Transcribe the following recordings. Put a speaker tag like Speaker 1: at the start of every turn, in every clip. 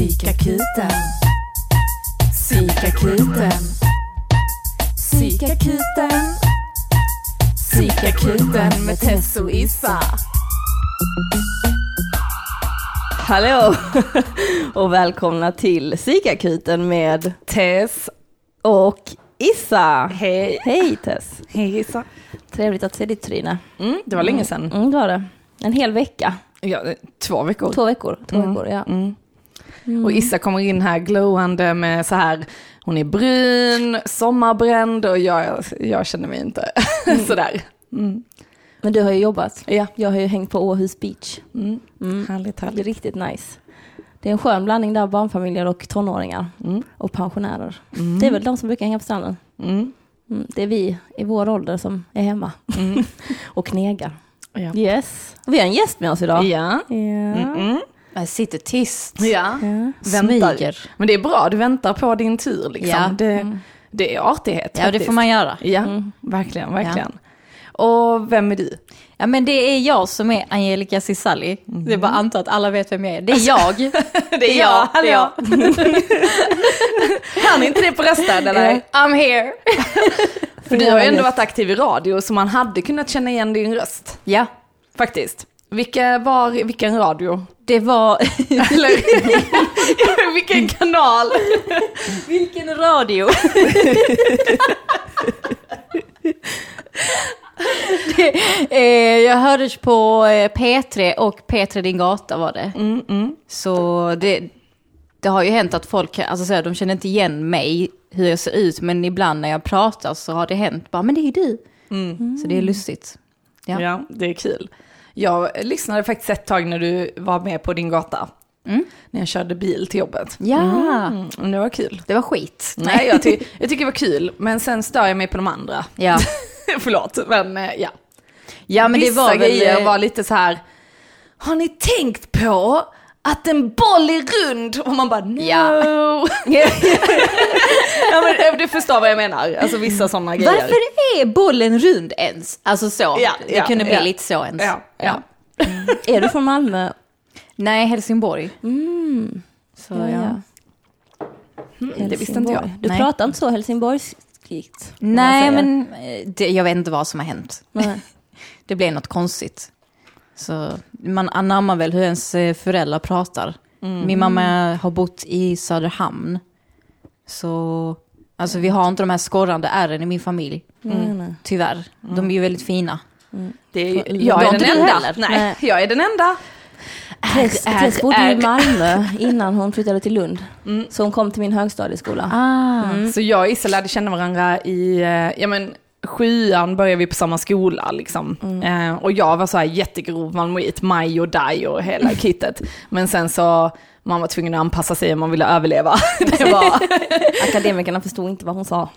Speaker 1: Psykakuten. Psykakuten. Psykakuten. Psykakuten med Tess och Issa.
Speaker 2: Hallå och välkomna till psykakuten med
Speaker 1: Tess.
Speaker 2: och Issa.
Speaker 1: Hej.
Speaker 2: Hej Tess.
Speaker 1: Hej Issa.
Speaker 2: Trevligt att se ditt tryne.
Speaker 1: Mm, det var länge sedan.
Speaker 2: Mm, det var det. En hel vecka.
Speaker 1: Ja, eh, två veckor.
Speaker 2: Två veckor. Två veckor, ja.
Speaker 1: Mm. Och Issa kommer in här glowande med så här, hon är brun, sommarbränd och jag, jag känner mig inte
Speaker 2: Mm.
Speaker 1: sådär.
Speaker 2: Men du har ju jobbat.
Speaker 1: Ja.
Speaker 2: Jag har ju hängt på Åhus Beach.
Speaker 1: Mm. Härligt,
Speaker 2: Det är
Speaker 1: härligt.
Speaker 2: riktigt nice. Det är en skön blandning där, barnfamiljer och tonåringar.
Speaker 1: Mm.
Speaker 2: Och pensionärer. Det är väl de som brukar hänga på stranden.
Speaker 1: Mm.
Speaker 2: Mm, det är vi i vår ålder som är hemma och knegar.
Speaker 1: Mm. Ja.
Speaker 2: Yes. Vi har en gäst med oss idag.
Speaker 1: Ja.
Speaker 2: Ja.
Speaker 1: Mm.
Speaker 3: Jag sitter tyst.
Speaker 1: ja.
Speaker 2: Ja.
Speaker 1: Väntar.
Speaker 3: Smyger.
Speaker 1: Men det är bra, du väntar på din tur liksom.
Speaker 3: Ja. Mm.
Speaker 1: Det, det är artighet
Speaker 3: Ja, det
Speaker 1: faktiskt.
Speaker 3: får man göra. Mm.
Speaker 1: Ja, verkligen, verkligen. Och vem är du?
Speaker 3: Ja, men det är jag som är Angelica Cisalli. Det är bara antar att alla vet vem jag är. Det är jag.
Speaker 1: Det
Speaker 3: hallå.
Speaker 1: Hör ni inte det på rösten eller?
Speaker 3: I'm here.
Speaker 1: För du har ju ändå varit aktiv i radio så man hade kunnat känna igen din röst.
Speaker 3: Ja,
Speaker 1: Faktiskt. Vilka var, vilken radio?
Speaker 3: det var...
Speaker 1: Eller vilken kanal?
Speaker 3: Vilken radio! det, eh, jag hördes på eh, P3 och P3 Din Gata var det. Så det, det har ju hänt att folk, alltså så här, de känner inte igen mig, hur jag ser ut, men ibland när jag pratar så har det hänt, bara men det är ju du. Mm. Så det är lustigt.
Speaker 1: Ja.
Speaker 3: Ja.
Speaker 1: det är kul. Jag lyssnade faktiskt ett tag när du var med på din gata. När jag körde bil till jobbet.
Speaker 3: Mm. Ja,
Speaker 1: Mm, det var kul.
Speaker 3: det var skit.
Speaker 1: Nej, jag, ty- jag tycker det var kul, men sen stör jag mig på de andra.
Speaker 3: Ja,
Speaker 1: Förlåt, men eh, ja.
Speaker 3: ja men
Speaker 1: Vissa
Speaker 3: det var väl...
Speaker 1: grejer
Speaker 3: eh,
Speaker 1: var lite så här, har ni tänkt på att en boll är rund? Och man bara no.
Speaker 3: Ja.
Speaker 1: ja, men, eh, du förstår vad jag menar, alltså vissa sådana grejer.
Speaker 3: Varför är bollen rund ens? Alltså så,
Speaker 1: Ja,
Speaker 3: det
Speaker 1: ja,
Speaker 3: kunde bli
Speaker 1: ja.
Speaker 3: lite så ens.
Speaker 1: Ja, ja.
Speaker 2: Är du från Malmö?
Speaker 3: Nej, Helsingborg. Så,
Speaker 2: Ja,
Speaker 3: ja,
Speaker 2: ja.
Speaker 1: Mm, det visste inte jag.
Speaker 2: Du
Speaker 3: Nej.
Speaker 2: pratar inte så helsingborgskt. om man
Speaker 3: Nej,
Speaker 2: säger.
Speaker 3: men eh, det, jag vet inte vad som har hänt.
Speaker 2: Nej.
Speaker 3: Det blev något konstigt. Så man anammar väl hur ens eh, föräldrar pratar. Min mamma har bott i Söderhamn. Så alltså, vi har inte de här skorrande ärren i min familj.
Speaker 2: Nej,
Speaker 1: Mm.
Speaker 2: nej.
Speaker 3: Tyvärr. De är ju väldigt fina.
Speaker 1: Det är,
Speaker 2: var
Speaker 1: jag är
Speaker 2: inte
Speaker 1: den
Speaker 2: du
Speaker 1: enda.
Speaker 2: heller?
Speaker 1: Nej,
Speaker 2: Nej.
Speaker 1: jag är den enda.
Speaker 2: Tess,
Speaker 1: är-
Speaker 2: Tess bodde ju i
Speaker 1: är-
Speaker 2: Malmö innan hon flyttade till Lund. Så hon kom till min högstadieskola.
Speaker 3: Ah.
Speaker 1: Så jag och Issa lärde känna varandra i, eh, ja men sjuan började vi på samma skola liksom. Eh, och jag var så här jättegrov malmöit, maj och daj och hela kittet. Men sen så, man var tvungen att anpassa sig om man ville överleva. Det var,
Speaker 2: Akademikerna förstod inte vad hon sa.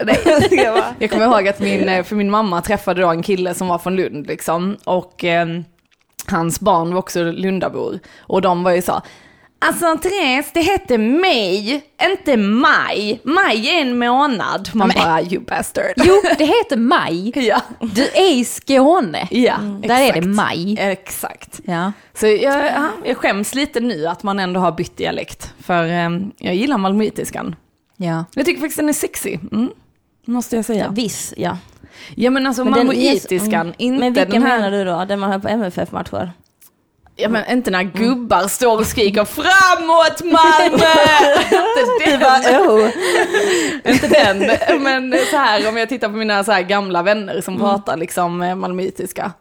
Speaker 1: jag kommer ihåg att min, eh, för min mamma träffade då en kille som var från Lund liksom. Och eh, hans barn var också lundabor. Och de var ju så, Alltså Therese, det hette mig, inte maj. Maj är en månad. Man bara, you bastard.
Speaker 3: Jo, det heter maj.
Speaker 1: Ja,
Speaker 3: Du är i Skåne.
Speaker 1: ja
Speaker 3: Där är
Speaker 1: exakt.
Speaker 3: det maj.
Speaker 1: Exakt.
Speaker 3: Ja.
Speaker 1: Så jag, ja, jag skäms lite nu att man ändå har bytt dialekt. För eh, jag gillar malmöitiskan.
Speaker 3: ja.
Speaker 1: Jag tycker faktiskt den är sexy. Mm. Måste jag säga.
Speaker 2: Viss, ja.
Speaker 1: Ja men alltså
Speaker 2: den-
Speaker 1: malmöitiskan,
Speaker 2: yes,
Speaker 1: inte
Speaker 2: Men vilken
Speaker 1: den här...
Speaker 2: menar du Mm. då? Den man hör på MFF-matcher?
Speaker 1: Ja men inte när gubbar står och skriker framåt Malmö! inte den,
Speaker 2: Oh.
Speaker 1: inte den. Men så här om jag tittar på mina så här gamla vänner som
Speaker 2: Mm.
Speaker 1: pratar liksom eh, malmöitiska.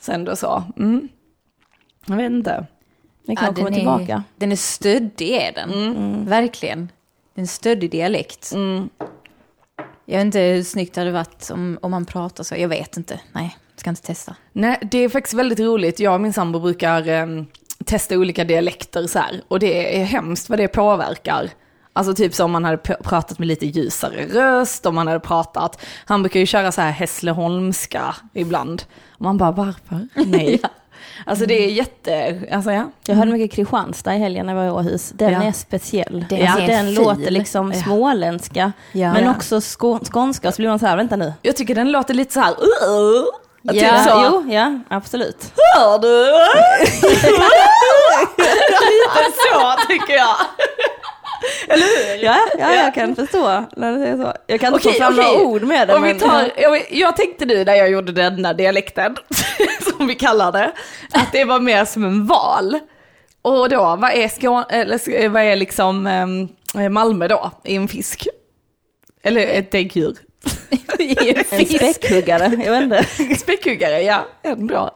Speaker 1: Sen då så, mm. Jag vet inte.
Speaker 2: Den kan komma tillbaka.
Speaker 3: Är, den är stöddig är den. Verkligen. Det är en stöddig dialekt. Jag vet inte hur snyggt det hade varit om, om man pratar så. Jag vet inte. Nej, ska inte testa.
Speaker 1: Nej, det är faktiskt väldigt roligt. Jag och min sambo brukar eh, testa olika dialekter så här. Och det är hemskt vad det påverkar. Alltså typ som om man hade pr- pratat med lite ljusare röst, om man hade pratat. Han brukar ju köra så här hässleholmska ibland. Och man bara, varför? Nej. Alltså det är jätte, alltså ja.
Speaker 2: Jag hörde mycket Kristianstad i helgen när jag var i Åhus. Den
Speaker 1: Ja.
Speaker 2: är speciell.
Speaker 3: Den
Speaker 2: alltså,
Speaker 3: är
Speaker 2: den
Speaker 3: fin.
Speaker 2: låter liksom småländska,
Speaker 3: Ja.
Speaker 2: men
Speaker 3: Ja.
Speaker 2: också skå- skånska. Så blir man så här, vänta nu.
Speaker 1: Jag tycker den låter lite så här, "Uh, uh."
Speaker 3: Ja,
Speaker 1: typ så.
Speaker 2: Jo, ja, absolut.
Speaker 1: Hör du? Lite så tycker jag. Eller hur?
Speaker 2: Ja, ja, jag kan förstå när du säger så. Jag kan inte
Speaker 1: Okej,
Speaker 2: få fram
Speaker 1: okej.
Speaker 2: några ord med det.
Speaker 1: Om vi
Speaker 2: men-
Speaker 1: tar, jag, jag tänkte nu när jag gjorde denna dialekten, som vi kallar det, att det var mer som en val. Och då, vad är, Skåne, eller, sk- vad är liksom eh, Malmö då i en fisk? Eller ett däggdjur?
Speaker 2: En späckhuggare, jag vet inte.
Speaker 1: Späckhuggare, ja. Ändå.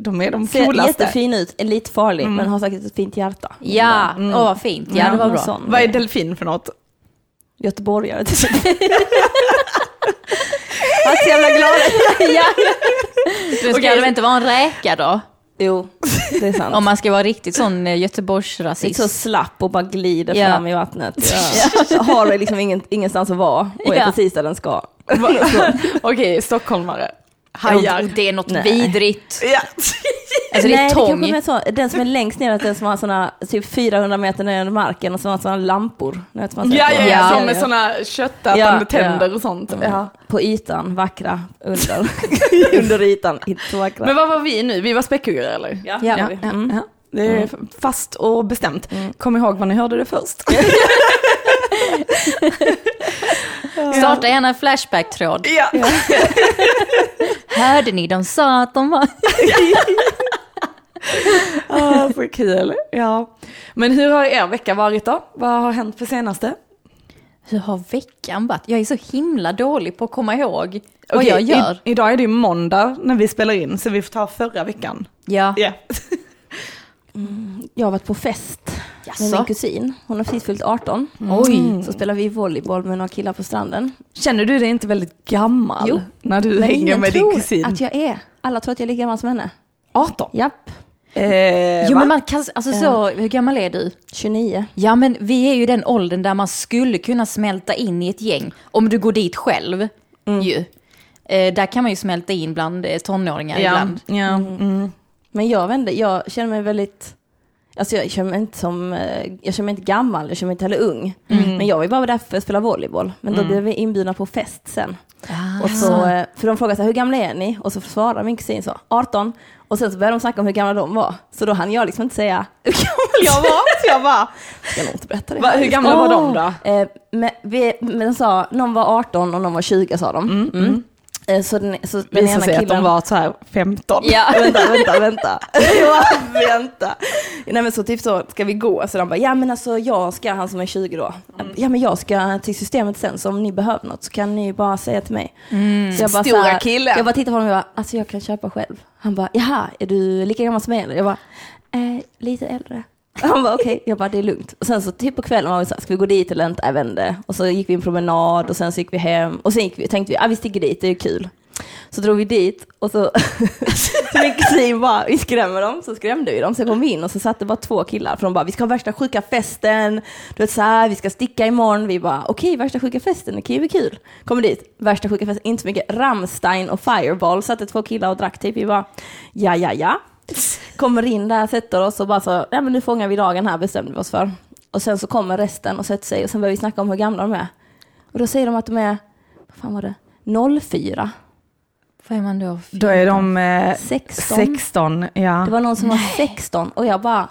Speaker 1: De är de
Speaker 2: Ser
Speaker 1: coolaste.
Speaker 2: jättefin ut, är lite farlig, men har säkert ett fint hjärta.
Speaker 3: Mm. Ja, åh vad fint. Ja, det var
Speaker 2: någon
Speaker 3: bra.
Speaker 2: sån.
Speaker 1: Vad är delfin för något?
Speaker 2: Göteborgare typ. Han är så jävla glad.
Speaker 3: ja. Du ska
Speaker 1: Okej.
Speaker 3: väl inte vara en räka då?
Speaker 2: Jo, det är sant.
Speaker 3: Om man ska vara riktigt sån eh, Göteborgsrasist.
Speaker 2: Lite så slapp och bara glider
Speaker 3: Ja.
Speaker 2: fram i vattnet. Har liksom ingen, ingenstans att vara och är
Speaker 3: Ja. Alltså,
Speaker 2: precis där den ska.
Speaker 1: Okej, stockholmare.
Speaker 3: Hajar.
Speaker 1: Hajar.
Speaker 3: Det är något
Speaker 2: Nej.
Speaker 3: vidrigt.
Speaker 1: Ja.
Speaker 3: Alltså det är
Speaker 2: Nej,
Speaker 3: tång.
Speaker 2: det kanske är så. Den som är längst ner, den som har sådana typ 400 meter ner under marken och som har sådana lampor. ni Vet, man ser
Speaker 1: Ja,
Speaker 2: på-
Speaker 1: ja, ja,
Speaker 3: Ja.
Speaker 1: som med sådana
Speaker 2: Ja,
Speaker 1: köttätande
Speaker 2: ja. Mm.
Speaker 1: tänder och sånt. Ja.
Speaker 2: På ytan, vackra, under, under ytan, inte så vackra.
Speaker 1: Men vad var vi nu? Vi var späckhuggare eller?
Speaker 2: ja,
Speaker 3: Ja.
Speaker 2: ja. Mm.
Speaker 1: Ja, det är fast och bestämt. Kom ihåg var ni hörde det först.
Speaker 3: Starta gärna en Flashback-tråd.
Speaker 1: ja.
Speaker 3: Hörde ni? De sa att de var...
Speaker 1: ah, så kul. Ja. Men hur har er vecka varit då? Vad har hänt för senaste?
Speaker 3: Hur har veckan varit? Jag är så himla dålig på att komma ihåg vad
Speaker 1: Okej,
Speaker 3: jag gör.
Speaker 1: I, idag är det ju måndag när vi spelar in så vi får ta förra veckan.
Speaker 3: Ja.
Speaker 1: Ja.
Speaker 2: Jag har varit på fest med
Speaker 3: Jaså? Mm.
Speaker 2: min kusin. Hon har precis fyllt 18.
Speaker 3: Oj.
Speaker 2: Så spelar vi volleyboll med några killar på stranden.
Speaker 1: Känner du dig inte väldigt gammal
Speaker 2: Jo,
Speaker 1: när du
Speaker 2: Men
Speaker 1: hänger
Speaker 2: ingen
Speaker 1: med din
Speaker 2: tror
Speaker 1: kusin?
Speaker 2: att jag är. Alla tror att jag är lika gammal som henne.
Speaker 1: 18?
Speaker 2: Japp,
Speaker 1: Eh,
Speaker 3: Jo
Speaker 1: va?
Speaker 3: men man kan, alltså så, hur gammal är du?
Speaker 2: 29.
Speaker 3: Ja men vi är ju i den åldern där man skulle kunna smälta in i ett gäng. Om du går dit själv ju. Eh, där kan man ju smälta in bland eh, tonåringar
Speaker 1: ja.
Speaker 3: ibland.
Speaker 1: ja. Mm.
Speaker 2: Men jag vet inte, jag känner mig väldigt, alltså jag känner mig inte som, eh, jag känner mig inte gammal, jag känner mig inte heller ung.
Speaker 1: Mm.
Speaker 2: Men jag var ju bara där för att spela volleyboll, men då blev vi inbjudna på fest sen.
Speaker 1: Ah.
Speaker 2: Och så, eh, för de frågade så här, hur gamla är ni? Och så svarade min kusin så, 18. Och sen så började de snacka om hur gamla de var. Så då hann jag liksom inte säga hur gammal jag var. Så jag bara, jag ska nog inte berätta det.
Speaker 1: Va, hur gamla var de då?
Speaker 2: Eh, men, vi, men de sa, någon var 18 och någon var 20 sa de. Mm. Eh, Så den, så den
Speaker 1: Visade
Speaker 2: ena
Speaker 1: sig att de
Speaker 2: killen-
Speaker 1: var så här 15.
Speaker 2: Ja, vänta, vänta, vänta. Ja, vänta. Nej men så typ så, ska vi gå? Så de bara, ja men alltså jag ska, han som är 20 då,
Speaker 1: Mm.
Speaker 2: ja men jag ska till systemet sen så om ni behöver något så kan ni bara säga till mig. Så jag bara,
Speaker 1: Mm. Stora
Speaker 2: så här,
Speaker 1: killen.
Speaker 2: Jag bara tittar på honom och jag bara, alltså jag kan köpa själv. Han bara, jaha, är du lika gammal som mig eller? Jag bara, eh, lite äldre. Han bara okej, jag bara det är lugnt. Och sen så typ på kvällen var vi såhär, ska vi gå dit eller inte? Jag vet inte. Och så gick vi en promenad och sen så gick vi hem och sen gick vi, tänkte vi, ah, vi sticker dit, det är kul. Så drog vi dit och så, så min kusin bara, vi skrämmer dem, så skrämde vi dem. Sen kom vi in och så satt det bara två killar, för de bara, vi ska ha värsta sjuka festen, du vet så här, vi ska sticka imorgon. Vi bara, okej, värsta sjuka festen, det kan ju bli kul. Kommer dit, värsta sjuka festen, inte så mycket, Rammstein och Fireball satt det två killar och drack typ. Vi bara, ja, ja, ja. Kommer in där, sätter oss och bara så, nej men nu fångar vi dagen här, bestämde vi oss för. Och sen så kommer resten och sätter sig och sen börjar vi snacka om hur gamla de är. Och då säger de att de är, vad fan var det, 04.
Speaker 3: Vad är man då?
Speaker 1: Då är de eh,
Speaker 2: 16.
Speaker 1: 16 ja.
Speaker 2: Det var någon som var 16 och jag bara,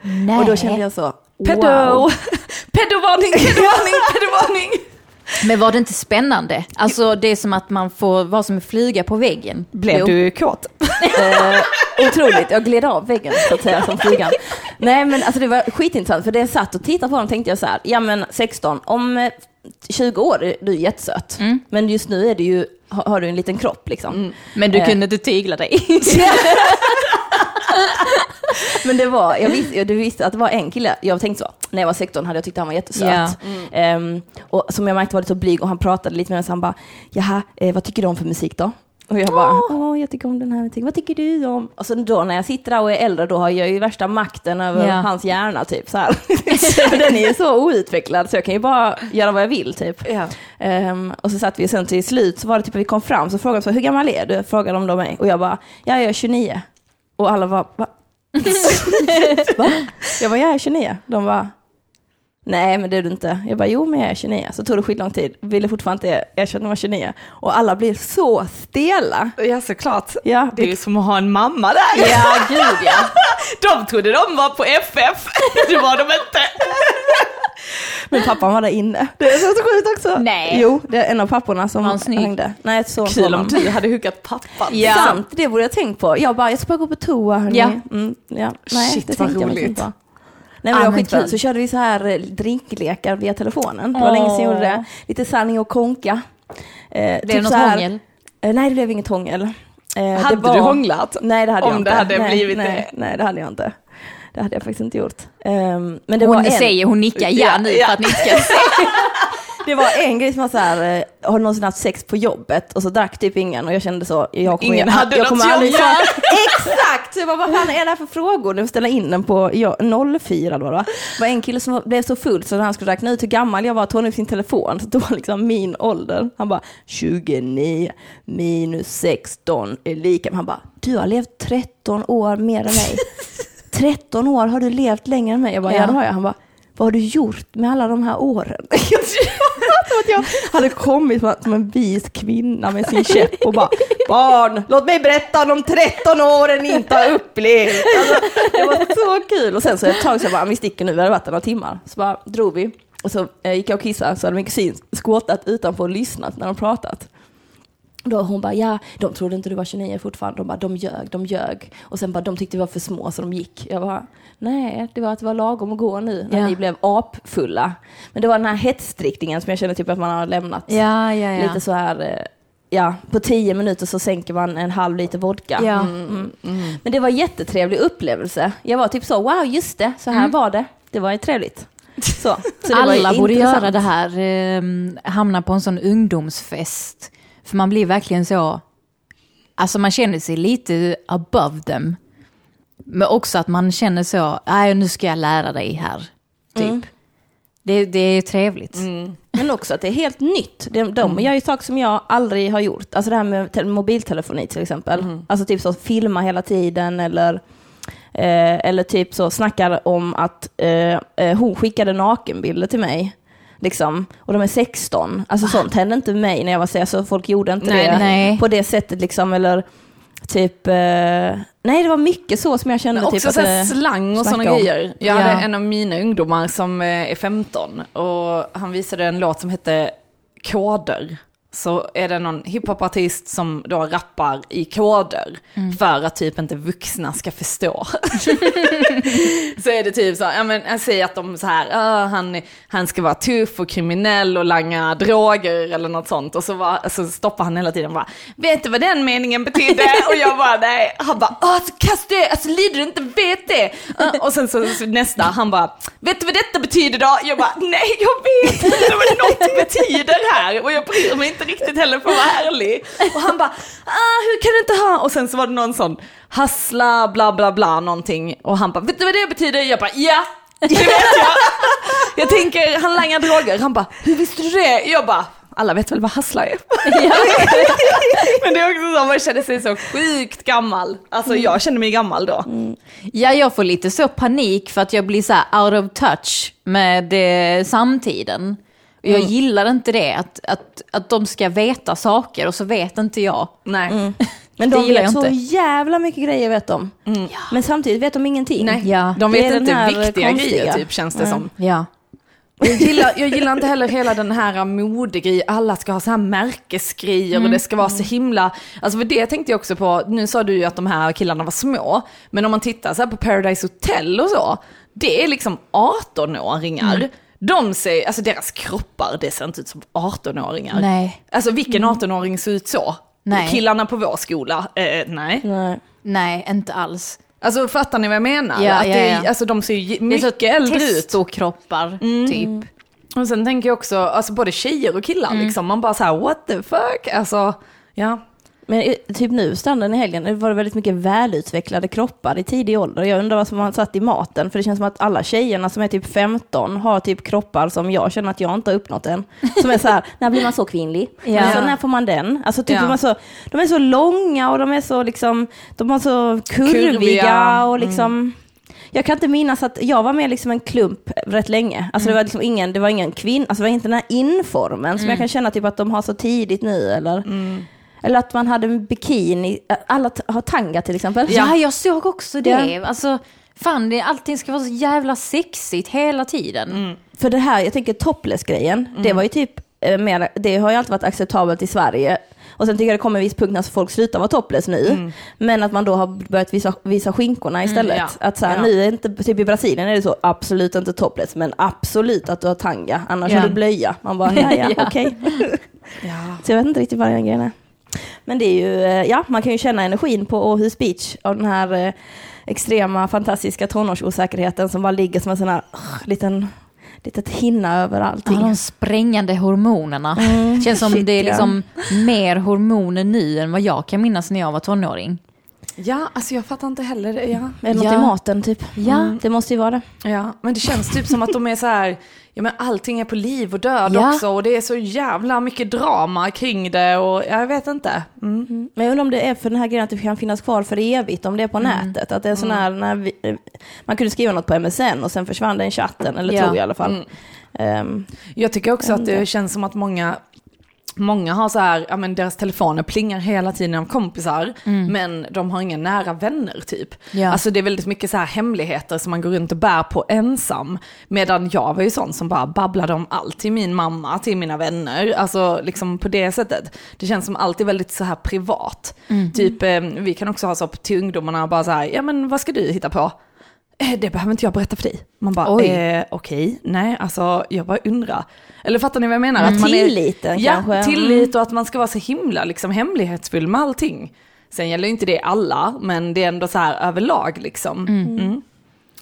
Speaker 3: Nej.
Speaker 2: och då kände jag så,
Speaker 1: Pedo!
Speaker 2: wow.
Speaker 1: Pedovarning, pedovarning, pedovarning!
Speaker 3: Men var det inte spännande? Alltså det är som att man får vara som en flyga på väggen.
Speaker 1: Blev
Speaker 2: Jo.
Speaker 1: du kåt?
Speaker 2: Eh, otroligt, jag gled av väggen så att säga som flugan. Nej men alltså det var skitintressant för det jag satt och tittade på dem tänkte jag så här, ja men 16, om eh, 20 år är du jättesöt. Men just nu är det ju, har, har du en liten kropp liksom.
Speaker 3: Mm. Men du
Speaker 2: Eh.
Speaker 3: kunde inte tygla dig.
Speaker 2: Men det var, jag visste, jag, du visste att det var en kille, jag tänkte så, när jag var 16 hade jag tyckt han var jättesöt.
Speaker 3: Ja.
Speaker 2: Ehm, och som jag märkte var lite så blyg och han pratade lite med mig så han bara, jaha, eh, vad tycker du om för musik då? Och jag bara, åh jag tycker om den här musiken, vad tycker du om? Och sen då när jag sitter där och är äldre då har jag ju värsta makten över
Speaker 3: Ja.
Speaker 2: hans hjärna typ så här. För den är ju så outvecklad så jag kan ju bara göra vad jag vill typ.
Speaker 1: Ja.
Speaker 2: Ehm, och så satt vi sen till slut så var det typ att vi kom fram så frågade de så, hur gammal är du? Frågade de då mig och jag bara, ja jag är 29. Och alla var, va? va? Jag bara, jag är 29. De bara, nej men det är du inte. Jag bara, jo men jag är 29. Så tog det skitlång tid, ville fortfarande inte erkänna att jag var 29. Och alla blir så stela.
Speaker 1: Ja, såklart.
Speaker 2: Ja,
Speaker 1: Det är ju som att ha en mamma där.
Speaker 2: ja gud ja.
Speaker 1: De trodde de var på FF, det var de inte.
Speaker 2: Men pappan var där inne. Det är så sjukt också.
Speaker 3: Nej.
Speaker 2: Jo, det är en av papporna som
Speaker 3: Var han snygg?
Speaker 2: hängde. Nej, så
Speaker 1: Kul om du hade hookat pappan.
Speaker 3: Ja.
Speaker 2: Sant, det borde jag tänkt på. Jag bara, jag ska bara gå på toa hörni.
Speaker 3: Ja.
Speaker 2: Mm, ja. Nej,
Speaker 1: Shit,
Speaker 2: det
Speaker 1: vad
Speaker 2: tänkte jag
Speaker 1: roligt.
Speaker 2: faktiskt inte på. Nej men det var
Speaker 3: Använd
Speaker 2: skitkul.
Speaker 3: den.
Speaker 2: Så körde vi så här eh, drinklekar via telefonen. Det var
Speaker 3: Åh.
Speaker 2: länge sedan jag gjorde det. Lite sanning och konka. Eh,
Speaker 3: Blev det något
Speaker 2: så här-
Speaker 3: hångel?
Speaker 2: Eh, nej, det blev inget hångel. Eh, det
Speaker 1: Hade
Speaker 2: var-
Speaker 1: du hånglat?
Speaker 2: Nej, det hade
Speaker 1: Om
Speaker 2: jag inte.
Speaker 1: det hade
Speaker 2: nej,
Speaker 1: blivit
Speaker 2: nej,
Speaker 1: det.
Speaker 2: Nej, det hade jag inte. Det hade jag faktiskt inte gjort. Ehm, men det var
Speaker 3: Hon
Speaker 2: en...
Speaker 3: säger, hon nickar ja
Speaker 1: Ja,
Speaker 3: nu
Speaker 1: ja.
Speaker 3: för att ni inte ska se.
Speaker 2: Det var en grej som var så här, eh, har du någonsin haft sex på jobbet? Och så drack typ ingen och jag kände så, jag kommer,
Speaker 1: Ingen hade
Speaker 2: jag
Speaker 1: något
Speaker 2: kommer
Speaker 1: jobb
Speaker 2: aldrig
Speaker 1: här.
Speaker 2: Exakt! Så jag bara, vad fan är det här för frågor? Nu ställa in den på ja, 04 eller vad det var. Det var en kille som var- blev så full så när han skulle räkna ut hur gammal jag var tog han upp sin telefon. Så det var liksom min ålder. Han bara, 29 minus 16 är lika. Men han bara, du har levt 13 år mer än mig. 13 år har du levt längre än mig. Jag bara, ja,
Speaker 3: Ja.
Speaker 2: det har jag. Han bara, vad har du gjort med alla de här åren? Jag tror att jag hade kommit som- som en vis kvinna med sin käpp och bara, barn, låt mig berätta om de 13 åren ni inte har upplevt. Alltså, det var så kul. Och sen så ett tag så jag bara, vi sticker nu, vi hade varit där några timmar. Så bara drog vi. Och så eh, gick jag och kissade så hade min kusin skåtat utanför och lyssnat när de pratat. Då hon bara, ja, de trodde inte du var 29 fortfarande. De bara, de ljög, de ljög. Och sen bara, de tyckte vi var för små så de gick. Jag bara, nej, det var att det var lagom att gå nu när
Speaker 3: Ja.
Speaker 2: ni blev apfulla. Men det var den här hetsdrickningen som jag känner typ att man har lämnat.
Speaker 3: Ja, ja, ja.
Speaker 2: Lite så här, eh, ja, på tio minuter så sänker man en halv liter vodka.
Speaker 3: Ja.
Speaker 2: Mm. Men det var en jättetrevlig upplevelse. Jag var typ så, wow, just det, så här var det. Det var ju trevligt. Så, så det var ju
Speaker 3: Mm. Alla borde
Speaker 2: intressant.
Speaker 3: göra det här, ehm, hamna på en sån ungdomsfest. För man blir verkligen så, alltså man känner sig lite above them. Men också att man känner så, nej nu ska jag lära dig här, typ. Det, det är ju trevligt.
Speaker 2: Men också att det är helt nytt. De, de gör ju saker som jag aldrig har gjort. Alltså det här med te- mobiltelefoni till exempel. Alltså typ så filma hela tiden eller, eh, eller typ så snackar om att eh, eh, hon skickade nakenbilder till mig. Liksom. Och de är 16. Alltså sånt hände inte mig när jag var 16. Alltså, folk gjorde inte
Speaker 1: Nej,
Speaker 2: det
Speaker 3: nej.
Speaker 2: på det sättet liksom. Eller typ, eh, nej det var mycket så som jag kände.
Speaker 1: Men också
Speaker 2: typ, att
Speaker 1: så här
Speaker 2: det-
Speaker 1: slang och sådana
Speaker 2: snacka om.
Speaker 1: grejer. Jag
Speaker 3: Ja.
Speaker 1: hade en av mina ungdomar som eh, är 15 och han visade en låt som hette Koder. Så är det någon hiphopartist som då rappar i koder för att typ inte vuxna ska förstå. så är det typ så här, ja men jag säger att de så här, "Ah, han, han ska vara tuff och kriminell och langa droger eller något sånt. Och så, var, så stoppar han hela tiden bara, vet du vad den meningen betydde? Och jag bara nej. Han bara, "Ah, alltså kast det, alltså lider du inte vet det? Ah, Och sen så, så nästa, han bara, vet du vad detta betyder då? Jag bara, nej jag vet inte vad något betyder här. Och jag bryr mig inte riktigt heller för att vara ärlig. Och han bara, ah, hur kan du inte ha? Och sen så var det någon sån, hassla bla bla bla någonting. Och han bara, vet du vad det betyder? Jag bara, ja, det vet jag. Jag tänker, han langar droger. Han bara, hur visste du det? Jag bara, alla vet väl vad hassla är? Men det är också så, man känner sig så sjukt gammal. Alltså jag känner mig gammal då.
Speaker 3: Ja, jag får lite så panik för att jag blir så här out of touch med eh, samtiden. Och jag gillar inte det, att, att, att de ska veta saker och så vet inte jag.
Speaker 1: Nej.
Speaker 2: Men
Speaker 3: Det
Speaker 2: de
Speaker 3: gillar
Speaker 2: vet
Speaker 3: jag
Speaker 2: så
Speaker 3: inte.
Speaker 2: jävla mycket grejer vet de. Men samtidigt vet de ingenting.
Speaker 3: Ja.
Speaker 1: De
Speaker 2: Det
Speaker 1: vet
Speaker 2: är den
Speaker 1: inte
Speaker 2: här
Speaker 1: viktiga
Speaker 2: konstiga.
Speaker 1: grejer typ känns det som.
Speaker 3: Ja.
Speaker 1: Och Jag gillar, jag gillar inte heller hela den här modegrejen, alla ska ha så här märkesgrejer och det ska vara så himla, alltså för det tänkte jag också på, nu sa du ju att de här killarna var små, men om man tittar så här på Paradise Hotel och så, det är liksom 18-åringar. De ser, alltså deras kroppar, det ser inte ut som 18-åringar.
Speaker 3: Nej.
Speaker 1: Alltså vilken 18-åring ser ut så?
Speaker 3: Nej.
Speaker 1: Killarna på vår skola, eh, nej.
Speaker 2: Nej.
Speaker 3: Nej, inte alls.
Speaker 1: Alltså fattar ni vad jag menar?
Speaker 3: Ja,
Speaker 1: att
Speaker 3: ja,
Speaker 1: det,
Speaker 3: ja.
Speaker 1: Alltså de ser ju
Speaker 3: Det är så
Speaker 1: mycket äldre ut.
Speaker 3: Testokroppar, typ.
Speaker 1: Och sen tänker jag också, alltså både tjejer och killar liksom, man bara så här what the fuck, alltså ja.
Speaker 2: Men eh, typ nu, standarden i helgen, det var väldigt mycket välutvecklade kroppar i tidig ålder. Jag undrar vad som har satt i maten, för det känns som att alla tjejerna som är typ 15 har typ kroppar som jag känner att jag inte har uppnått än. Som är så här, när blir man så kvinnlig?
Speaker 3: Ja.
Speaker 2: Alltså, när får man den? Alltså, typ,
Speaker 1: Ja.
Speaker 2: de, är så, de är så långa och de är så, liksom, de har så kurviga,
Speaker 1: Kurviga. Mm.
Speaker 2: och liksom... Jag kan inte minnas att jag var med liksom en klump rätt länge.
Speaker 1: Mm.
Speaker 2: Alltså det var liksom ingen, det var ingen kvinna, alltså det var inte den här informen som jag kan känna typ att de har så tidigt nu eller.
Speaker 1: Mm.
Speaker 2: Eller att man hade en bikini, alla t- har tanga till exempel.
Speaker 3: Ja. jag såg också det. Alltså, fan, det, allting ska vara så jävla sexigt hela tiden.
Speaker 2: För det här, jag tänker topless-grejen,
Speaker 1: Mm.
Speaker 2: det var ju typ eh, mer, det har ju alltid varit acceptabelt i Sverige. Och sen tycker jag det kommer en viss punkt när folk slutar vara topless nu. Men att man då har börjat visa, visa skinkorna istället.
Speaker 1: Mm. ja.
Speaker 2: Att så här,
Speaker 1: Ja.
Speaker 2: nu är inte, typ i Brasilien är det så, absolut inte topless, men absolut att du har tanga, annars
Speaker 1: Ja.
Speaker 2: har du blöja. Man bara, ja ja,
Speaker 3: Ja.
Speaker 2: okej.
Speaker 1: Ja.
Speaker 2: Så jag vet inte riktigt vad den grejen är. Men det är ju, eh, ja, man kan ju känna energin på Åhus Beach av den här eh, extrema, fantastiska tonårsosäkerheten som bara ligger som en sån här uh, liten, litet hinna över
Speaker 3: Ja, Mm.
Speaker 2: allting.
Speaker 3: de sprängande hormonerna. Känns som
Speaker 2: Shit,
Speaker 3: det är
Speaker 2: ja.
Speaker 3: liksom mer hormoner nu än vad jag kan minnas när jag var tonåring.
Speaker 1: ja, alltså jag fattar inte heller det. Ja.
Speaker 2: Eller något
Speaker 3: Ja.
Speaker 2: i maten typ.
Speaker 3: Ja.
Speaker 2: Det måste ju vara det.
Speaker 1: Ja, men det känns typ som att de är så här, ja men allting är på liv och död
Speaker 3: Ja.
Speaker 1: också och det är så jävla mycket drama kring det och jag vet inte. Mm.
Speaker 2: Men jag undrar om det är för den här grejen att det kan finnas kvar för evigt, om det är på
Speaker 1: Mm.
Speaker 2: nätet. Att det är sån här, när vi, eh, man kunde skriva något på MSN och sen försvann den chatten, eller
Speaker 3: Ja.
Speaker 2: tror jag i alla fall.
Speaker 1: Mm.
Speaker 2: Ehm,
Speaker 1: Jag tycker också att det känns som att många, många har så här, ja men deras telefoner plingar hela tiden av kompisar, men de har inga nära vänner typ.
Speaker 3: Ja.
Speaker 1: Alltså det är väldigt mycket så här hemligheter som man går runt och bär på ensam. Medan jag var ju sån som bara babblade om allt till min mamma, till mina vänner, alltså liksom på det sättet. Det känns som allt är väldigt så här privat. Typ, eh, vi kan också ha så till ungdomarna, bara så här, ja men vad ska du hitta på? "Eh, det behöver inte jag berätta för dig. Man bara,
Speaker 3: Oj.
Speaker 1: eh, okej, nej, alltså jag bara undrar. Eller fattar ni vad jag menar? Att man
Speaker 2: Tilliten
Speaker 1: ja,
Speaker 2: kanske.
Speaker 1: tillit och att man ska vara så himla liksom, hemlighetsfull med allting. Sen gäller ju inte det alla, men det är ändå så här överlag liksom. Mm.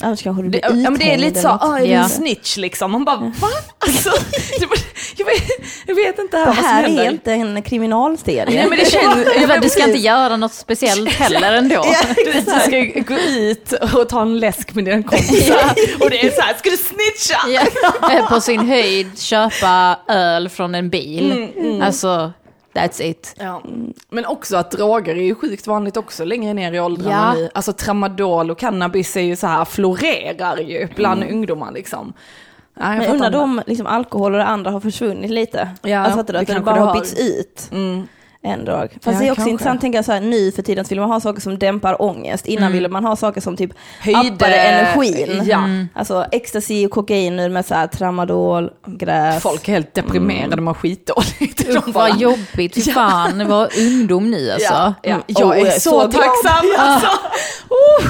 Speaker 2: annars kanske du
Speaker 1: Det,
Speaker 2: blir
Speaker 1: ja, men det är
Speaker 2: uthängd
Speaker 1: lite så,
Speaker 2: eller något.
Speaker 1: ah, är du
Speaker 3: Ja.
Speaker 1: en snitch liksom? Man bara, va? Alltså, det var- jag, vet, jag vet inte
Speaker 2: Det
Speaker 1: vad som
Speaker 2: här
Speaker 1: händer.
Speaker 2: är inte en kriminalserie.
Speaker 1: Nej, men det känns, jag
Speaker 3: Du,
Speaker 1: vet,
Speaker 3: du ska inte göra något speciellt heller ändå.
Speaker 1: Du, du ska ju gå ut och ta en läsk med dina kompisar och det är så här, ska du snitcha?
Speaker 3: Eh, På sin höjd köpa öl från en bil.
Speaker 1: Mm,
Speaker 3: Alltså, that's it.
Speaker 2: Mm.
Speaker 1: Ja. Men också att droger är ju sjukt vanligt också längre ner i åldrarna
Speaker 3: Ja.
Speaker 1: nu. Alltså tramadol och cannabis är ju så här, florerar ju bland ungdomar liksom. Ja, jag
Speaker 2: Men
Speaker 1: fattar
Speaker 2: jag undrar
Speaker 1: inte.
Speaker 2: om liksom, alkohol och det andra har försvunnit lite.
Speaker 1: Ja,
Speaker 2: alltså fattar du,
Speaker 1: det
Speaker 2: att det
Speaker 1: kanske
Speaker 2: bara
Speaker 1: det
Speaker 2: har
Speaker 1: har.
Speaker 2: bytts ut
Speaker 1: Mm.
Speaker 2: en dag. Fast
Speaker 1: Ja,
Speaker 2: det är också
Speaker 1: kanske.
Speaker 2: intressant, tänker jag så här, nu för tiden så vill man ha saker som dämpar ångest. Innan
Speaker 1: Mm.
Speaker 2: ville man ha saker som typ
Speaker 1: Höjde-
Speaker 2: appade energin.
Speaker 1: Ja.
Speaker 2: Alltså ecstasy och kokain nu med så här, tramadol, gräs.
Speaker 1: Folk är helt deprimerade, de mår skitdåligt. De bara,
Speaker 3: Vad jobbigt, fy fan, vad ungdom nu alltså.
Speaker 1: ja, ja.
Speaker 2: Mm.
Speaker 1: Jag
Speaker 2: Åh,
Speaker 1: är så tacksam alltså. Oh.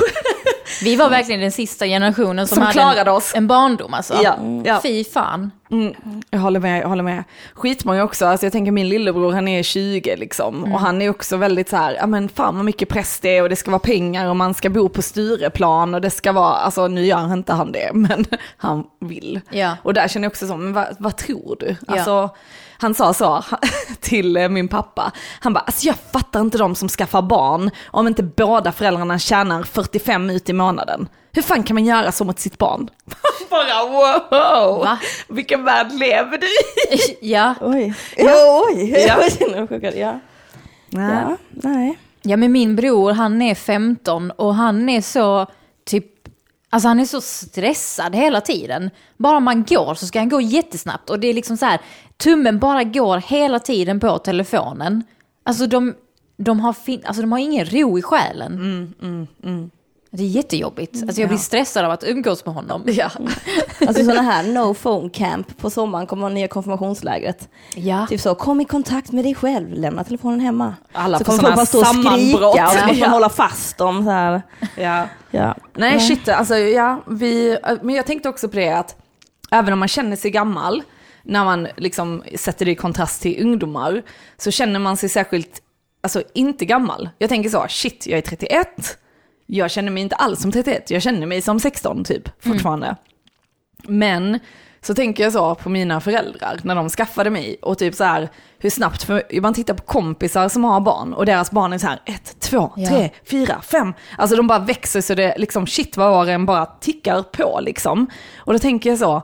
Speaker 3: Vi var verkligen den sista generationen som,
Speaker 1: Som
Speaker 3: hade
Speaker 1: klarade
Speaker 3: en,
Speaker 1: oss.
Speaker 3: en barndom alltså.
Speaker 1: Ja, ja.
Speaker 3: Fy fan.
Speaker 1: Mm, jag håller med, jag håller med. Skitmånga också, alltså jag tänker min lillebror han är 20 liksom
Speaker 3: Mm.
Speaker 1: och han är också väldigt så här, ja men fan vad mycket press det är och det ska vara pengar och man ska bo på Stureplan och det ska vara, alltså nu gör inte han det men han vill.
Speaker 3: Ja.
Speaker 1: Och där känner jag också så, men vad, vad tror du?
Speaker 3: Ja.
Speaker 1: Alltså, han sa så till eh, min pappa, han bara, alltså jag fattar inte de som skaffar barn om inte båda föräldrarna tjänar 45 ut i månaden. Hur fan kan man göra så mot sitt barn? Bara wow!
Speaker 3: Va?
Speaker 1: Vilken värld lever du i?
Speaker 3: Ja.
Speaker 2: Oj. Ja, oj.
Speaker 1: Ja.
Speaker 2: Jag känner mig chockad. Ja. Ja, nej.
Speaker 3: ja, men min bror han är 15 och han är så typ, alltså han är så stressad hela tiden. Bara man går så ska han gå jättesnabbt och det är liksom så här, tummen bara går hela tiden på telefonen. Alltså de, de, har, fin- alltså, de har ingen ro i själen.
Speaker 1: Mm,
Speaker 3: Det är jättejobbigt. Alltså jag blir stressad av att umgås med honom.
Speaker 1: Ja.
Speaker 2: Alltså sådana här no phone camp på sommaren kommer man ner i konfirmationslägret.
Speaker 3: Ja.
Speaker 2: Typ så, kom i kontakt med dig själv, lämna telefonen hemma.
Speaker 1: Alla
Speaker 2: så
Speaker 1: får
Speaker 2: kommer
Speaker 1: såna
Speaker 2: folk bara stå och skrika
Speaker 1: sammanbrott.
Speaker 2: och så måste
Speaker 1: Ja.
Speaker 2: man hålla fast dem så här.
Speaker 1: ja.
Speaker 2: Ja.
Speaker 1: Nej shit, alltså ja, vi, men jag tänkte också på det att även om man känner sig gammal, när man liksom sätter det i kontrast till ungdomar, så känner man sig särskilt, alltså inte gammal. Jag tänker så, shit jag är 31, jag känner mig inte alls som 31, jag känner mig som 16 typ
Speaker 3: Mm.
Speaker 1: fortfarande. Men så tänker jag så på mina föräldrar när de skaffade mig och typ så här hur snabbt, för man tittar på kompisar som har barn och deras barn är så här ett, två,
Speaker 3: Ja.
Speaker 1: tre, fyra, fem. Alltså de bara växer så det liksom shit vad åren bara tickar på liksom. Och då tänker jag så,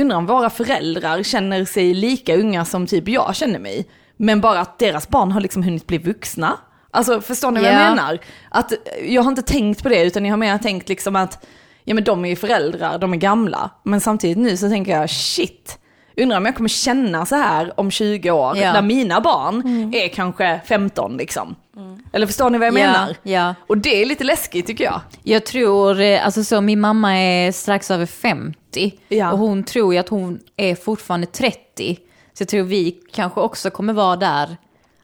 Speaker 1: undrar om våra föräldrar känner sig lika unga som typ jag känner mig. Men bara att deras barn har liksom hunnit bli vuxna. Alltså förstår ni vad
Speaker 3: Ja.
Speaker 1: jag menar? Att, eh, jag har inte tänkt på det utan jag har mer tänkt liksom att ja, men de är ju föräldrar, de är gamla. Men samtidigt nu så tänker jag shit, undrar om jag kommer känna så här om 20 år
Speaker 3: Ja.
Speaker 1: när mina barn är kanske 15 liksom. Eller förstår ni vad jag
Speaker 3: Ja,
Speaker 1: menar?
Speaker 3: ja.
Speaker 1: Och det är lite läskigt tycker jag.
Speaker 3: Jag tror, eh, alltså så min mamma är strax över 50 70
Speaker 1: Ja.
Speaker 3: och hon tror ju att hon är fortfarande 30. Så jag tror vi kanske också kommer vara där,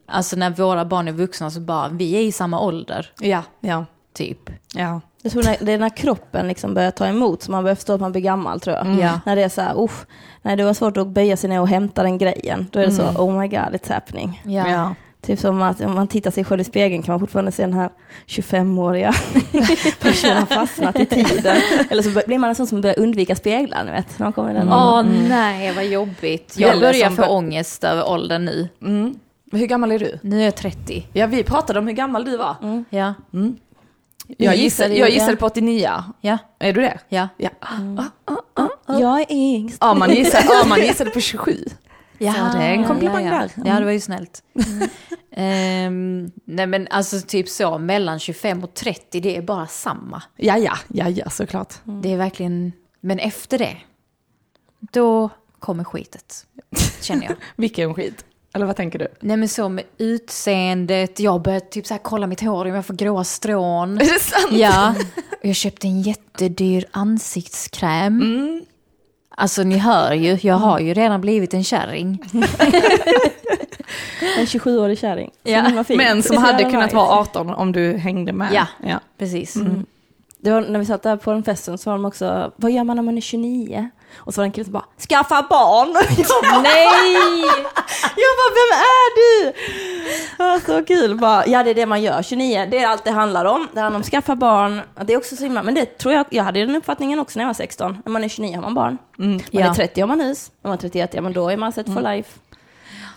Speaker 3: alltså när våra barn är vuxna så bara, vi är i samma ålder,
Speaker 1: Ja, ja,
Speaker 3: typ.
Speaker 1: ja.
Speaker 2: Jag tror när, det är när kroppen liksom börjar ta emot så man börjar förstå att man blir gammal tror jag.
Speaker 3: Mm. Ja.
Speaker 2: När det är så här, usch, nej det var svårt att böja sig ner och hämta den grejen. Då är det
Speaker 1: Mm.
Speaker 2: så, oh my god, it's happening.
Speaker 1: ja. ja.
Speaker 2: Typ som att om man tittar sig själv i spegeln kan man fortfarande se den här 25-åriga personen har fastnat i tiden. Eller så blir man en sån som börjar undvika speglar, ni vet. När man kommer i den åldern.
Speaker 3: Åh nej, vad jobbigt. Jag
Speaker 1: Eller
Speaker 3: börjar
Speaker 1: som
Speaker 3: få
Speaker 1: bör-
Speaker 3: ångest över åldern nu.
Speaker 1: Mm. Men Hur gammal är du?
Speaker 3: Nu är jag 30.
Speaker 1: Ja, vi pratade om hur gammal du var.
Speaker 2: Mm.
Speaker 3: Ja,
Speaker 1: Jag,
Speaker 2: Vi
Speaker 1: gissade,
Speaker 2: gissade ju
Speaker 1: jag
Speaker 2: det.
Speaker 1: gissade på 89.
Speaker 3: ja,
Speaker 1: Är du det?
Speaker 3: ja.
Speaker 1: Ja.
Speaker 2: Mm.
Speaker 1: ah,
Speaker 2: Jag är yngst.
Speaker 1: Ja, man gissade, ja, man gissade på 27.
Speaker 3: Ja,
Speaker 1: Så det är en komplimang
Speaker 3: ja, ja.
Speaker 1: där. Mm.
Speaker 3: Ja, det var ju snällt. Ehm, nej men alltså typ så, mellan 25 och 30, det är bara samma.
Speaker 1: Ja, ja, ja, ja, såklart.
Speaker 3: Det är verkligen, men efter det, då kommer skitet, känner jag.
Speaker 1: Vilken skit. Eller vad tänker du?
Speaker 3: nej men så med utseendet, jag började typ så här kolla mitt hår, om jag får gråa strån.
Speaker 1: Är det sant?
Speaker 3: Ja, och jag köpte en jättedyr ansiktskräm.
Speaker 1: Mm.
Speaker 3: Alltså ni hör ju, jag har ju redan blivit en kärring.
Speaker 2: En 27-årig kärring. Så
Speaker 1: Mm,
Speaker 3: Ja,
Speaker 2: himla fin.
Speaker 1: Men
Speaker 2: Det
Speaker 1: som
Speaker 2: är så
Speaker 1: hade
Speaker 2: jävla
Speaker 1: kunnat
Speaker 2: nice.
Speaker 1: vara 18 om du hängde med.
Speaker 3: Ja.
Speaker 1: ja.
Speaker 3: Precis.
Speaker 2: Det var när vi satt där på den festen så var de också, vad gör man när man är 29? Och så var det en kille som bara, skaffa barn! Jag bara, Nej! Jag bara, vem är du? Ja, så kul bara, ja det är det man gör, 29, det är allt det handlar om. Det handlar om skaffa barn, det är också så himla, men det tror jag, jag hade den uppfattningen också när jag var 16. När man är 29 har man barn,
Speaker 1: Mm.
Speaker 2: när man
Speaker 3: Ja. Mm.
Speaker 2: är 30 har man hus, när man är 31, ja men då är man set for life.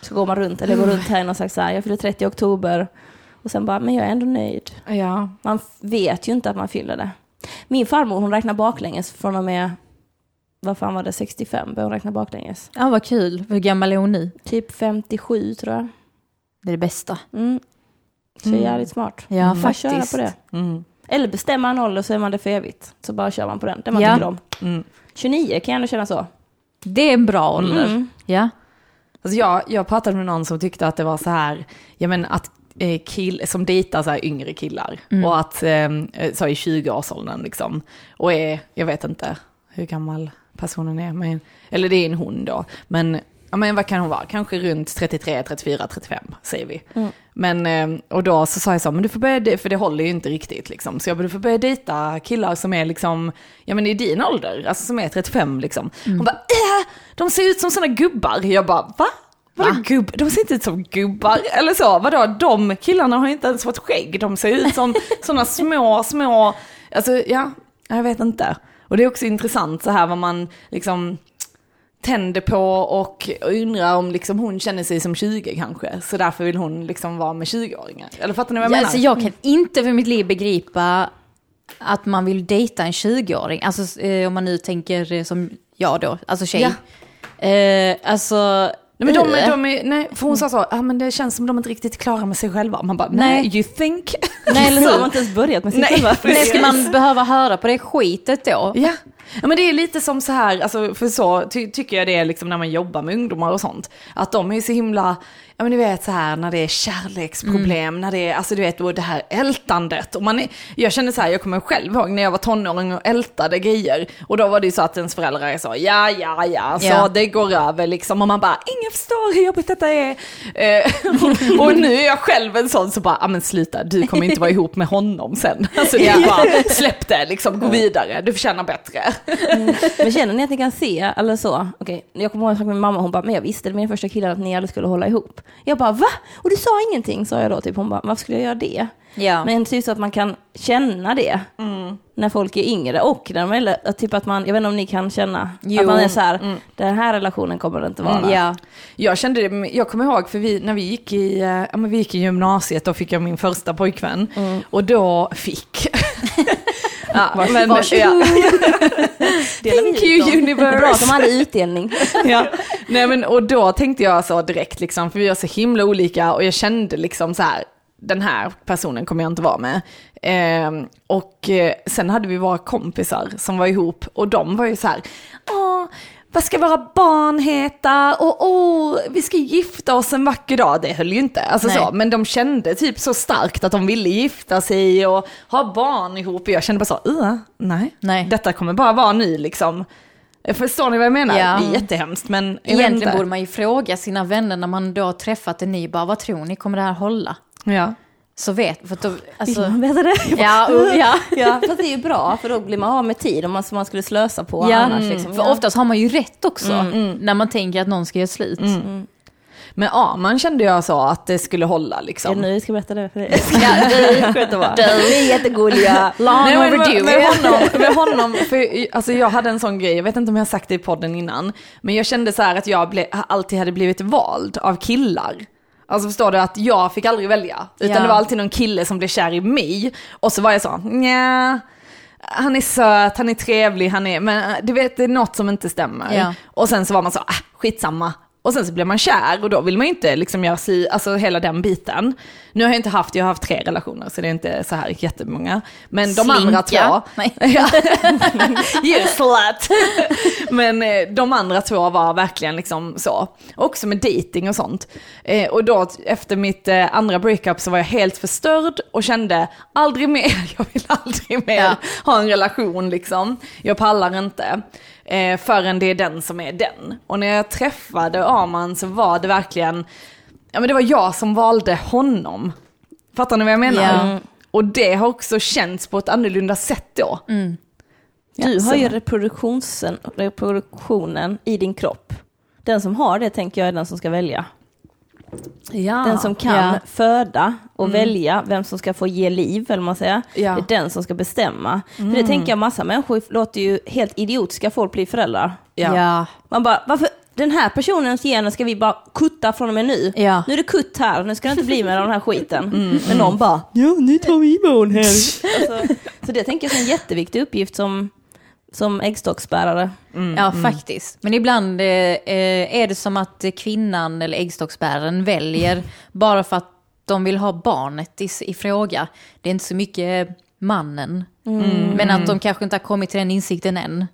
Speaker 2: Så går man runt, eller går
Speaker 3: Ah.
Speaker 2: runt här i någon slags så här, jag fyller 30 i oktober. Och sen bara, men jag är ändå nöjd.
Speaker 1: ja.
Speaker 2: Man f- vet ju inte att man fyller det. Min farmor hon räknar baklänges från och med, vad fan var det, 65 började hon räkna baklänges.
Speaker 3: Ja, vad kul. Hur gammal är hon nu?
Speaker 2: Typ 57 tror jag.
Speaker 3: Det är det bästa.
Speaker 2: Mm. Så
Speaker 1: Mm.
Speaker 2: jävligt smart.
Speaker 3: Ja,
Speaker 2: Man får
Speaker 3: faktiskt.
Speaker 2: köra på det.
Speaker 1: Mm.
Speaker 2: Eller bestämma en ålder så är man det för evigt. Så bara kör man på den, det man
Speaker 3: Ja.
Speaker 2: tycker om.
Speaker 1: Mm.
Speaker 2: 29 kan jag ändå känna så.
Speaker 3: Det är en bra ålder.
Speaker 2: Mm.
Speaker 3: Ja.
Speaker 1: Alltså jag, jag pratade med någon som tyckte att det var så här, ja men att eh, kill, som dejtar så här yngre killar och att, eh, så i 20-årsåldern liksom, och är, jag vet inte hur gammal personen är, men, eller det är en hon då, men, ja men vad kan hon vara, kanske runt 33, 34, 35 säger vi. Men, eh, och då så sa jag så, men du får börja, de- för det håller ju inte riktigt liksom, så jag bara, du får börja dejta killar som är liksom, ja men i din ålder, alltså som är 35 liksom. Hon bara, äh, de ser ut som sådana gubbar. Jag bara, va? Vadå gubb? De ser inte ut som gubbar eller så. Vadå, de killarna har ju inte ens fått skägg. De ser ut som sådana små, små, alltså ja, jag vet inte. Och det är också intressant så här vad man liksom tänder på och undrar om liksom hon känner sig som 20 kanske. Så därför vill hon liksom vara med 20-åringar. Eller fattar ni vad jag
Speaker 3: Jag,
Speaker 1: menar?
Speaker 3: alltså, jag kan inte för mitt liv begripa att man vill dejta en 20-åring. Alltså eh, om man nu tänker eh, som jag då, alltså tjej. Eh, alltså...
Speaker 1: Nej, men de,
Speaker 3: eh,
Speaker 1: är- de är, nej, för hon sa så, ah, men det känns som de inte riktigt är klara med sig själva. Man bara, nej,
Speaker 3: Nej.
Speaker 1: you think?
Speaker 3: Nej, eller
Speaker 2: Så har man
Speaker 3: hur?
Speaker 2: inte ens börjat med sig
Speaker 1: Nej,
Speaker 2: själva.
Speaker 1: precis.
Speaker 3: Nej, ska man behöva höra på det skitet då?
Speaker 1: Ja. ja, men det är lite som så här, alltså, för så ty- tycker jag det är liksom när man jobbar med ungdomar och sånt. Att de är ju så himla, ja men du vet så här när det är kärleksproblem, när det är, alltså du vet och det här ältandet. Och man är, jag känner så här, jag kommer själv ihåg när jag var tonåring och ältade grejer. Och då var det ju så att ens föräldrar sa, ja ja ja, så
Speaker 3: Ja.
Speaker 1: det går över liksom. Och man bara, ingen förstår hur jobbigt detta är. Eh, och, och nu är jag själv en sån som bara, ja men sluta, du kommer inte vara ihop med honom sen. Alltså det är bara, släpp det liksom, gå vidare, du förtjänar bättre.
Speaker 2: Men känner ni att ni kan se, eller så? Okej, jag kommer ihåg en sak med min mamma, hon bara, men jag visste det med den första killen att ni aldrig skulle hålla ihop. Jag bara, va? Och du sa ingenting, sa jag då, typ. Hon bara, varför skulle jag göra det?
Speaker 3: Ja.
Speaker 2: Men typ så att man kan känna det när folk är yngre och när de är, lä- att typ att man, jag vet inte om ni kan känna,
Speaker 3: Jo.
Speaker 2: att man är så här, den här relationen kommer det inte vara.
Speaker 3: ja.
Speaker 1: Jag kände det, jag kommer ihåg för vi, när vi gick, i, eh, ja, men vi gick i gymnasiet, då fick jag min första pojkvän. Och då fick... ja, men, ja,
Speaker 2: Delar vi
Speaker 1: Thank
Speaker 2: ut
Speaker 1: you,
Speaker 2: dem?
Speaker 1: universe.
Speaker 2: Bra, de hade utdelning.
Speaker 1: ja. Nej, men, och då tänkte jag så direkt, liksom, för vi var så himla olika och jag kände liksom så här, den här personen kommer jag inte vara med. Ehm, och eh, sen hade vi våra kompisar som var ihop och de var ju så här, Åh, vad ska våra barn heta? Och åh, vi ska gifta oss en vacker dag. Det höll ju inte. Alltså
Speaker 3: Nej.
Speaker 1: så, men de kände typ så starkt att de ville gifta sig och ha barn ihop. Och jag kände bara så, "Ugh, nej.
Speaker 3: Nej.
Speaker 1: Detta kommer bara vara nu liksom. Förstår ni vad jag menar?
Speaker 3: Ja.
Speaker 1: Det är jättehemskt men jag vet
Speaker 3: Egentligen
Speaker 1: inte.
Speaker 3: borde man ju fråga sina vänner när man då har träffat en ny, bara vad tror ni, kommer det här hålla?
Speaker 1: Ja.
Speaker 3: Så vet, för att då, alltså,
Speaker 2: Vill man veta det? Jag bara,
Speaker 3: Ja, oh, ja.
Speaker 2: ja, fast det är ju bra för då blir man av med tid om man, som man skulle slösa på
Speaker 3: ja,
Speaker 2: annars. Liksom.
Speaker 3: liksom. för
Speaker 2: Ja.
Speaker 3: oftast har man ju rätt också när man tänker att någon ska göra slut.
Speaker 1: Men Arman kände jag så att det skulle hålla liksom.
Speaker 2: Ja, nu ska jag berätta det för dig. Ja, Ni är jättegulliga.
Speaker 3: Long
Speaker 1: Nej, men med,
Speaker 3: overdue.
Speaker 1: med honom, med honom för, alltså jag hade en sån grej, jag vet inte om jag har sagt det i podden innan, men jag kände så här att jag ble, alltid hade blivit vald av killar. Alltså förstår du att jag fick aldrig välja, utan
Speaker 3: Ja.
Speaker 1: det var alltid någon kille som blev kär i mig och så var jag så, nja, han är söt, han är trevlig, han är, men eh, du vet det är något som inte stämmer.
Speaker 3: Ja.
Speaker 1: Och sen så var man så, ah, skitsamma. Och sen så blev man kär och då vill man ju inte liksom göra si, alltså hela den biten. Nu har jag inte haft, jag har haft tre relationer så det är inte så här jättemånga. Men de andra två,
Speaker 3: Slinka. Nej.
Speaker 1: Ja. you slut. Men eh, de andra två var verkligen liksom så. Också med dating och sånt. Eh, och då t- efter mitt eh, andra breakup så var jag helt förstörd och kände aldrig mer, jag vill aldrig mer
Speaker 3: Ja.
Speaker 1: ha en relation liksom. Jag pallar inte. Eh, förrän det är den som är den. Och när jag träffade Arman så var det verkligen, ja men det var jag som valde honom. Fattar ni vad jag menar?
Speaker 3: Ja.
Speaker 1: Och det har också känts på ett annorlunda sätt då.
Speaker 2: Du har ju reproduktionen, reproduktionen i din kropp. Den som har det tänker jag är den som ska välja.
Speaker 1: Ja.
Speaker 2: Den som kan
Speaker 3: ja.
Speaker 2: föda och välja vem som ska få ge liv, eller vad man säger.
Speaker 1: Ja.
Speaker 2: Det är den som ska bestämma. För det tänker jag, massa människor låter ju helt idiotiska folk bli föräldrar.
Speaker 1: Ja.
Speaker 3: Ja.
Speaker 2: Man bara, varför? Den här personens gener ska vi bara kutta från och med nu.
Speaker 3: Ja.
Speaker 2: Nu är det kutt här, nu ska det inte bli med den här skiten. Men någon bara, ja nu tar vi in barn här. alltså, så det tänker jag är en jätteviktig uppgift som, som äggstocksbärare.
Speaker 3: ja,
Speaker 2: Mm.
Speaker 3: faktiskt. Men ibland eh, eh, är det som att eh, kvinnan eller äggstocksbäraren väljer bara för att de vill ha barnet i, s- i fråga. Det är inte så mycket mannen.
Speaker 2: Mm.
Speaker 3: Men att de kanske inte har kommit till den insikten än.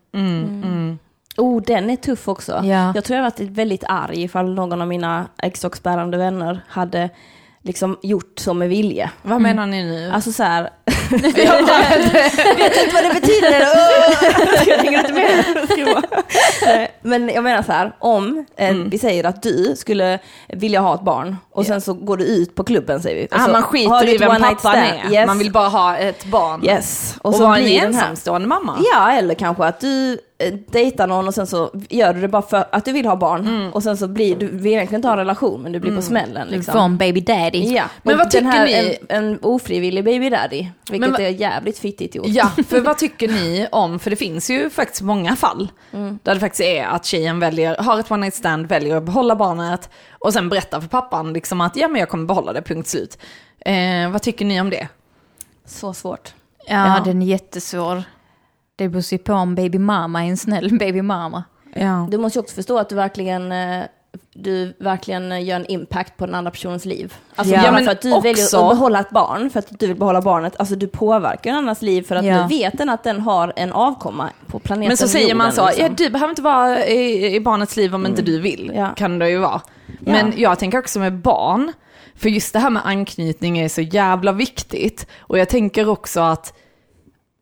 Speaker 2: Oh, den är tuff också.
Speaker 3: Ja.
Speaker 2: Jag tror jag varit väldigt arg ifall någon av mina äggstocksbärande vänner hade liksom gjort så med vilje.
Speaker 1: Vad menar ni nu?
Speaker 2: Alltså så här... vet inte vad det betyder. Åh! jag hänger inte med. Nej, Men jag menar så här, om eh,
Speaker 1: Mm.
Speaker 2: vi säger att du skulle vilja ha ett barn och sen så går du ut på klubben säger vi. Och
Speaker 1: ah,
Speaker 2: så
Speaker 1: man
Speaker 2: har
Speaker 1: skiter
Speaker 2: du
Speaker 1: i
Speaker 2: ett
Speaker 1: vem
Speaker 2: one night
Speaker 1: pappan
Speaker 2: stand.
Speaker 1: är.
Speaker 2: Yes.
Speaker 1: Man vill bara ha ett barn.
Speaker 2: yes.
Speaker 1: Och,
Speaker 2: så
Speaker 1: vara en
Speaker 2: blir den här-
Speaker 1: ensamstående mamma.
Speaker 2: Ja, eller kanske att du eh, dejtar någon och sen så gör du det bara för att du vill ha barn.
Speaker 1: Mm.
Speaker 2: Och sen så blir du, vill egentligen inte ha en relation men du blir på smällen.
Speaker 3: Liksom.
Speaker 2: Liksom.
Speaker 3: Från baby daddy.
Speaker 2: Ja,
Speaker 1: Men
Speaker 2: och
Speaker 1: vad
Speaker 2: den här,
Speaker 1: tycker ni?
Speaker 2: En, en ofrivillig baby daddy, vilket
Speaker 1: vad-
Speaker 2: är jävligt fittigt gjort.
Speaker 1: Ja, för vad tycker ni om, för det finns ju faktiskt många fall
Speaker 2: Mm.
Speaker 1: där det faktiskt är att tjejen väljer, har ett one night stand, väljer att behålla barnet och sen berättar för pappan liksom att ja men jag kommer behålla det, punkt slut. Eh, vad tycker ni om det?
Speaker 2: Så svårt.
Speaker 3: Ja,
Speaker 1: Ja.
Speaker 3: den är jättesvår. Det beror ju på om baby mamma är en snäll baby mamma.
Speaker 1: Ja.
Speaker 2: Du måste ju också förstå att du verkligen, eh, du verkligen eh, gör en impact på den andra personens liv. Alltså
Speaker 1: Ja,
Speaker 2: bara
Speaker 1: men
Speaker 2: för att du
Speaker 1: också-
Speaker 2: väljer att behålla ett barn, för att du vill behålla barnet, alltså du påverkar en annans liv för att
Speaker 3: Ja.
Speaker 2: nu vet den att den har en avkomma på planeten
Speaker 1: Men så säger man
Speaker 2: jorden,
Speaker 1: så,
Speaker 2: liksom. Mm.
Speaker 1: ja, du behöver inte vara i, i barnets liv om inte du vill,
Speaker 2: Ja.
Speaker 1: kan det ju vara. Men jag tänker också med barn, för just det här med anknytning är så jävla viktigt. Och jag tänker också att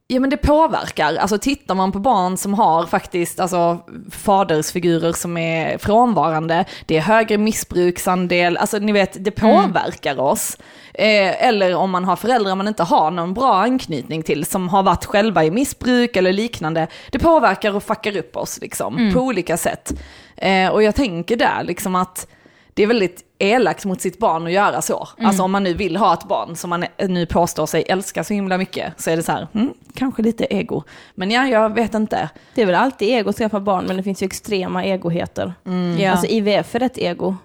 Speaker 1: Ja men det påverkar, alltså tittar man på barn som har faktiskt alltså, fadersfigurer som är frånvarande, det är högre missbruksandel, alltså ni vet det påverkar oss. Eh, eller om man har föräldrar man inte har någon bra anknytning till som har varit själva i missbruk eller liknande, det påverkar och fuckar upp oss liksom på olika sätt. Eh, och jag tänker där liksom att det är väldigt elakt mot sitt barn att göra så. Alltså om man nu vill ha ett barn som man nu påstår sig älska så himla mycket så är det så här, mm, kanske lite ego. Men ja, jag vet inte.
Speaker 2: Det är väl alltid ego att skaffa barn, men det finns ju extrema egoheter.
Speaker 3: Ja.
Speaker 2: Alltså IVF är ett ego.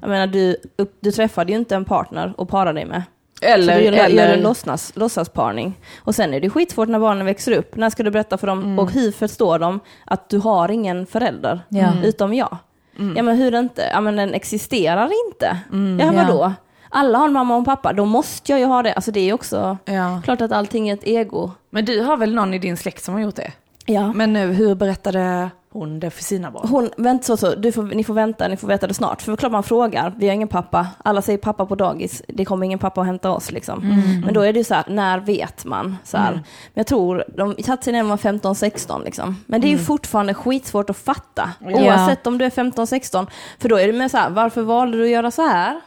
Speaker 2: Jag menar, du, upp, du träffade ju inte en partner och parade dig med.
Speaker 1: Eller,
Speaker 2: så du gör,
Speaker 1: eller,
Speaker 2: gör en låtsas, låtsasparning. Och sen är det skitsvårt när barnen växer upp. När ska du berätta för dem och hur förstår de att du har ingen förälder
Speaker 3: Ja. Mm.
Speaker 2: utom jag? Ja men hur inte? Ja men den existerar inte. ja
Speaker 3: ja.
Speaker 2: vadå? Alla har en mamma och en pappa, då måste jag ju ha det. Alltså det är ju också
Speaker 1: Ja.
Speaker 2: klart att allting är ett ego.
Speaker 1: Men du har väl någon i din släkt som har gjort det?
Speaker 2: Ja.
Speaker 1: Men nu, hur berättade hon det för sina barn?
Speaker 2: Hon, vänt så, så, du får, ni får vänta, ni får veta det snart. För klart man frågar, vi har ingen pappa, alla säger pappa på dagis, det kommer ingen pappa att hämta oss liksom. Men då är det ju så här, när vet man? Så här. Men jag tror, de satte sig när man var 15-16 liksom. Men det är ju fortfarande skitsvårt att fatta, oavsett om du är 15-16. För då är det med så här, varför valde du att göra så här?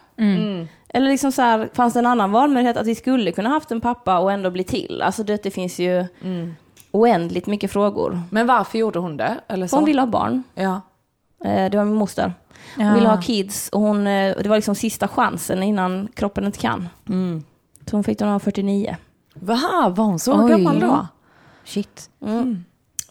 Speaker 2: Eller liksom så här, fanns det en annan valmöjlighet att vi skulle kunna haft en pappa och ändå bli till? Alltså det, det finns ju oändligt mycket frågor.
Speaker 1: Men varför gjorde hon det? Eller så?
Speaker 2: Hon ville ha barn.
Speaker 1: Ja.
Speaker 2: Eh, Det var min moster. Hon
Speaker 3: Ja.
Speaker 2: ville ha kids och hon, eh, det var liksom sista chansen innan kroppen inte kan. Mm. Så hon fick den när hon var 49.
Speaker 1: Va, var hon så
Speaker 3: Oj.
Speaker 1: gammal då?
Speaker 3: Shit.
Speaker 2: Mm.
Speaker 1: Mm.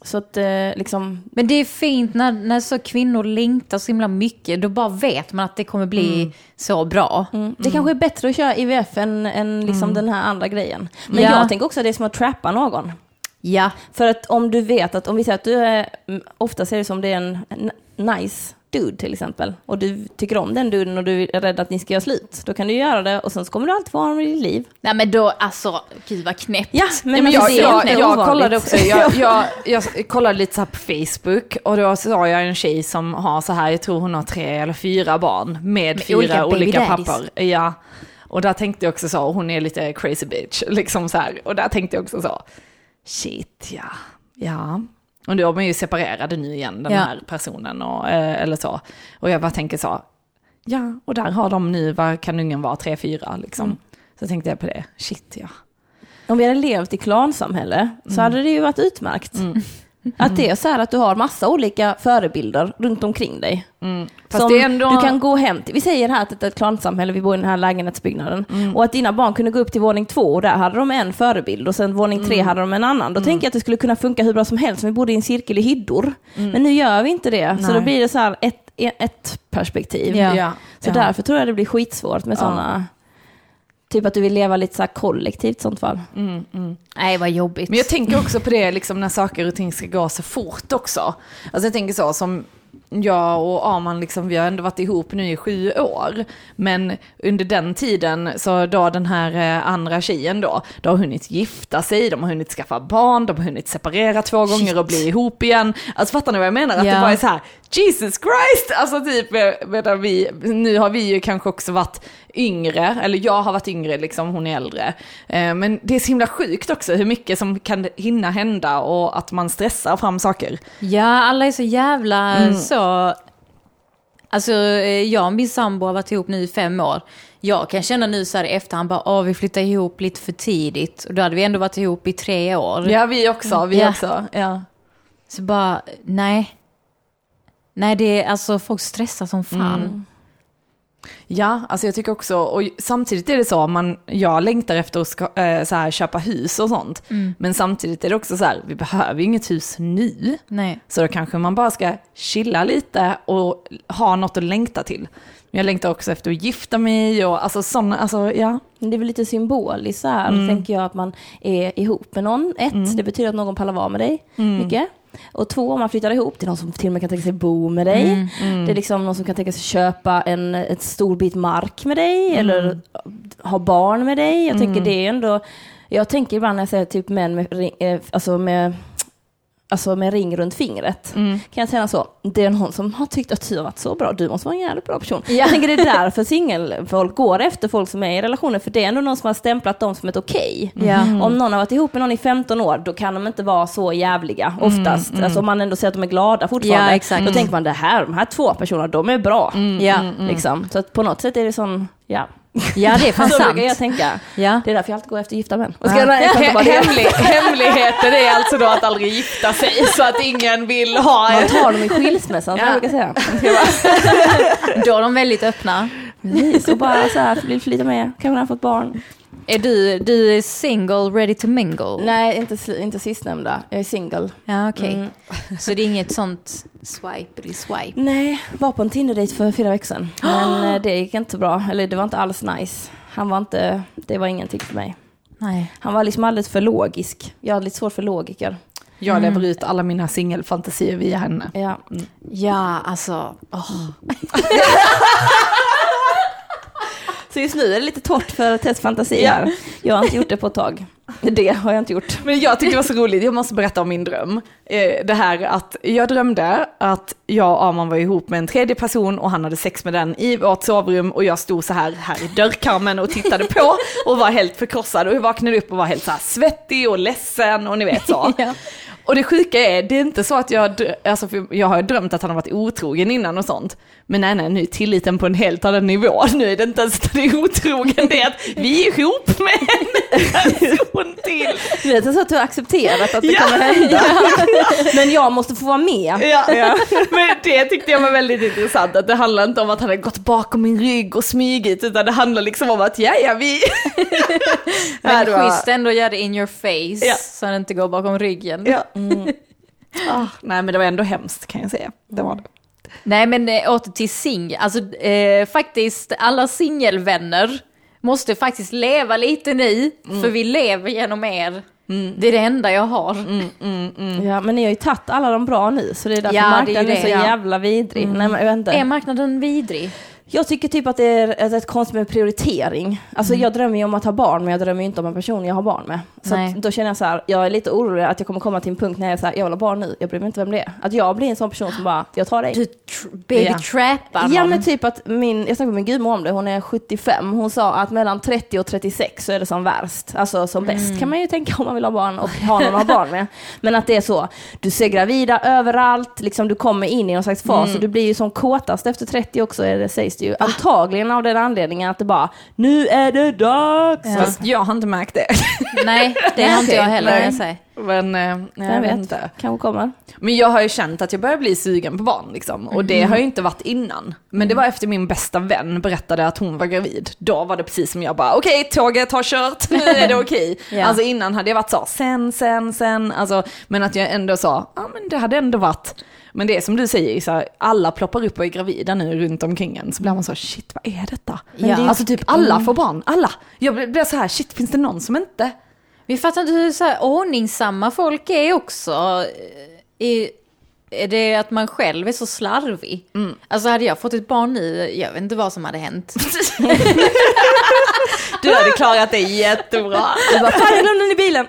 Speaker 2: Så att eh, liksom,
Speaker 3: Men det är fint när, när så kvinnor längtar så himla mycket, då bara vet man att det kommer bli
Speaker 1: Mm.
Speaker 3: så bra.
Speaker 2: mm. det kanske är bättre att köra IVF än, än liksom
Speaker 1: Mm.
Speaker 2: den här andra grejen. Men
Speaker 3: Ja.
Speaker 2: jag tänker också att det är som att trappa någon.
Speaker 3: Ja.
Speaker 2: För att om du vet att, om vi säger att du är, mm, ofta ser det som det är en n- nice dude till exempel, och du tycker om den duden och du är rädd att ni ska göra slut, då kan du göra det och sen så kommer du alltid vara honom i ditt liv.
Speaker 3: Nej men då, alltså, gud vad knäppt.
Speaker 2: Ja,
Speaker 1: Nej, men jag,
Speaker 2: alltså, det är
Speaker 1: jag,
Speaker 2: inte
Speaker 1: jag,
Speaker 2: ovanligt.
Speaker 1: kollade också, jag, jag, jag kollade lite så här på Facebook och då såg jag en tjej som har så här, jag tror hon har tre eller fyra barn med, fyra olika,
Speaker 3: olika baby daddies.
Speaker 1: pappor. Ja. Och där tänkte jag också så, hon är lite crazy bitch, liksom så här. Och där tänkte jag också så, shit ja, ja. Och då är man ju separerade nu igen, den
Speaker 3: Ja.
Speaker 1: här personen och, eh, eller så. Och jag bara tänker så, ja, och där har de nu, vad kan ungen vara, tre, fyra liksom. Så tänkte jag på det, shit ja.
Speaker 2: Om vi hade levt i klansamhälle så hade det ju varit utmärkt.
Speaker 1: Mm.
Speaker 2: Att det är så här att du har massa olika förebilder runt omkring dig.
Speaker 1: Mm. Fast
Speaker 2: som
Speaker 1: det är ändå...
Speaker 2: du kan gå hem till. Vi säger här att det är ett klansamhälle, vi bor i den här lägenhetsbyggnaden.
Speaker 1: Mm.
Speaker 2: Och att dina barn kunde gå upp till våning två och där hade de en förebild och sen våning
Speaker 1: Mm.
Speaker 2: tre hade de en annan. Då tänker jag att det skulle kunna funka hur bra som helst om vi bodde i en cirkel i hyddor. Men nu gör vi inte det, så
Speaker 1: Mm. Nej.
Speaker 2: då blir det så här ett, ett perspektiv.
Speaker 3: Ja.
Speaker 2: Så därför tror jag det blir skitsvårt med sådana, typ att du vill leva lite så här kollektivt i sånt fall.
Speaker 3: Nej vad jobbigt.
Speaker 1: Men jag tänker också på det liksom, när saker och ting ska gå så fort också. Alltså jag tänker så som jag och Arman, liksom, vi har ändå varit ihop nu i sju år. Men under den tiden, så då den här eh, andra tjejen då, då har hunnit gifta sig, de har hunnit skaffa barn, de har hunnit separera två gånger och bli ihop igen. Alltså fattar ni vad jag menar? Att
Speaker 3: Ja.
Speaker 1: det bara är så här, Jesus Christ! Alltså typ, eh, medan vi, nu har vi ju kanske också varit yngre, eller jag har varit yngre liksom, hon är äldre. Eh, Men det är så himla sjukt också hur mycket som kan hinna hända och att man stressar fram saker.
Speaker 3: Ja, alla är så jävla
Speaker 1: Mm.
Speaker 3: så... Alltså, eh, jag och min sambo har varit ihop nu i fem år. Jag kan känna nu så här i efterhand bara, åh vi flyttade ihop lite för tidigt. Och då hade vi ändå varit ihop i tre år.
Speaker 1: Ja, vi också, vi
Speaker 3: Mm. Ja.
Speaker 1: också. Ja.
Speaker 3: Så bara, nej. Nej, det är alltså folk stressar som fan.
Speaker 1: Mm. Ja, alltså jag tycker också, och samtidigt är det så, man, jag längtar efter att ska, eh, så här, köpa hus och sånt.
Speaker 3: Mm.
Speaker 1: Men samtidigt är det också så här, vi behöver ju inget hus nu.
Speaker 3: Nej.
Speaker 1: Så då kanske man bara ska chilla lite och ha något att längta till. Men jag längtar också efter att gifta mig och alltså sådana, alltså ja.
Speaker 2: Men Det är väl lite symboliskt så här, tänker jag, att man är ihop med någon. Ett, det betyder att någon pallar vara med dig mycket. Och två, om man flyttar ihop, det är någon som till och med kan tänka sig bo med dig. Det är liksom någon som kan tänka sig köpa en ett stor bit mark med dig eller ha barn med dig. Jag tänker det är ändå, jag tänker ibland när jag säger typ män med, ring- eh, alltså med Alltså med ring runt fingret. Kan jag känna så, det är någon som har tyckt att du har varit så bra, du måste vara en jävligt bra person. Jag tänker det är därför singelfolk går efter folk som är i relationer, för det är ändå någon som har stämplat dem som ett okej.
Speaker 3: Ja.
Speaker 2: Om någon har varit ihop med någon i 15 år, då kan de inte vara så jävliga oftast. Alltså om man ändå ser att de är glada fortfarande,
Speaker 3: Mm, Ja, exakt.
Speaker 2: då
Speaker 3: Mm.
Speaker 2: tänker man det här, de här två personerna, de är bra.
Speaker 3: Ja.
Speaker 2: Liksom. Så att på något sätt är det sån, ja.
Speaker 3: ja, det är fan
Speaker 2: så
Speaker 3: sant.
Speaker 2: brukar jag tänka.
Speaker 3: Ja.
Speaker 2: Det är därför jag alltid går efter gifta män. Och
Speaker 1: Ja.
Speaker 2: ska jag- jag kan inte bara det.
Speaker 1: Hemlig, hemligheten är alltså då att aldrig gifta sig så att ingen vill ha
Speaker 2: Man
Speaker 1: ett.
Speaker 2: tar dem i skilsmässan, som
Speaker 1: Ja.
Speaker 2: jag brukar säga.
Speaker 3: Då är de väldigt öppna.
Speaker 2: Precis, och bara så här, vill flytta med, kanske när han fått barn.
Speaker 3: Är du, du är single, ready to mingle?
Speaker 2: Nej, inte, si- inte sistnämnda. Jag är singel.
Speaker 3: Ja, okej.
Speaker 2: Mm.
Speaker 3: Så det är inget sånt Mm. swipe, eller swipe?
Speaker 2: Nej, var på en Tinder-dejt för fyra veckor sedan. Men eh, det gick inte så bra. Eller det var inte alls nice. Han var inte, det var ingenting för mig.
Speaker 3: Nej.
Speaker 2: Han var liksom alldeles för logisk. Jag hade lite svårt för logiker.
Speaker 1: Jag lever ut alla mina singelfantasier via henne.
Speaker 2: Ja.
Speaker 3: Mm. Ja, alltså, åh.
Speaker 2: Så just nu är det lite torrt för testfantasier. Jag har inte gjort det på ett tag. Det har jag inte gjort.
Speaker 1: Men jag tyckte det var så roligt, jag måste berätta om min dröm. Eh, Det här att jag drömde att jag och Arman var ihop med en tredje person och han hade sex med den i vårt sovrum och jag stod så här, här i dörrkarmen och tittade på och var helt förkrossad och jag vaknade upp och var helt så här svettig och ledsen och ni vet så.
Speaker 2: Ja.
Speaker 1: Och det sjuka är, det är inte så att jag, drö- alltså för jag har drömt att han har varit otrogen innan och sånt. Men nej, nej, nu är tilliten på en helt annan nivå. Nu är det inte ens att han är otrogen, det är att vi är ihop med en person till.
Speaker 2: Du vet, så att du har accepterat att det
Speaker 1: Ja.
Speaker 2: kommer hända. Men jag måste få vara med.
Speaker 1: Ja, ja. Men det tyckte jag var väldigt intressant, att det handlar inte om att han har gått bakom min rygg och smygit, utan det handlar liksom om att ja, ja, vi... Ja,
Speaker 3: Men
Speaker 1: det var-
Speaker 3: schysst ändå att göra det in your face
Speaker 1: Ja.
Speaker 3: så han inte går bakom ryggen.
Speaker 1: Ja. Ah, nej, men det var ändå hemskt kan jag säga. Det var det.
Speaker 3: Nej men eh, åter till singel, alltså eh, faktiskt alla singelvänner måste faktiskt leva lite nu, för vi lever genom er. Det är det enda jag har.
Speaker 2: Ja, men ni har ju tagit alla de bra nu, så det är därför
Speaker 3: Mm. Ja, det är ju
Speaker 2: marknaden är,
Speaker 3: det,
Speaker 2: så
Speaker 3: ja. Mm.
Speaker 2: jävla vidrig. Nej, men jag vet inte.
Speaker 3: Är marknaden vidrig?
Speaker 2: Jag tycker typ att det är ett, ett konstigt med prioritering. Alltså jag drömmer ju om att ha barn, men jag drömmer ju inte om en person jag har barn med. Så
Speaker 3: Nej.
Speaker 2: att, då känner jag så här, jag är lite orolig att jag kommer komma till en punkt när jag är så här, jag vill ha barn nu, jag bryr mig inte vem det är. Att jag blir en sån person som bara, jag tar dig.
Speaker 3: Du tr- baby
Speaker 1: Ja.
Speaker 3: trappar
Speaker 2: Ja
Speaker 3: någon.
Speaker 2: men typ att min, jag snackade med min gudmor om det, hon är 75. Hon sa att mellan 30 och 36 så är det som värst. Alltså som bäst kan man ju tänka om man vill ha barn och ha någon att ha barn med. Men att det är så, du ser gravida överallt, liksom du kommer in i någon slags fas och du blir ju som kåtast efter 30 också är det, sägs det ju. Antagligen av den anledningen att det bara, nu är det dags!
Speaker 3: Ja.
Speaker 1: Fast jag har inte märkt det.
Speaker 3: Nej, det har inte jag heller.
Speaker 1: Nej.
Speaker 3: Jag säger.
Speaker 1: Men eh, nej, jag,
Speaker 2: Jag
Speaker 1: vet
Speaker 2: vet,
Speaker 1: inte.
Speaker 2: kanske kommer.
Speaker 1: Men jag har ju känt att jag börjar bli sugen på barn liksom. Och det har ju inte varit innan. Men det var efter min bästa vän berättade att hon var gravid. Då var det precis som jag bara, okej tåget har kört, nu är det okej.
Speaker 3: Ja.
Speaker 1: Alltså innan hade jag varit så, sen, sen, sen. Alltså, men att jag ändå sa, ja men det hade ändå varit. Men det är som du säger, så här, alla ploppar upp och är gravida nu runt omkring en. Så blir man så, shit vad är detta?
Speaker 3: Men det är ju-
Speaker 1: Alltså typ alla får barn, alla. Jag blir- blir så här, shit finns det någon som inte?
Speaker 3: Vi fattar inte hur så här ordningsamma folk är också. Eh, i- Är det att man själv är så slarvig?
Speaker 1: Mm.
Speaker 3: Alltså hade jag fått ett barn nu, jag vet inte vad som hade hänt.
Speaker 1: Du hade klarat det jättebra.
Speaker 2: Du bara, fan jag glömde den i bilen!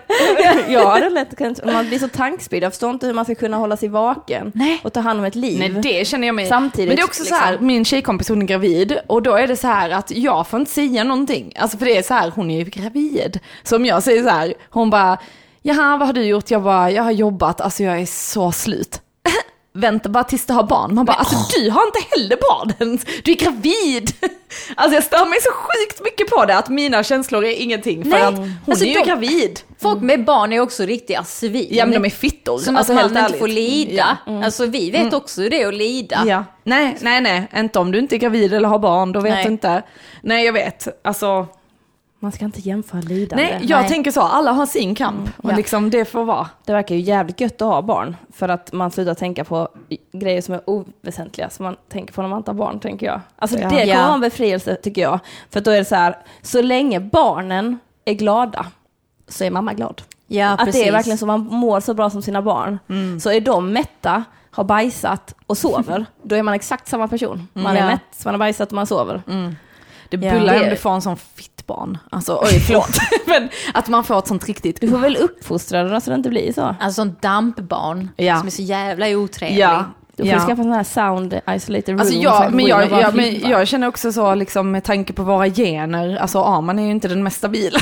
Speaker 2: Jag hade lätt kunnat, man blir så tankspydd, jag förstår inte hur man ska kunna hålla sig vaken
Speaker 3: Nej.
Speaker 2: och ta hand om ett liv.
Speaker 1: Nej det känner jag mig.
Speaker 2: Samtidigt,
Speaker 1: men det är också så här,
Speaker 2: liksom.
Speaker 1: min tjejkompis hon är gravid och då är det så här att jag får inte säga någonting. Alltså för det är så här, hon är ju gravid. Så om jag säger så här, hon bara, jaha vad har du gjort? Jag bara, jag har jobbat, alltså jag är så slut. Vänta bara tills du har barn. Man bara, alltså du har inte heller barn ens. Du är gravid. Alltså jag stör mig så sjukt mycket på det, att mina känslor är ingenting. För
Speaker 3: Nej,
Speaker 1: att hon
Speaker 3: alltså
Speaker 1: är ju
Speaker 3: de-
Speaker 1: gravid.
Speaker 3: Folk med barn är också riktiga svin.
Speaker 1: Ja men de är fittor.
Speaker 3: Som
Speaker 1: alltså,
Speaker 3: att man
Speaker 1: helt
Speaker 3: inte
Speaker 1: ärligt.
Speaker 3: får lida.
Speaker 1: Ja. Mm.
Speaker 3: Alltså vi vet också hur det är att lida.
Speaker 1: Ja. Nej, nej, nej, inte om du inte är gravid eller har barn, då vet
Speaker 3: Nej.
Speaker 1: du inte. Nej, jag vet. Alltså,
Speaker 2: Man ska inte jämföra lidande.
Speaker 1: nej, jag
Speaker 3: nej.
Speaker 1: tänker så, alla har sin kamp och
Speaker 2: Ja.
Speaker 1: liksom det får vara.
Speaker 2: Det verkar ju jävligt gött att ha barn för att man slutar tänka på grejer som är oväsentliga som man tänker på när man inte har barn tänker jag. Alltså
Speaker 1: Ja.
Speaker 2: det kommer
Speaker 3: Ja.
Speaker 2: vara en befrielse tycker jag. För att då är det så här, så länge barnen är glada så är mamma glad.
Speaker 3: Ja, Mm.
Speaker 2: att det är verkligen så, man mår så bra som sina barn. Så är de mätta, har bajsat och sover, då är man exakt samma person. Man är
Speaker 3: Ja. Mm.
Speaker 2: mätt, man har bajsat och man sover.
Speaker 1: Det
Speaker 3: Ja.
Speaker 1: bullar
Speaker 3: Det-
Speaker 1: om du får en sån fitt barn. Alltså, oj, förlåt. men att man får ett sånt riktigt...
Speaker 2: Du får väl uppfostra dem så det inte blir så.
Speaker 3: Alltså en dampbarn
Speaker 1: Ja.
Speaker 3: som är så jävla otrevlig.
Speaker 1: Ja.
Speaker 2: Du får
Speaker 1: ja.
Speaker 2: du skaffa sån här sound isolated room.
Speaker 1: Alltså
Speaker 2: så att
Speaker 1: jag,
Speaker 2: du
Speaker 1: men
Speaker 2: går in
Speaker 1: jag,
Speaker 2: och bara
Speaker 1: jag, men
Speaker 2: flippar.
Speaker 1: jag känner också så liksom, med tanke på våra gener, alltså Arman är ju inte den mest stabila.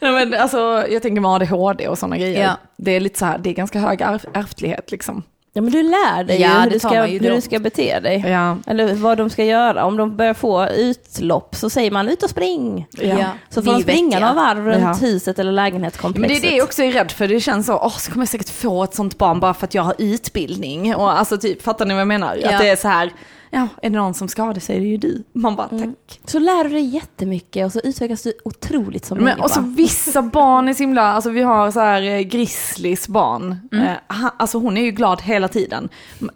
Speaker 1: Nej, men, alltså, jag tänker med ADHD och sådana grejer.
Speaker 3: Ja.
Speaker 1: Det är lite så här, det är ganska hög arv, ärftlighet liksom.
Speaker 2: Ja men du lär dig
Speaker 3: Ja,
Speaker 2: ju hur,
Speaker 3: det
Speaker 2: du
Speaker 3: tar
Speaker 2: ska,
Speaker 3: man ju
Speaker 2: hur
Speaker 3: då.
Speaker 2: du ska bete dig.
Speaker 1: Ja.
Speaker 2: Eller vad de ska göra. Om de börjar få utlopp så säger man ut och spring.
Speaker 1: Ja.
Speaker 2: Så får de
Speaker 3: Vi
Speaker 2: springa
Speaker 3: väcker.
Speaker 2: några varv runt
Speaker 1: Ja.
Speaker 2: huset eller
Speaker 1: Men det är
Speaker 2: lägenhetskomplexet.
Speaker 1: det jag också är rädd för, det känns så, åh så kommer jag säkert få ett sånt barn bara för att jag har utbildning. Och alltså typ, fattar ni vad jag menar?
Speaker 3: Ja.
Speaker 1: Att det är så här, ja är det någon som skadar sig, det är ju du. Man bara tack.
Speaker 2: Mm. Så lär du dig jättemycket och så utvecklas du otroligt som
Speaker 1: Men, alltså-
Speaker 2: människa.
Speaker 1: och så vissa barn är så himla, alltså vi har så här eh, Grizzlys barn, eh, han, alltså hon är ju glad hela tiden.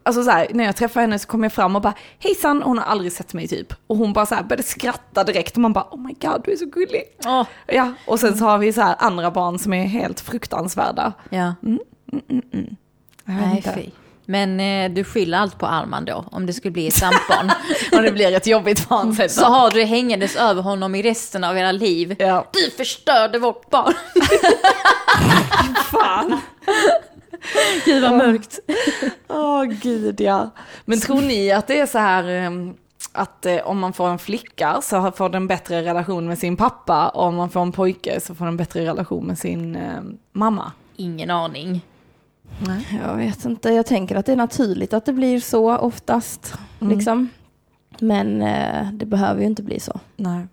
Speaker 1: Alltså så här, när jag träffar henne så kommer jag fram och bara hejsan, hon har aldrig sett mig typ. Och hon bara så här började skratta direkt och man bara oh my god du är så gullig.
Speaker 3: Åh.
Speaker 1: Ja, och sen så har vi så här
Speaker 3: Mm,
Speaker 1: andra barn som är helt fruktansvärda.
Speaker 3: Ja.
Speaker 1: Jag vet
Speaker 3: Nej,
Speaker 1: inte.
Speaker 3: fy. Men eh, du skyller allt på Arman då, om det skulle bli ett sampan.
Speaker 1: Och det blir ett jobbigt vansinne.
Speaker 3: Så har du hängandes över honom i resten av era liv.
Speaker 1: Ja.
Speaker 3: Du förstörde vårt barn.
Speaker 1: Fan.
Speaker 3: Gud vad mörkt.
Speaker 1: Åh gud ja. Men tror ni att det är så här ehm, att eh, om man får en flicka så har- får den bättre relation med sin pappa och om man får en pojke så får den bättre relation med sin ehm, mamma?
Speaker 3: Ingen aning.
Speaker 2: Jag vet inte, jag tänker att det är naturligt att det blir så oftast. Liksom. Men eh, det behöver ju inte bli så.
Speaker 1: Nej.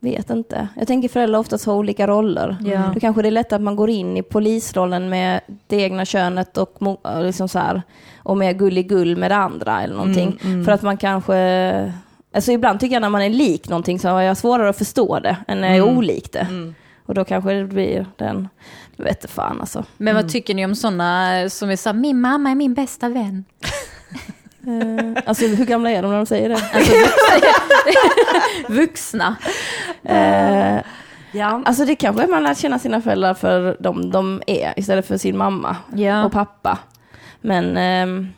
Speaker 2: Vet inte. Jag tänker föräldrar oftast har olika roller.
Speaker 3: Ja.
Speaker 2: Då kanske det är lättare att man går in i polisrollen med det egna könet och, mo- och liksom så här, och med gulligull med det andra eller någonting.
Speaker 1: Mm.
Speaker 2: För att man kanske... Alltså ibland tycker jag när man är lik någonting så har jag svårare att förstå det än när jag är olik det. Och då kanske det blir den... Jag vet inte fan alltså.
Speaker 3: Men vad tycker ni om sådana som är så här, min mamma är min bästa vän?
Speaker 2: Eh, alltså hur gamla är de när de säger det?
Speaker 3: Alltså, vuxna.
Speaker 2: Eh,
Speaker 1: Ja.
Speaker 2: Alltså det kanske är man lär känna sina föräldrar för dem de är istället för sin mamma
Speaker 3: Ja.
Speaker 2: och pappa. Men ehm,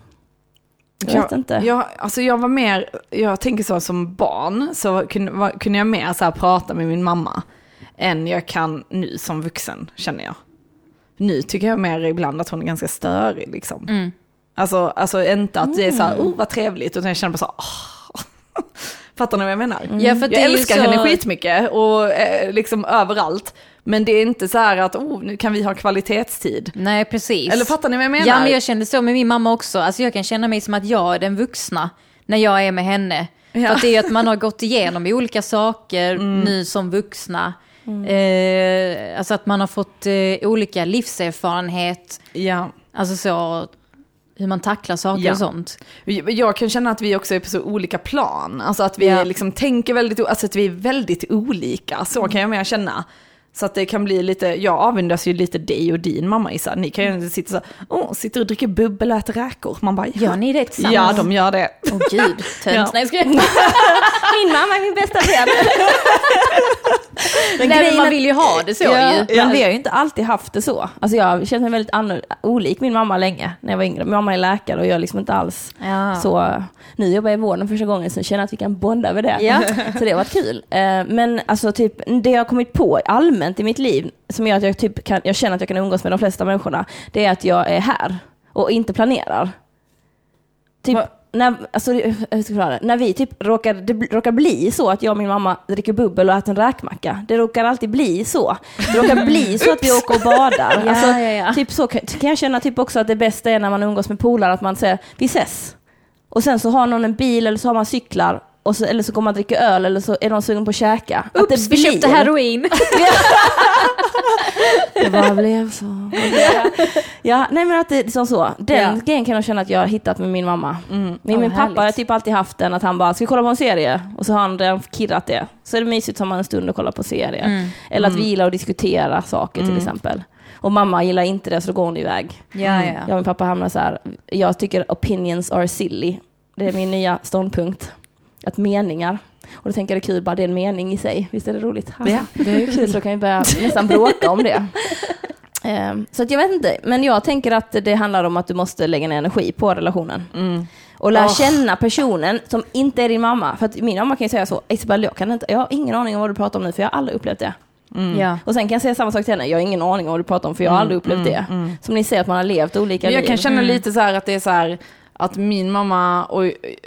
Speaker 2: jag vet inte.
Speaker 1: Jag, alltså jag var mer, jag tänker så som barn, så kunde, var, kunde jag mer så här prata med min mamma än jag kan nu som vuxen, känner jag. Nu tycker jag mer ibland att hon är ganska störig liksom.
Speaker 3: Mm.
Speaker 1: Alltså, alltså inte att det är så här, oh vad trevligt, utan jag känner bara så här, "Ah." Fattar ni vad jag menar?
Speaker 3: Mm. Ja, för att det
Speaker 1: jag
Speaker 3: är ju
Speaker 1: älskar
Speaker 3: så-
Speaker 1: henne skitmycket och eh, liksom överallt. Men det är inte så här att, oh nu kan vi ha kvalitetstid.
Speaker 3: Nej, precis.
Speaker 1: Eller fattar ni vad jag menar?
Speaker 3: Ja, men jag kände så med min mamma också. Alltså, jag kan känna mig som att jag är den vuxna när jag är med henne.
Speaker 1: Ja.
Speaker 3: För att det är ju att man har gått igenom i olika saker nu som vuxna. Eh, alltså att man har fått eh, olika livserfarenhet,
Speaker 1: ja.
Speaker 3: alltså så hur man tacklar saker
Speaker 1: Ja.
Speaker 3: och sånt.
Speaker 1: Jag kan känna att vi också är på så olika plan. Alltså att vi
Speaker 3: Ja.
Speaker 1: liksom tänker väldigt, o- alltså att vi är väldigt olika.
Speaker 3: Mm.
Speaker 1: Så kan jag mer känna. Så att det kan bli lite, jag avundas ju lite dig och din mamma Issa. Ni kan ju inte sitta så, här, åh, sitter och dricker bubbel och äter räkor. Man bara, ja.
Speaker 3: Gör ni det tillsammans?
Speaker 1: Ja, de gör det.
Speaker 3: Åh gud, tönt.
Speaker 1: Ja.
Speaker 3: Nej, jag skojar.
Speaker 2: Min mamma är min bästa vän. men
Speaker 3: Nej, men
Speaker 2: grejen
Speaker 3: man
Speaker 2: är-
Speaker 3: vill ju ha det så ju.
Speaker 2: Ja, men vi har ju inte alltid haft det så. Alltså jag känner mig väldigt annorl- olik min mamma länge när jag var yngre. Min mamma är läkare och jag är liksom inte alls
Speaker 3: Ja.
Speaker 2: så. Nu jobbar jag i vården första gången så jag känner att vi kan bonda över det.
Speaker 3: Ja.
Speaker 2: Så det har varit kul. Eh, Men alltså typ, det jag har kommit på allmänt i mitt liv som gör att jag, typ kan, jag känner att jag kan umgås med de flesta människorna, det är att jag är här och inte planerar. Typ, när, alltså, hur ska jag förklara det? när vi typ råkar, det bl- råkar bli så att jag och min mamma dricker bubbel och äter en räkmacka. Det råkar alltid bli så. Det råkar bli så att vi åker och badar.
Speaker 3: Ja,
Speaker 2: alltså,
Speaker 3: ja, ja.
Speaker 2: Typ så kan, kan jag känna typ också att det bästa är när man umgås med polare, att man säger vi ses. Och sen så har någon en bil eller så har man cyklar. Och så, eller så går man och dricker öl eller så är någon sugen på att käka. Att
Speaker 3: Oops, vi köpte
Speaker 2: blir-
Speaker 3: heroin.
Speaker 2: Det bara blev så. ja, nej men att det är liksom så. Den
Speaker 3: Ja.
Speaker 2: grejen kan jag känna att jag har hittat med min mamma.
Speaker 1: Mm,
Speaker 2: Min, min
Speaker 3: Ja, vad
Speaker 2: pappa har
Speaker 3: härligt.
Speaker 2: typ alltid haft den att han bara, ska vi kolla på en serie? Och så har han redan kirrat det. Så är det mysigt som man en stund och kollar på serier.
Speaker 3: Mm.
Speaker 2: Eller att vi gillar att diskutera saker till exempel. Och mamma gillar inte det så då går hon iväg.
Speaker 3: Ja,
Speaker 2: Mm. Jag
Speaker 3: ja.
Speaker 2: och min pappa hamnar så här, jag tycker opinions are silly. Det är min nya ståndpunkt. Att meningar. Och då tänker jag det är kul, bara det är en mening i sig. Visst är det roligt?
Speaker 1: Ja,
Speaker 2: det är kul. Så då kan vi börja nästan bråka om det. Ehm, Så att jag vet inte, men jag tänker att det handlar om att du måste lägga ner energi på relationen.
Speaker 1: mm,
Speaker 2: Och lära känna personen som inte är din mamma. För att min mamma kan ju säga så, Isabel, jag, kan inte, jag har ingen aning om vad du pratar om nu, för jag har aldrig upplevt det.
Speaker 1: mm.
Speaker 3: ja.
Speaker 2: Och sen kan jag säga samma sak till henne, jag har ingen aning om vad du pratar om för jag har aldrig upplevt det. Som ni säger att man har levt olika
Speaker 1: Men jag
Speaker 2: liv.
Speaker 1: kan känna lite så här att det är så här att min mamma och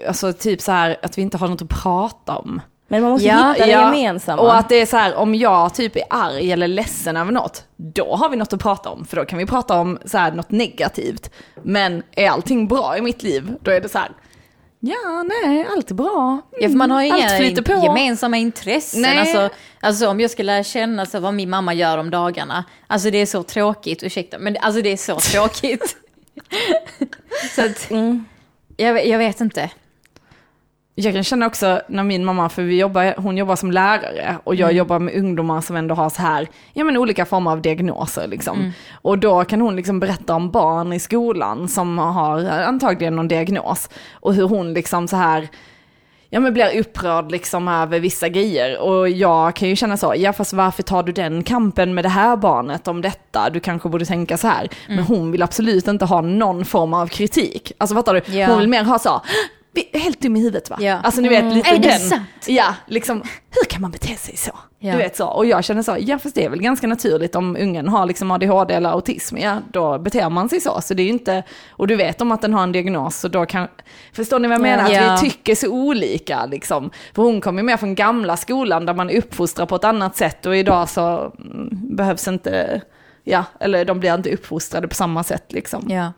Speaker 1: alltså typ så här att vi inte har något att prata om.
Speaker 2: Men man måste
Speaker 3: Ja,
Speaker 2: hitta det gemensamma.
Speaker 1: Och att det är så här, om jag typ är arg eller ledsen över något, då har vi något att prata om. För då kan vi prata om så här, något negativt. Men är allting bra i mitt liv, då är det så här, ja, nej, allt är bra.
Speaker 3: Ja, för man har ju
Speaker 1: Allt
Speaker 3: inga
Speaker 1: flyter på.
Speaker 3: gemensamma intressen.
Speaker 1: Nej.
Speaker 3: Alltså, alltså om jag ska lära känna så vad min mamma gör om dagarna. Alltså det är så tråkigt, ursäkta, men alltså det är så tråkigt. så att,
Speaker 1: Mm.
Speaker 3: jag, ve- jag vet inte.
Speaker 1: Jag kan känna också när min mamma, för vi jobbar, hon jobbar som lärare och jag jobbar med ungdomar som ändå har så här, ja men olika former av diagnoser liksom. Och då kan hon liksom berätta om barn i skolan som har antagligen någon diagnos och hur hon liksom så här, ja, men blir upprörd liksom över vissa grejer. Och jag kan ju känna så, ja fast varför tar du den kampen med det här barnet om detta? Du kanske borde tänka så här. Men hon vill absolut inte ha någon form av kritik. Alltså fattar du?
Speaker 3: Ja.
Speaker 1: Hon vill mer ha så, "Hå! Vi är helt dum i huvudet va?
Speaker 3: Ja. Mm.
Speaker 1: Alltså ni vet lite
Speaker 3: Är det
Speaker 1: den.
Speaker 3: sant?
Speaker 1: Ja, liksom hur kan man bete sig så?
Speaker 3: Ja.
Speaker 1: Du vet så. Och jag känner så, ja fast det är väl ganska naturligt om ungen har liksom ADHD eller autism, ja då beter man sig så. Så det är ju inte, och du vet om att den har en diagnos så då kan, förstår ni vad jag menar?
Speaker 3: Ja.
Speaker 1: Att vi tycker så olika liksom. För hon kommer ju med från gamla skolan där man uppfostrar på ett annat sätt och idag så mm, behövs inte, ja, eller de blir inte uppfostrade på samma sätt liksom.
Speaker 3: Ja.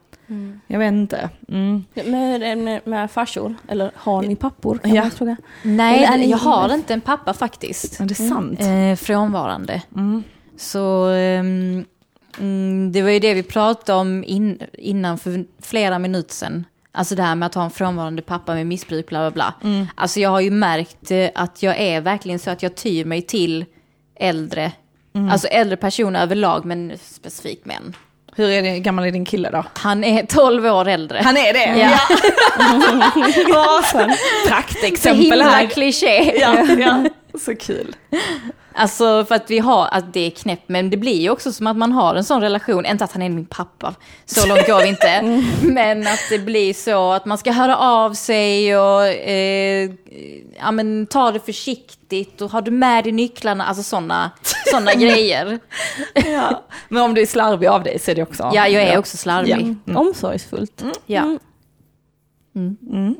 Speaker 1: Jag vet inte. Mm.
Speaker 2: Med, med, med farsor, eller har ni pappor? Kan
Speaker 1: Ja.
Speaker 2: man fråga.
Speaker 3: Nej,
Speaker 2: Eller är ni-
Speaker 3: jag har inte en pappa faktiskt.
Speaker 1: Ja, det är sant. Mm.
Speaker 3: Eh, frånvarande. Så ehm, mm, det var ju det vi pratade om in, innan för flera minuter sedan. Alltså det här med att ha en frånvarande pappa med missbruk, bla bla bla.
Speaker 1: Mm.
Speaker 3: Alltså jag har ju märkt eh, att jag är verkligen så att jag tyr mig till äldre,
Speaker 1: Mm.
Speaker 3: alltså äldre personer överlag, men specifikt män.
Speaker 1: Hur är det, gammal är din kille då?
Speaker 3: Han är 12 år äldre.
Speaker 1: Han är det?
Speaker 3: Ja.
Speaker 1: Ja.
Speaker 3: så
Speaker 1: Praktexempel
Speaker 3: himla
Speaker 1: här.
Speaker 3: kliché.
Speaker 1: Ja, ja. Så kul.
Speaker 3: Alltså för att vi har, att det är knäppt, men det blir ju också som att man har en sån relation, inte att han är min pappa, så långt går vi inte,
Speaker 1: Mm.
Speaker 3: men att det blir så att man ska höra av sig och eh, ja, men, ta det försiktigt och har du med dig nycklarna, alltså sådana såna grejer.
Speaker 1: Ja. Men om du är slarvig av dig så är det också...
Speaker 3: Ja, jag är också slarvig.
Speaker 1: Mm.
Speaker 2: Omsorgsfullt.
Speaker 3: Ja. Mm.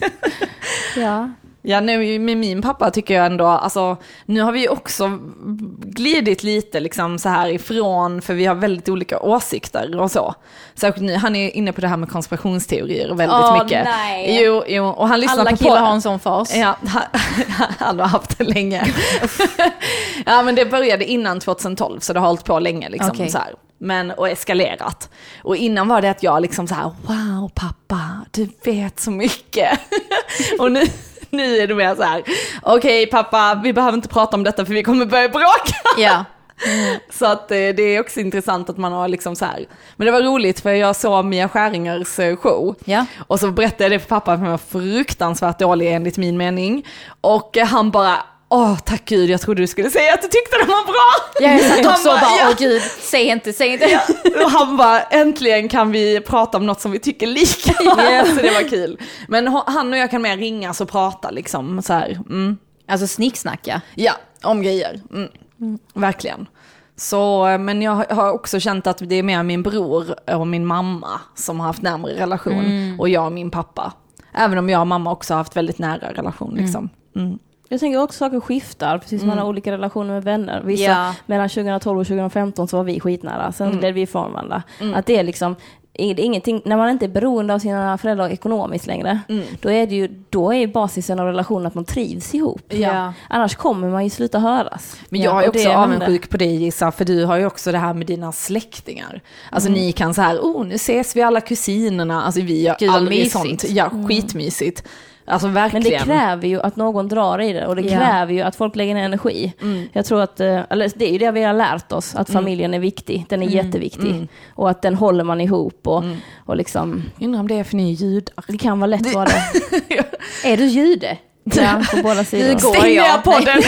Speaker 2: Ja.
Speaker 1: Mm. Ja, nu med min pappa tycker jag ändå, alltså nu har vi ju också glidit lite liksom så här ifrån, för vi har väldigt olika åsikter och så. Särskilt nu, han är inne på det här med konspirationsteorier väldigt
Speaker 3: Åh,
Speaker 1: mycket.
Speaker 3: nej.
Speaker 1: Jo, jo, och han lyssnar
Speaker 3: Alla
Speaker 1: på
Speaker 3: killar
Speaker 1: podden.
Speaker 3: har en sån fas.
Speaker 1: Ja, han- han har haft det länge. ja, men det började innan 2012 så det har hållit på länge. Liksom,
Speaker 3: Okej.
Speaker 1: så här. Men, och eskalerat. Och innan var det att jag liksom så här, wow pappa, du vet så mycket. och nu, nu är det mer så här, okej pappa, vi behöver inte prata om detta för vi kommer börja bråka.
Speaker 3: Ja.
Speaker 1: Så att eh, det är också intressant att man har liksom så här. Men det var roligt för jag såg Mia Skäringers eh, show.
Speaker 3: Ja.
Speaker 1: Och så berättade jag det för pappa för han var fruktansvärt dålig enligt min mening. Och eh, han bara, åh tack gud jag trodde du skulle säga att du tyckte den var bra.
Speaker 3: Jag satt
Speaker 1: Han
Speaker 3: också och
Speaker 1: bara,
Speaker 3: bara,
Speaker 1: ja.
Speaker 3: åh gud, säg inte, säg inte.
Speaker 1: Och han bara, äntligen kan vi prata om något som vi tycker lika. Så det var kul. Men ho- han och jag kan mer ringas och prata liksom så här. Mm.
Speaker 3: Alltså snicksnacka.
Speaker 1: Ja, om grejer. Mm. Verkligen. Så, eh, men jag har också känt att det är mer min bror och min mamma som har haft närmare relation och jag och min pappa. Även om jag och mamma också har haft väldigt nära relation. Liksom. Mm.
Speaker 2: Jag tänker också saker skiftar, precis som man har olika relationer med vänner. Vissa,
Speaker 3: Ja.
Speaker 2: Mellan 2012 och 2015 så var vi skitnära, sen
Speaker 1: Mm.
Speaker 2: blev vi ifrån varandra. Att det är liksom, det är ingenting, när man inte är beroende av sina föräldrar ekonomiskt längre,
Speaker 1: Mm.
Speaker 2: då är det ju då är ju basisen av relationen att man trivs ihop.
Speaker 3: Ja.
Speaker 2: Annars kommer man ju sluta höras.
Speaker 1: Men
Speaker 2: Ja,
Speaker 1: jag är
Speaker 2: och det
Speaker 1: också
Speaker 2: händer.
Speaker 1: avundsjuk på dig Gissa, för du har ju också det här med dina släktingar. Alltså ni kan så här, oh nu ses vi alla kusinerna, alltså vi gör
Speaker 3: Gud, vad
Speaker 1: aldrig
Speaker 3: mysigt.
Speaker 1: sånt. Ja, skitmysigt. Alltså
Speaker 2: Men
Speaker 1: verkligen.
Speaker 2: det kräver ju att någon drar i det och det
Speaker 3: Ja.
Speaker 2: kräver ju att folk lägger ner energi. Jag tror att, eh, eller det är ju det vi har lärt oss, att familjen är viktig, den är jätteviktig. Och att den håller man ihop och, och liksom,
Speaker 1: Undrar om det är för ni är judar.
Speaker 2: det kan vara lätt vara det.
Speaker 3: Är du jude?
Speaker 2: Ja, på båda sidor.
Speaker 3: går
Speaker 1: Stäng
Speaker 3: jag.
Speaker 1: ner podden!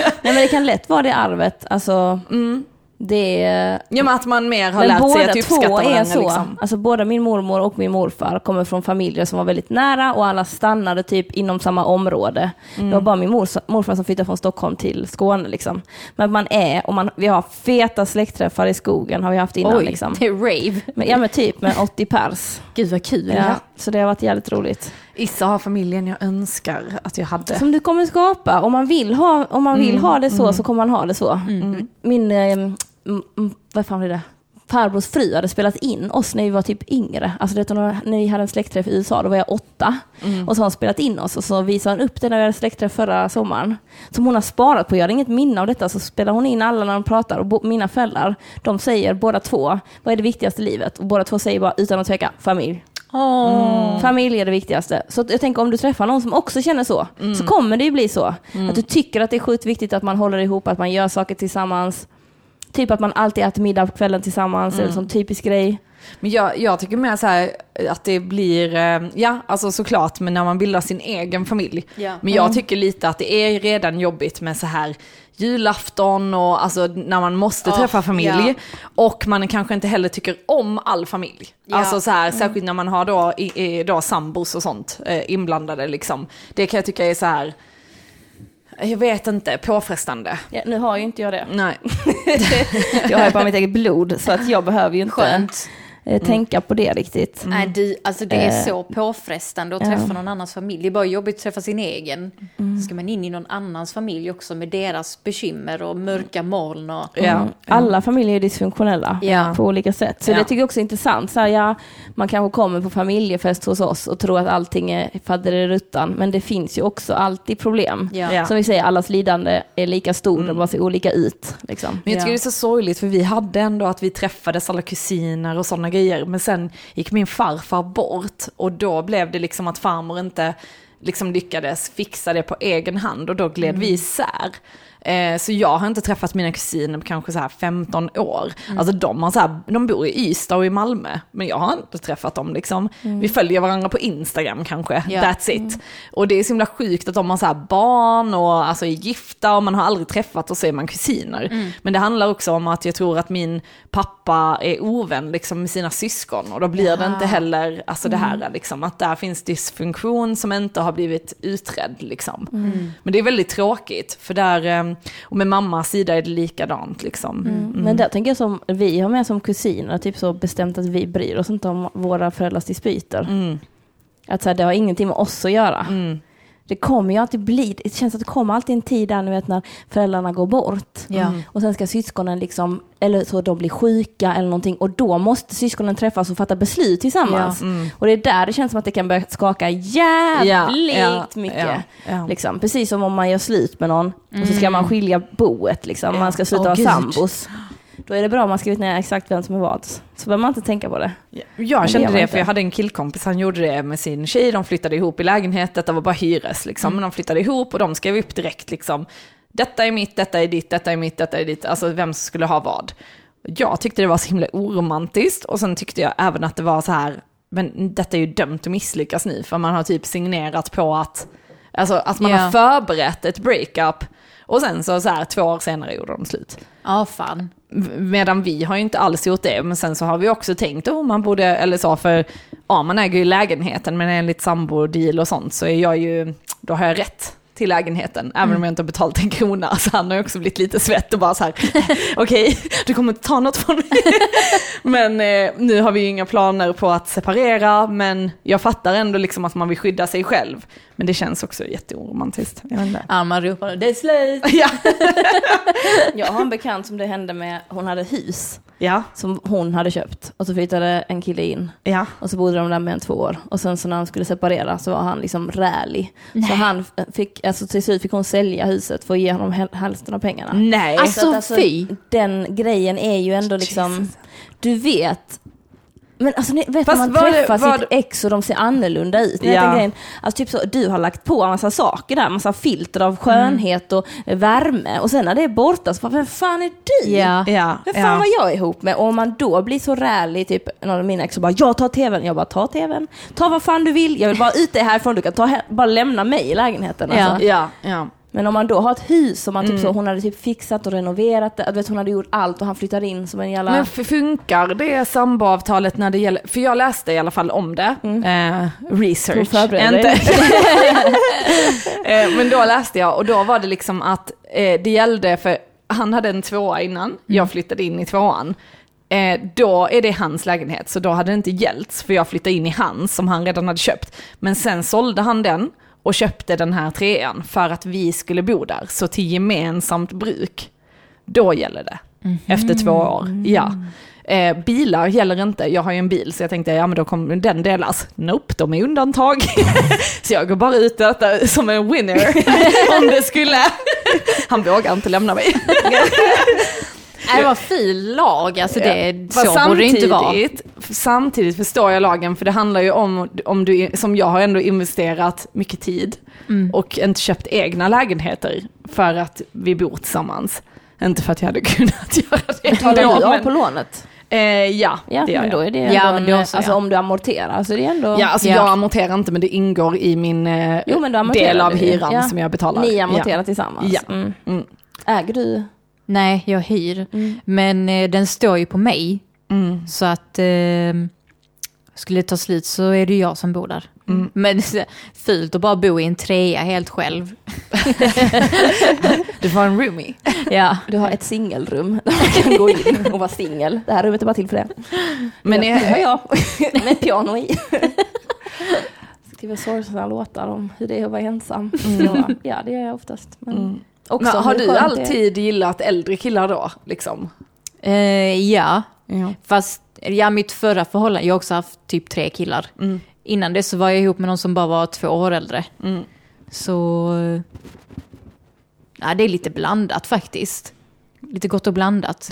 Speaker 2: Nej, men det kan lätt vara det arvet. Alltså, det är,
Speaker 1: Ja men att man mer har
Speaker 2: men
Speaker 1: lärt sig
Speaker 2: båda
Speaker 1: att uppskatta
Speaker 2: två
Speaker 1: varandra.
Speaker 2: är så.
Speaker 1: Liksom.
Speaker 2: Alltså, både min mormor och min morfar kommer från familjer som var väldigt nära och alla stannade typ inom samma område.
Speaker 1: Mm.
Speaker 2: Det var bara min mors, morfar som flyttade från Stockholm till Skåne. Liksom. Men man är, och man, vi har feta släktträffar i skogen har vi haft innan.
Speaker 3: Oj,
Speaker 2: Liksom.
Speaker 3: det är rave.
Speaker 2: Men, ja men typ med 80 pers.
Speaker 3: Gud vad kul.
Speaker 2: Ja, så det har varit jävligt roligt.
Speaker 1: Issa har familjen jag önskar att jag hade.
Speaker 2: Som du kommer skapa. Om man vill ha, om man vill ha det så, så kommer man ha det så. Min, eh, m- m- vad fan blir det? Farbrors fru hade spelat in oss när vi var typ yngre. Alltså, det, när vi hade en släktträff i USA, då var jag åtta. Och så har hon spelat in oss och så visade hon upp det när vi hade släktträff förra sommaren. Som hon har sparat på. Jag har inget minne av detta. Så spelar hon in alla när de pratar. Och bo, mina föräldrar, de säger båda två, vad är det viktigaste i livet? Och båda två säger bara, utan att tveka, familj. Familj är det viktigaste. Så att jag tänker om du träffar någon som också känner så, så kommer det ju bli så. Att du tycker att det är sjukt viktigt att man håller ihop, att man Mm. gör saker tillsammans. Typ att man alltid äter middag på kvällen tillsammans, eller som typisk grej.
Speaker 1: Men jag, jag tycker mer så här att det blir, eh, ja alltså såklart, men när man bildar sin egen familj.
Speaker 3: Ja. Mm.
Speaker 1: Men jag tycker lite att det är redan jobbigt med så här julafton och alltså när man måste
Speaker 3: Åh,
Speaker 1: träffa familj.
Speaker 3: ja.
Speaker 1: Och man kanske inte heller tycker om all familj.
Speaker 3: Ja. Mm.
Speaker 1: Alltså så här, särskilt när man har då, i, i, då sambos och sånt eh, inblandade liksom. Det kan jag tycka är så här, jag vet inte, påfrestande.
Speaker 2: Ja, nu har ju inte jag det.
Speaker 1: Nej.
Speaker 2: Jag har ju bara mitt eget blod så att jag behöver ju inte
Speaker 3: Skönt.
Speaker 2: eh, tänka på det riktigt.
Speaker 3: Nej, det, alltså det är
Speaker 2: Eh.
Speaker 3: så påfrestande att
Speaker 2: Ja.
Speaker 3: träffa någon annans familj. Det är bara jobbigt att träffa sin egen. Så ska man in i någon annans familj också med deras bekymmer och mörka moln. Och...
Speaker 1: Ja.
Speaker 2: Mm. Alla familjer är dysfunktionella
Speaker 3: Ja.
Speaker 2: på olika sätt. Så
Speaker 1: Ja.
Speaker 2: det tycker jag också är intressant. Så här, ja, man kanske kommer på familjefest hos oss och tror att allting är faderuttan, men det finns ju också alltid problem.
Speaker 3: Ja.
Speaker 1: Ja.
Speaker 2: Som vi säger, allas lidande är lika stor, de bara ser olika ut. Liksom.
Speaker 1: Men jag tycker
Speaker 3: Ja.
Speaker 1: det är så sorgligt för vi hade ändå att vi träffades alla kusiner och sådana grejer. Men sen gick min farfar bort och då blev det liksom att farmor inte liksom lyckades fixa det på egen hand och då gled vi isär. Eh, så jag har inte träffat mina kusiner på kanske så här 15 år. Alltså de, har så här, de bor i Ystad och i Malmö, men jag har inte träffat dem liksom. Vi följer varandra på Instagram kanske,
Speaker 3: Ja.
Speaker 1: that's it. Och det är så himla sjukt att de har så här barn och alltså är gifta och man har aldrig träffat och så är man kusiner. Men det handlar också om att jag tror att min pappa är ovän liksom, med sina syskon och då blir det inte heller alltså, det här liksom, att där finns dysfunktion som inte har blivit utredd. Liksom. Men det är väldigt tråkigt för där, eh, och med mammas sida är det likadant. Liksom.
Speaker 2: Mm. Men där tänker jag som vi har med som kusiner, typ så bestämt att vi bryr oss inte om våra föräldrars dispyter.
Speaker 1: Mm.
Speaker 2: Att så här, det har ingenting med oss att göra.
Speaker 1: Mm.
Speaker 2: Det kommer ju alltid bli, det känns att det kommer alltid en tid där ni vet när föräldrarna går bort.
Speaker 3: Ja.
Speaker 2: Och sen ska syskonen liksom, eller så de blir sjuka eller någonting och då måste syskonen träffas och fatta beslut tillsammans.
Speaker 1: Mm.
Speaker 2: Och det är där det känns som att det kan börja skaka jävligt
Speaker 1: Ja, ja,
Speaker 2: mycket.
Speaker 1: ja, ja. Mm.
Speaker 2: Liksom. Precis som om man gör slut med någon och så ska man skilja boet, liksom. man ska sluta
Speaker 1: Åh,
Speaker 2: vara
Speaker 1: gud.
Speaker 2: sambos. Då är det bra om man skrivit ner exakt vem som är vad. Så behöver man inte tänka på det.
Speaker 1: Jag
Speaker 2: det
Speaker 1: kände
Speaker 2: gör
Speaker 1: det,
Speaker 2: man
Speaker 1: för
Speaker 2: inte.
Speaker 1: jag hade en killkompis, han gjorde det med sin tjej, de flyttade ihop i lägenhet, detta var bara hyres liksom, men de flyttade ihop och de skrev upp direkt liksom, detta är mitt, detta är ditt, detta är mitt, detta är ditt, alltså vem som skulle ha vad. Jag tyckte det var så himla oromantiskt och sen tyckte jag även att det var så här, men detta är ju dömt att misslyckas nu, för man har typ signerat på att, alltså att man
Speaker 3: Ja.
Speaker 1: har förberett ett breakup och sen så, så här, två år senare gjorde de slut.
Speaker 3: Ja, fan.
Speaker 1: Medan vi har ju inte alls gjort det, men sen så har vi också tänkt om man borde, eller så, för ja, man äger ju lägenheten, men enligt sambodeal och sånt så är jag ju, då har jag rätt till lägenheten, även om jag inte har betalat en krona. Så han har ju också blivit lite svett och bara så här, okej, du kommer inte ta något från mig. men eh, nu har vi ju inga planer på att separera, men jag fattar ändå liksom att man vill skydda sig själv. Men det känns också jätteoromantiskt. Jag vet inte.
Speaker 3: Ja, man ropar det är slut.
Speaker 1: Ja.
Speaker 2: Jag har en bekant som det hände med, hon hade hus
Speaker 1: ja,
Speaker 2: som hon hade köpt och så flyttade en kille in.
Speaker 1: ja.
Speaker 2: Och så bodde de där med en två år. Och sen så när de skulle separera så var han liksom rälig. Så han f- fick, alltså till slut fick hon sälja huset för att ge honom häl- hälften av pengarna.
Speaker 1: Nej.
Speaker 3: Alltså,
Speaker 2: Så att
Speaker 3: fy.
Speaker 2: Den grejen är ju ändå liksom,
Speaker 1: Jesus.
Speaker 2: du vet. Men alltså ni vet
Speaker 1: Fast
Speaker 2: när man
Speaker 1: var det-
Speaker 2: träffar
Speaker 1: var
Speaker 2: sitt
Speaker 1: det-
Speaker 2: ex och de ser annorlunda ut. Ni vet
Speaker 1: Ja.
Speaker 2: den grejen, alltså typ så, du har lagt på en massa saker där, massa filter av skönhet och eh, värme. Och sen när det är borta så bara, vem fan är du?
Speaker 3: Ja.
Speaker 1: ja,
Speaker 2: Vem fan var jag ihop med? Och om man då blir så rälig, typ någon av mina ex och bara jag tar tvn, jag bara ta tvn, ta vad fan du vill, jag vill bara ut dig härifrån, du kan ta, he- bara lämna mig i lägenheten.
Speaker 3: Ja.
Speaker 2: Alltså.
Speaker 1: Ja, Mm. ja.
Speaker 2: Men om man då har ett hus som man typ så, hon hade typ fixat och renoverat det, du vet, hon hade gjort allt och han flyttar in som en jävla...
Speaker 1: Men f- funkar det samboavtalet när det gäller, för jag läste i alla fall om det, eh,
Speaker 2: Hon
Speaker 1: research.
Speaker 2: förbereder
Speaker 1: eh, men då läste jag och då var det liksom att eh, det gällde, för han hade en tvåa innan, jag flyttade in i tvåan. Eh, då är det hans lägenhet, så då hade det inte gällts, för jag flyttade in i hans som han redan hade köpt. Men sen sålde han den och köpte den här trean för att vi skulle bo där, så till gemensamt bruk då gäller det.
Speaker 3: Mhm.
Speaker 1: Efter två år, ja. Eh, bilar gäller inte, jag har ju en bil så jag tänkte ja men då kommer den delas. Nope, de är undantag. så jag går bara ut detta som en winner om det skulle. Han vågar inte lämna mig.
Speaker 3: Nej, det var ful lag. Alltså, det,
Speaker 1: Fast
Speaker 3: Så borde det inte vara.
Speaker 1: samtidigt- Samtidigt förstår jag lagen, för det handlar ju om, om du, som jag har ändå investerat mycket tid
Speaker 3: Mm.
Speaker 1: och inte köpt egna lägenheter för att vi bor tillsammans. Inte för att jag hade kunnat göra det
Speaker 2: Talar
Speaker 1: ändå,
Speaker 2: du av
Speaker 1: men-
Speaker 2: på lånet?
Speaker 1: Eh, Eh, ja,
Speaker 2: Ja,
Speaker 1: det gör
Speaker 2: men
Speaker 1: jag.
Speaker 2: då är det
Speaker 3: Ja,
Speaker 2: ändå,
Speaker 3: men
Speaker 2: en,
Speaker 3: då så,
Speaker 2: alltså
Speaker 3: ja.
Speaker 2: om du amorterar så är det ändå...
Speaker 1: Ja, alltså
Speaker 3: Ja.
Speaker 1: jag amorterar inte men det ingår i min eh,
Speaker 2: Jo, men du amorterar
Speaker 1: del av
Speaker 2: det.
Speaker 1: hyran
Speaker 2: Ja.
Speaker 1: som jag betalar.
Speaker 2: Ni amorterar tillsammans.
Speaker 1: Ja.
Speaker 2: Mm.
Speaker 1: Ja. Mm.
Speaker 2: Äger du?
Speaker 3: Nej, jag hyr. Men eh, den står ju på mig.
Speaker 1: Mm.
Speaker 3: Så att eh, skulle det ta slut så är det ju jag som bor där. Men fult att bara bo i en trea helt själv.
Speaker 1: Du får en roomie.
Speaker 3: Ja.
Speaker 2: Du har ett singelrum där man kan gå in och vara singel. Det här rummet är bara till för det.
Speaker 1: Men
Speaker 2: ja,
Speaker 1: är-
Speaker 2: det har jag. Med ett piano i. Skriver sorgsna låtar om hur det är att vara ensam. Så, ja, det gör jag oftast. Men också
Speaker 1: Mm. Men har
Speaker 2: hur
Speaker 1: du
Speaker 2: skönt det Mm. är.
Speaker 1: alltid gillat äldre killar då? Liksom?
Speaker 3: Eh, ja,
Speaker 1: Ja.
Speaker 3: fast ja, mitt förra förhållande, jag har också haft typ tre killar. Innan det så var jag ihop med någon som bara var två år äldre.
Speaker 1: Mm.
Speaker 3: Så eh, ja, det är lite blandat faktiskt. Lite gott och blandat.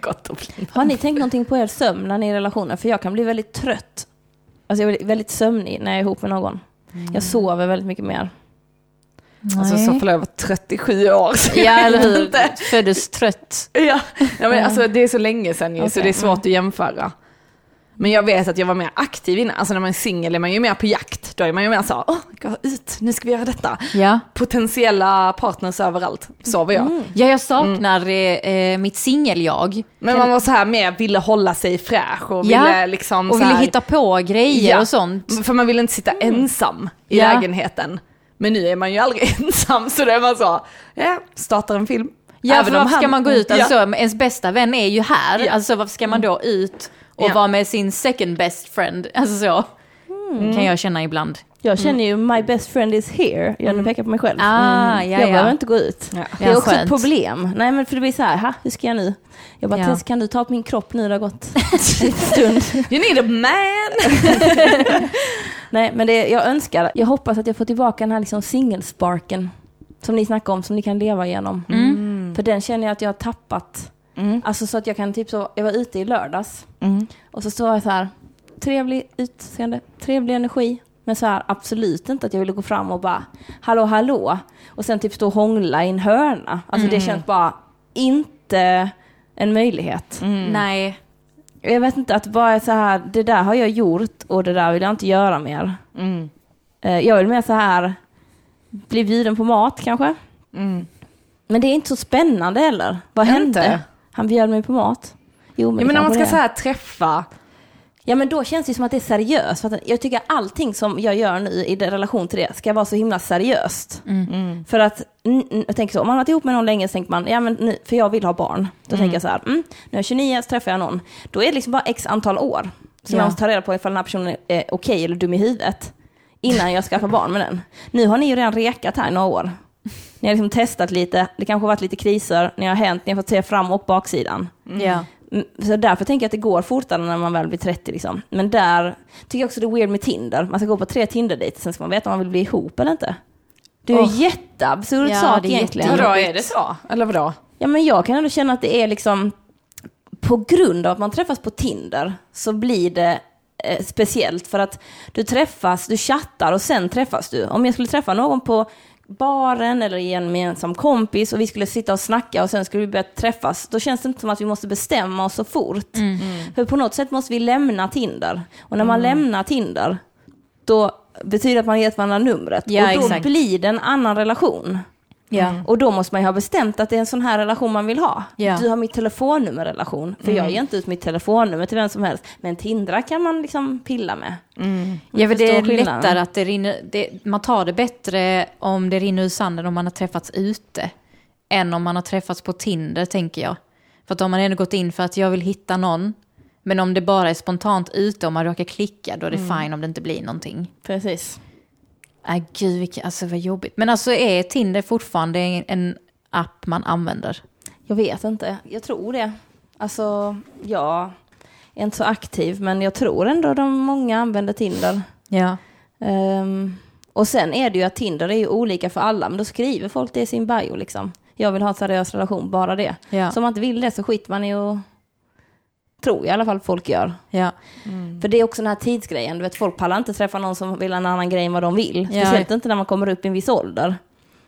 Speaker 1: Gott och blandat.
Speaker 2: Har ni tänkt någonting på er sömn när ni är i relationer? För jag kan bli väldigt trött. Alltså jag är väldigt sömnig när jag är ihop med någon. Jag sover väldigt mycket mer.
Speaker 1: Alltså så förlåt, jag var 37 år. Så
Speaker 3: Ja,
Speaker 1: jag
Speaker 3: eller
Speaker 1: vet
Speaker 3: hur?
Speaker 1: inte.
Speaker 3: Föddes trött.
Speaker 1: Ja. ja, men alltså det är så länge sedan ju, så
Speaker 2: Okej. Mm.
Speaker 1: det är svårt att jämföra. Men jag vet att jag var mer aktiv innan, alltså när man är singel är man ju mer på jakt. Då är man ju mer så här, åh, gå ut, nu ska vi göra detta.
Speaker 3: Ja.
Speaker 1: Potentiella partners överallt, så var jag.
Speaker 3: Ja, jag saknar eh, eh, mitt singel-jag.
Speaker 1: Men man var Mm. så här med, ville hålla sig fräsch och
Speaker 3: Ja,
Speaker 1: ville liksom
Speaker 3: Och
Speaker 1: så
Speaker 3: ville
Speaker 1: här,
Speaker 3: hitta på grejer
Speaker 1: Ja.
Speaker 3: och sånt.
Speaker 1: För man vill inte sitta ensam i
Speaker 3: Ja.
Speaker 1: lägenheten. Men nu är man ju aldrig ensam så då är man så, ja, startar en film.
Speaker 3: Ja,
Speaker 1: Även
Speaker 3: för
Speaker 1: om
Speaker 3: varför
Speaker 1: han-
Speaker 3: ska man gå ut?
Speaker 1: Ja.
Speaker 3: Alltså, Ens bästa vän är ju här.
Speaker 1: Ja.
Speaker 3: Alltså varför ska man då ut och
Speaker 1: Ja.
Speaker 3: vara med sin second best friend? Alltså så. Kan jag känna ibland.
Speaker 2: Jag känner ju my best friend is here. Jag nu pekar på mig själv. Mm.
Speaker 3: Ah, ja,
Speaker 2: jag behöver
Speaker 3: ja.
Speaker 2: inte gå ut.
Speaker 1: Ja.
Speaker 2: Det är
Speaker 3: Ja,
Speaker 2: också ett
Speaker 3: skönt.
Speaker 2: problem. Nej men för det blir så här, ha, hur ska jag nu? Jag bara,
Speaker 3: Ja.
Speaker 2: Tess kan du ta på min kropp nu det har gått en stund.
Speaker 1: You need a man!
Speaker 2: Nej men det, jag önskar, jag hoppas att jag får tillbaka den här liksom singelsparken som ni snackar om, som ni kan leva igenom. För den känner jag att jag har tappat. Alltså så att jag kan typ så, jag var ute i lördags och så står jag så här, trevlig utseende, trevlig energi. Men så här, absolut inte att jag ville gå fram och bara hallå hallå och sen typ stå och hångla i en hörna. Alltså det känns bara inte en möjlighet.
Speaker 3: "Mm, Nej.
Speaker 2: Jag vet inte, att bara så här, det där har jag gjort och det där vill jag inte göra mer.
Speaker 1: Mm.
Speaker 2: Eh, Jag vill mer så här, bli bjuden på mat kanske. Men det är inte så spännande heller. Vad
Speaker 1: Mm. Inte?
Speaker 2: hände? Han bjöd mig på mat. Jo, men,
Speaker 1: Ja, men när man ska
Speaker 2: det.
Speaker 1: så här träffa,
Speaker 2: ja men då känns det som att det är seriöst. För att jag tycker allting som jag gör nu i det- relation till det ska vara så himla seriöst. För att, mm, mm, jag tänker så, om man har varit ihop med någon länge så tänker man, ja men nu, för jag vill ha barn. Då tänker jag så här, mm, när jag är 29 så träffar jag någon. Då är det liksom bara x antal år. Så
Speaker 3: Ja.
Speaker 2: jag måste ta reda på ifall den här personen är okej eller dum i huvudet. Innan jag skaffar barn med den. Nu har ni ju redan rekat här i några år. Ni har liksom testat lite, det kanske har varit lite kriser, ni har hänt, ni har fått se fram och baksidan.
Speaker 3: Ja.
Speaker 2: Mm, Så därför tänker jag att det går fortare när man väl blir 30. Liksom. Men där tycker jag också det är weird med Tinder. Man ska gå på tre Tinder-dejter, sen ska man veta om man vill bli ihop eller inte. Det är ju
Speaker 3: Åh.
Speaker 2: jätteabsurd
Speaker 3: Ja,
Speaker 2: sak
Speaker 3: det är
Speaker 2: egentligen.
Speaker 3: jättejobbigt.
Speaker 1: vadå är det så? Eller vadå?
Speaker 2: Ja, men jag kan ändå känna att det är liksom, på grund av att man träffas på Tinder så blir det eh, speciellt för att du träffas, du chattar och sen träffas du. Om jag skulle träffa någon på baren eller i en gemensam kompis och vi skulle sitta och snacka och sen skulle vi börja träffas, då känns det inte som att vi måste bestämma oss så fort.
Speaker 3: Mm.
Speaker 2: För på något sätt måste vi lämna Tinder. Och när man lämnar Tinder, då betyder det att man gett varandra numret.
Speaker 3: Ja,
Speaker 2: och då
Speaker 3: exakt.
Speaker 2: blir det en annan relation.
Speaker 3: Ja.
Speaker 2: Mm. Och då måste man ju ha bestämt att det är en sån här relation man vill ha.
Speaker 3: Ja. Mm.
Speaker 2: Du har mitt telefonnummer-relation, för jag ger inte ut mitt telefonnummer till vem som helst. Men Tindra kan man liksom pilla med.
Speaker 3: Mm. Ja, för det
Speaker 2: förstår
Speaker 3: är
Speaker 2: skillnaden.
Speaker 3: lättare att det rinner, det, man tar det bättre om det rinner ur sanden om man har träffats ute. Än om man har träffats på Tinder, tänker jag. För att om man ändå gått in för att jag vill hitta någon. Men om det bara är spontant ute, om man råkar klicka, då är det fine om det inte blir någonting.
Speaker 2: Precis.
Speaker 3: Nej, gud, vilka, alltså vad jobbigt. Men alltså är Tinder fortfarande en, en app man använder?
Speaker 2: Jag vet inte, jag tror det. Alltså, jag är inte så aktiv, men jag tror ändå de många använder Tinder.
Speaker 3: Ja.
Speaker 2: Ehm, och sen är det ju att Tinder är ju olika för alla, men då skriver folk det i sin bio liksom. Jag vill ha en seriös relation, bara det.
Speaker 3: Ja.
Speaker 2: Så om man inte vill det så skiter man i att... Tror jag i alla fall folk gör.
Speaker 3: ja.
Speaker 2: För det är också den här tidsgrejen, du vet folk pallar inte träffa någon som vill ha en annan grej än vad de vill.
Speaker 3: Ja.
Speaker 2: Speciellt inte när man kommer upp i en viss ålder.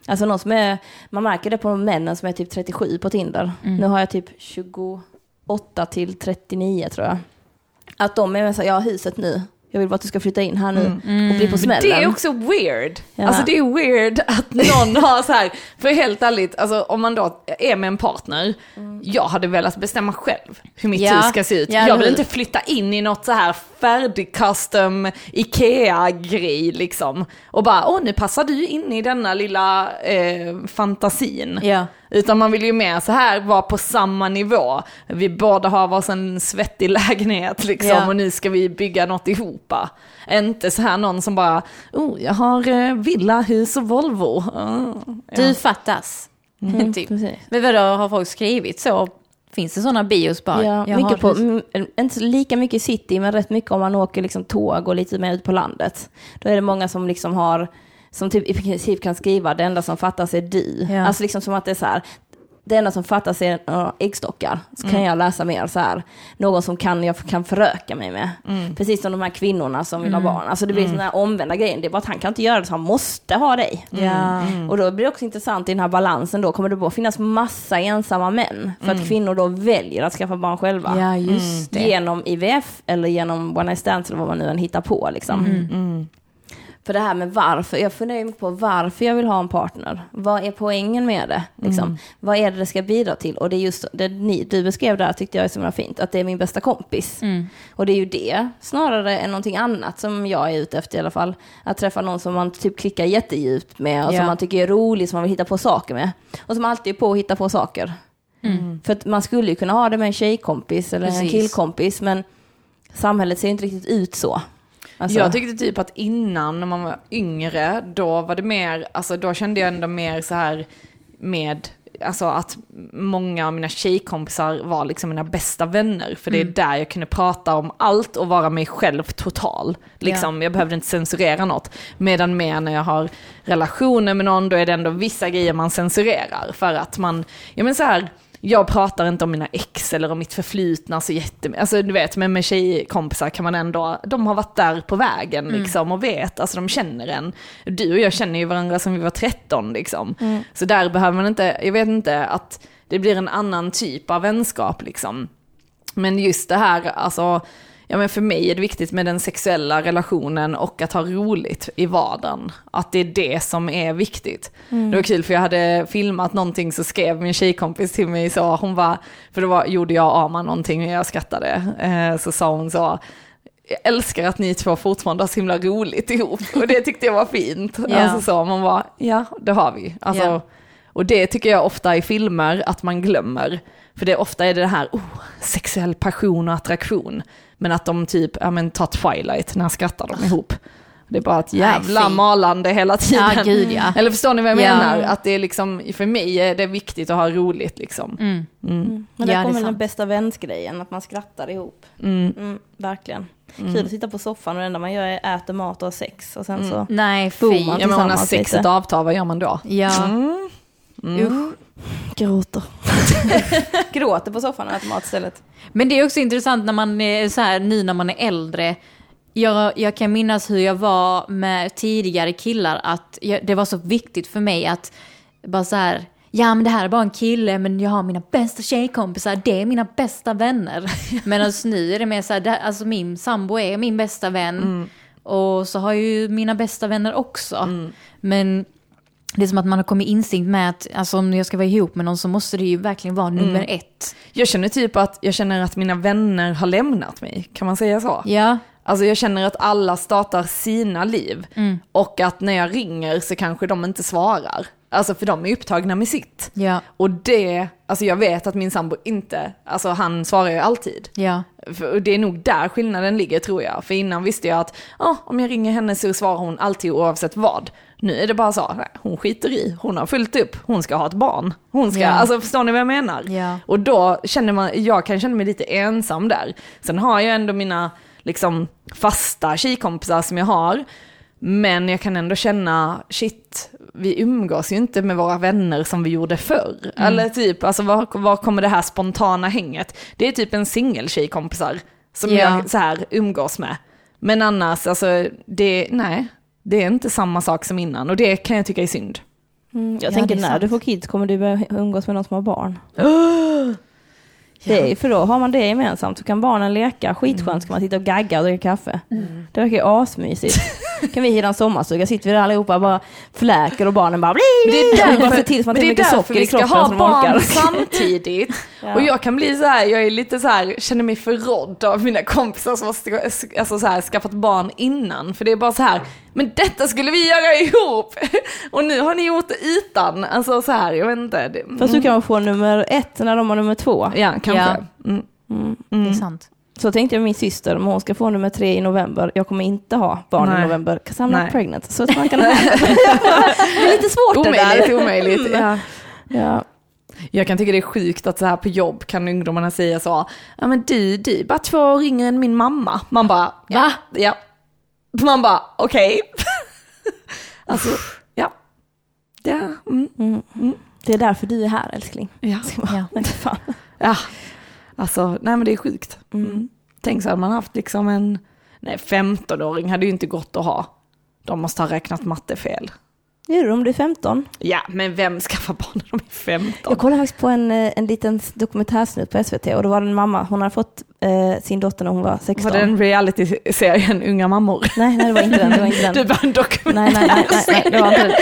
Speaker 2: Alltså någon som är, man märker det på männen som är typ 37 på Tinder. Nu har jag typ 28 8 till 39 tror jag. Att de är med så här, jag har huset nu, jag vill bara att du ska flytta in här nu och bli på smällen.
Speaker 1: Det är också weird.
Speaker 2: Ja.
Speaker 1: Alltså det är weird att någon har så här, för helt ärligt, alltså om man då är med en partner, jag hade velat bestämma själv hur mitt
Speaker 3: Mm. Ja.
Speaker 1: hus ska se ut.
Speaker 3: Ja,
Speaker 1: jag vill
Speaker 3: hur?
Speaker 1: inte flytta in i något så här färdig custom Ikea-grej liksom. Och bara, åh nu passar du in i denna lilla eh, fantasin.
Speaker 3: Ja.
Speaker 1: Utan man vill ju mer så här vara på samma nivå. Vi båda har varsin svettig lägenhet liksom
Speaker 3: Ja.
Speaker 1: och nu ska vi bygga något ihop. Inte så här någon som bara, oh jag har eh, villa, hus och Volvo. Ah,
Speaker 3: Du
Speaker 1: ja.
Speaker 3: fattas. Typ.
Speaker 2: Mm, Precis.
Speaker 3: Men vadå, har folk skrivit så? Finns det sådana bios bara?
Speaker 2: Ja,
Speaker 3: Jag har
Speaker 2: mycket på,
Speaker 3: hus-
Speaker 2: mm, inte så lika mycket i city, men rätt mycket om man åker liksom tåg och lite mer ut på landet. Då är det många som liksom har, som typ i princip kan skriva, det enda som fattas är du.
Speaker 3: Ja.
Speaker 2: Alltså liksom som att det är så här, det enda som fattas är några äggstockar. Så kan jag läsa mer så här, någon som kan, jag kan föröka mig med. Precis som de här kvinnorna som vill ha barn. Alltså det blir mm. den här omvända grejen, det är bara att han kan inte göra det så han måste ha dig.
Speaker 3: Ja.
Speaker 2: Och då blir det också intressant i den här balansen då, kommer det bara finnas massa ensamma män? För att kvinnor då väljer att skaffa barn själva.
Speaker 3: ja, just det.
Speaker 2: Genom IVF eller genom one night stands eller vad man nu än hittar på liksom.
Speaker 3: Mm.
Speaker 2: För det här med varför, jag funderar ju mycket på varför jag vill ha en partner. Vad är poängen med det? Liksom?
Speaker 3: Mm.
Speaker 2: Vad är det det ska bidra till? Och det är just det ni, du beskrev där tyckte jag är så himla fint, att det är min bästa kompis.
Speaker 3: Mm.
Speaker 2: Och det är ju det snarare än någonting annat som jag är ute efter i alla fall. Att träffa någon som man typ klickar jättedjupt med och
Speaker 3: Ja.
Speaker 2: som man tycker är rolig, som man vill hitta på saker med. Och som alltid är på att hitta på saker. För att man skulle ju kunna ha det med en tjejkompis eller en
Speaker 3: Mm. Precis.
Speaker 2: killkompis, men samhället ser ju inte riktigt ut så. Alltså-
Speaker 1: Jag tyckte typ att innan när man var yngre, då var det mer, alltså då kände jag ändå mer så här med, alltså att många av mina tjejkompisar var liksom mina bästa vänner. För det är där jag kunde prata om allt och vara mig själv total. Liksom, jag behövde inte censurera något. Medan mer när jag har relationer med någon, då är det ändå vissa grejer man censurerar. För att man, ja men så här, jag pratar inte om mina ex eller om mitt förflutna så jättemycket. Alltså du vet, men med tjejkompisar kan man ändå, de har varit där på vägen liksom och vet, alltså de känner en. Du och jag känner ju varandra sedan vi var 13 liksom. Så där behöver man inte, jag vet inte, att det blir en annan typ av vänskap liksom. Men just det här, alltså, ja, men för mig är det viktigt med den sexuella relationen och att ha roligt i vardagen. Att det är det som är viktigt. Det var kul för jag hade filmat någonting så skrev min tjejkompis till mig så, hon var, för då var, gjorde jag och Arman någonting och jag skrattade, eh, så sa hon så, jag älskar att ni två fortfarande har så himla roligt ihop. Och det tyckte jag var fint.
Speaker 3: Ja.
Speaker 1: Alltså så, man var ja det har vi. Alltså,
Speaker 3: Ja.
Speaker 1: Och det tycker jag ofta i filmer att man glömmer. För det ofta är det det här, oh, sexuell passion och attraktion. Men att de typ, ja men ta Twilight, när skrattar de ihop? Det är bara ett jävla
Speaker 3: Nej, fy.
Speaker 1: malande hela tiden.
Speaker 3: Ja, gud, ja.
Speaker 1: Eller förstår ni vad jag
Speaker 3: Ja.
Speaker 1: menar? Att det är liksom, för mig är det viktigt att ha roligt liksom.
Speaker 3: Mm.
Speaker 2: Men där
Speaker 3: Ja, det är
Speaker 2: kommer den
Speaker 3: sant.
Speaker 2: bästa vänsgrejen, att man skrattar ihop. Mm, verkligen.
Speaker 3: Mm.
Speaker 2: Kul att sitta på soffan och det enda man gör är äter mat och har sex. Och sen
Speaker 3: Mm.
Speaker 2: så...
Speaker 3: Nej,
Speaker 2: Boom, man-
Speaker 3: fy.
Speaker 1: Ja men när
Speaker 2: Tillsammans
Speaker 1: sexet
Speaker 2: lite.
Speaker 1: avtar, vad gör man då?
Speaker 3: Ja. Usch. Mm.
Speaker 2: Gråter. Gråter på soffan och äter mat istället.
Speaker 3: Men det är också intressant när man är så här, nu när man är äldre. Jag, jag kan minnas hur jag var med tidigare killar, att jag, det var så viktigt för mig att bara så här, ja men det här är bara en kille, men jag har mina bästa tjejkompisar, det är mina bästa vänner. Medan nu är det mer så här, det, alltså min sambo är min bästa vän. Och så har jag ju mina bästa vänner också. Men det är som att man har kommit instinkt med att alltså, om jag ska vara ihop med någon så måste det ju verkligen vara nummer ett.
Speaker 1: Jag känner typ att, jag känner att mina vänner har lämnat mig, kan man säga så?
Speaker 3: Ja.
Speaker 1: Alltså jag känner att alla startar sina liv och att när jag ringer så kanske de inte svarar. Alltså för de är upptagna med sitt.
Speaker 3: Ja.
Speaker 1: Och det, alltså jag vet att min sambo inte, alltså han svarar ju alltid.
Speaker 3: Ja.
Speaker 1: För och det är nog där skillnaden ligger tror jag. För innan visste jag att ah, om jag ringer henne så svarar hon alltid oavsett vad. Nu är det bara så, nej, hon skiter i, hon har fullt upp, hon ska ha ett barn. Hon ska,
Speaker 3: Ja.
Speaker 1: alltså förstår ni vad jag menar?
Speaker 3: Ja.
Speaker 1: Och då känner man, jag kan känna mig lite ensam där. Sen har jag ändå mina liksom, fasta tjejkompisar som jag har. Men jag kan ändå känna, shit, vi umgås ju inte med våra vänner som vi gjorde förr.
Speaker 3: Mm.
Speaker 1: Eller typ, alltså var, var kommer det här spontana hänget? Det är typ en singeltjejkompisar som
Speaker 3: Ja.
Speaker 1: jag så här umgås med. Men annars, alltså, det, nej, det är inte samma sak som innan och det kan jag tycka är synd.
Speaker 2: jag
Speaker 3: Mm. Ja,
Speaker 2: tänker
Speaker 3: det är
Speaker 2: när
Speaker 3: sant.
Speaker 2: du får kids kommer du börja umgås med någon som har barn. Det är, för då har man det gemensamt så kan barnen
Speaker 3: Mm.
Speaker 2: leka, skitskönt ska man sitta och gagga och dricka kaffe. Det verkar ju asmysigt. kan vi hyra en sommarstuga, sitter vi där allihopa och bara fläker och barnen bara...
Speaker 1: Det är
Speaker 2: Vi bara
Speaker 1: därför,
Speaker 2: ser till så att
Speaker 1: men
Speaker 2: det är
Speaker 1: det är
Speaker 2: mycket
Speaker 1: därför
Speaker 2: socker i
Speaker 1: vi ska
Speaker 2: kroppen
Speaker 1: ha
Speaker 2: som
Speaker 1: barn
Speaker 2: orkar.
Speaker 1: samtidigt.
Speaker 2: Ja.
Speaker 1: Och jag kan bli så här, jag är lite så här, känner mig förrådd av mina kompisar som har sk- alltså så här, skaffat barn innan. För det är bara så här, men detta skulle vi göra ihop! Och nu har ni gjort det utan, alltså så här, jag vet inte. Det,
Speaker 2: Fast
Speaker 3: Mm.
Speaker 2: du kan få nummer ett när de har nummer två.
Speaker 1: ja, kanske. Mm.
Speaker 3: Det är sant.
Speaker 2: Så tänkte jag med min syster, om hon ska få nummer tre i november, jag kommer inte ha barn
Speaker 1: Nej.
Speaker 2: i november, 'cause I'm
Speaker 1: Nej.
Speaker 2: not pregnant. Så att man kan det är lite svårt det
Speaker 1: Omöjligt,
Speaker 2: där.
Speaker 1: omöjligt. Ja.
Speaker 2: Ja.
Speaker 1: Jag kan tycka det är sjukt att så här på jobb kan ungdomarna säga så, ja men du, du är bara två år yngre än min mamma. Man bara, va? Ja. ja. Man bara, okej. alltså, ja. Ja. Mm.
Speaker 2: Det är därför du är här älskling.
Speaker 1: ja.
Speaker 3: Ja.
Speaker 2: Men fan.
Speaker 1: Ja. Alltså, nej men det är sjukt. Mm. Tänk så hade man haft liksom en, nej 15-åring hade ju inte gått att ha. De måste ha räknat mattefel.
Speaker 2: Gör du om du är 15?
Speaker 1: Ja, men vem skaffar barn när de är 15?
Speaker 2: Jag kollade faktiskt på en, eh, en liten dokumentärsnutt på SVT och då var det en mamma, hon hade fått eh, sin dotter när hon var 16.
Speaker 1: Var det den reality-serien Unga mammor?
Speaker 2: Nej, nej det var inte den. Det var inte den.
Speaker 1: Du bara en dokumentär.
Speaker 2: Nej, nej, nej, nej, nej, det var inte den.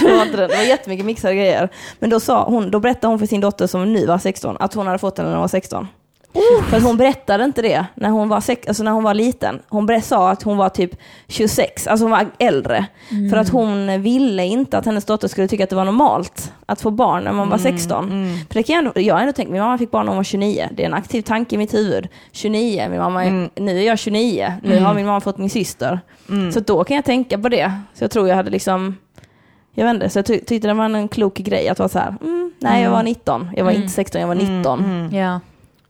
Speaker 2: Det var inte den. Det var jättemycket mixade grejer. Men då, sa hon, då berättade hon för sin dotter som nu var 16 att hon hade fått den när hon var 16. För att hon berättade inte det när hon var, sex, alltså när hon var liten. Hon ber- sa att hon var typ 26, alltså hon var äldre.
Speaker 3: Mm.
Speaker 2: För att hon ville inte att hennes dotter skulle tycka att det var normalt att få barn när man var 16.
Speaker 1: Mm,
Speaker 2: För det kan jag, ändå, jag har ändå tänkt, min mamma fick barn när hon var 29. Det är en aktiv tanke i mitt huvud. 29, min mamma, är- nu är jag 29, nu har min mamma fått min syster.
Speaker 1: mm.
Speaker 2: Så då kan jag tänka på det. Så jag tror jag hade liksom, jag vet inte, så jag ty- tyckte det var en klok grej att vara så här, mm, nej jag var 19, jag var
Speaker 1: Mm.
Speaker 2: inte 16, jag var 19.
Speaker 3: Ja.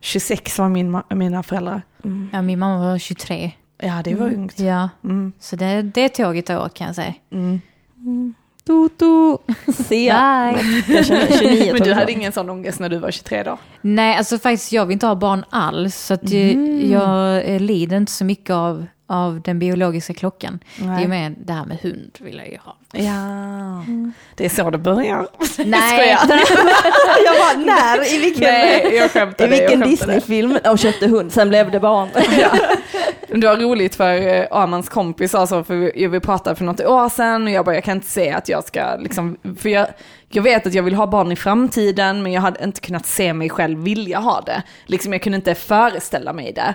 Speaker 1: 26 var min, ma- mina föräldrar.
Speaker 2: Mm.
Speaker 3: ja, min mamma var 23.
Speaker 1: Ja, det var ungt.
Speaker 3: Ja,
Speaker 1: Mm.
Speaker 3: så det, det tåget har jag åkt kan jag säga.
Speaker 2: Tutu. Se.
Speaker 3: Bye!
Speaker 2: Jag känner 29
Speaker 1: Men du
Speaker 2: tror
Speaker 1: hade
Speaker 2: jag.
Speaker 1: ingen sån ångest när du var 23 då?
Speaker 3: Nej, alltså faktiskt jag vill inte ha barn alls. Så att ju- jag eh, lider inte så mycket av, av den biologiska klockan. Det är ju mer det här med hund vill jag ju ha.
Speaker 1: Ja. Det är så det börjar.
Speaker 3: Nej,
Speaker 2: jag bara, när? I vilken,
Speaker 1: Nej, jag
Speaker 2: i
Speaker 1: skämtade.
Speaker 2: vilken
Speaker 1: jag skämtade.
Speaker 2: Disney-film? De köpte hund, sen blev det barn.
Speaker 1: Men Det var roligt för eh, Amans kompis alltså, för vi, vi pratade för något år sedan och jag bara, jag kan inte se att jag ska liksom, för jag, jag vet att jag vill ha barn i framtiden men jag hade inte kunnat se mig själv vilja ha det. Liksom jag kunde inte föreställa mig det.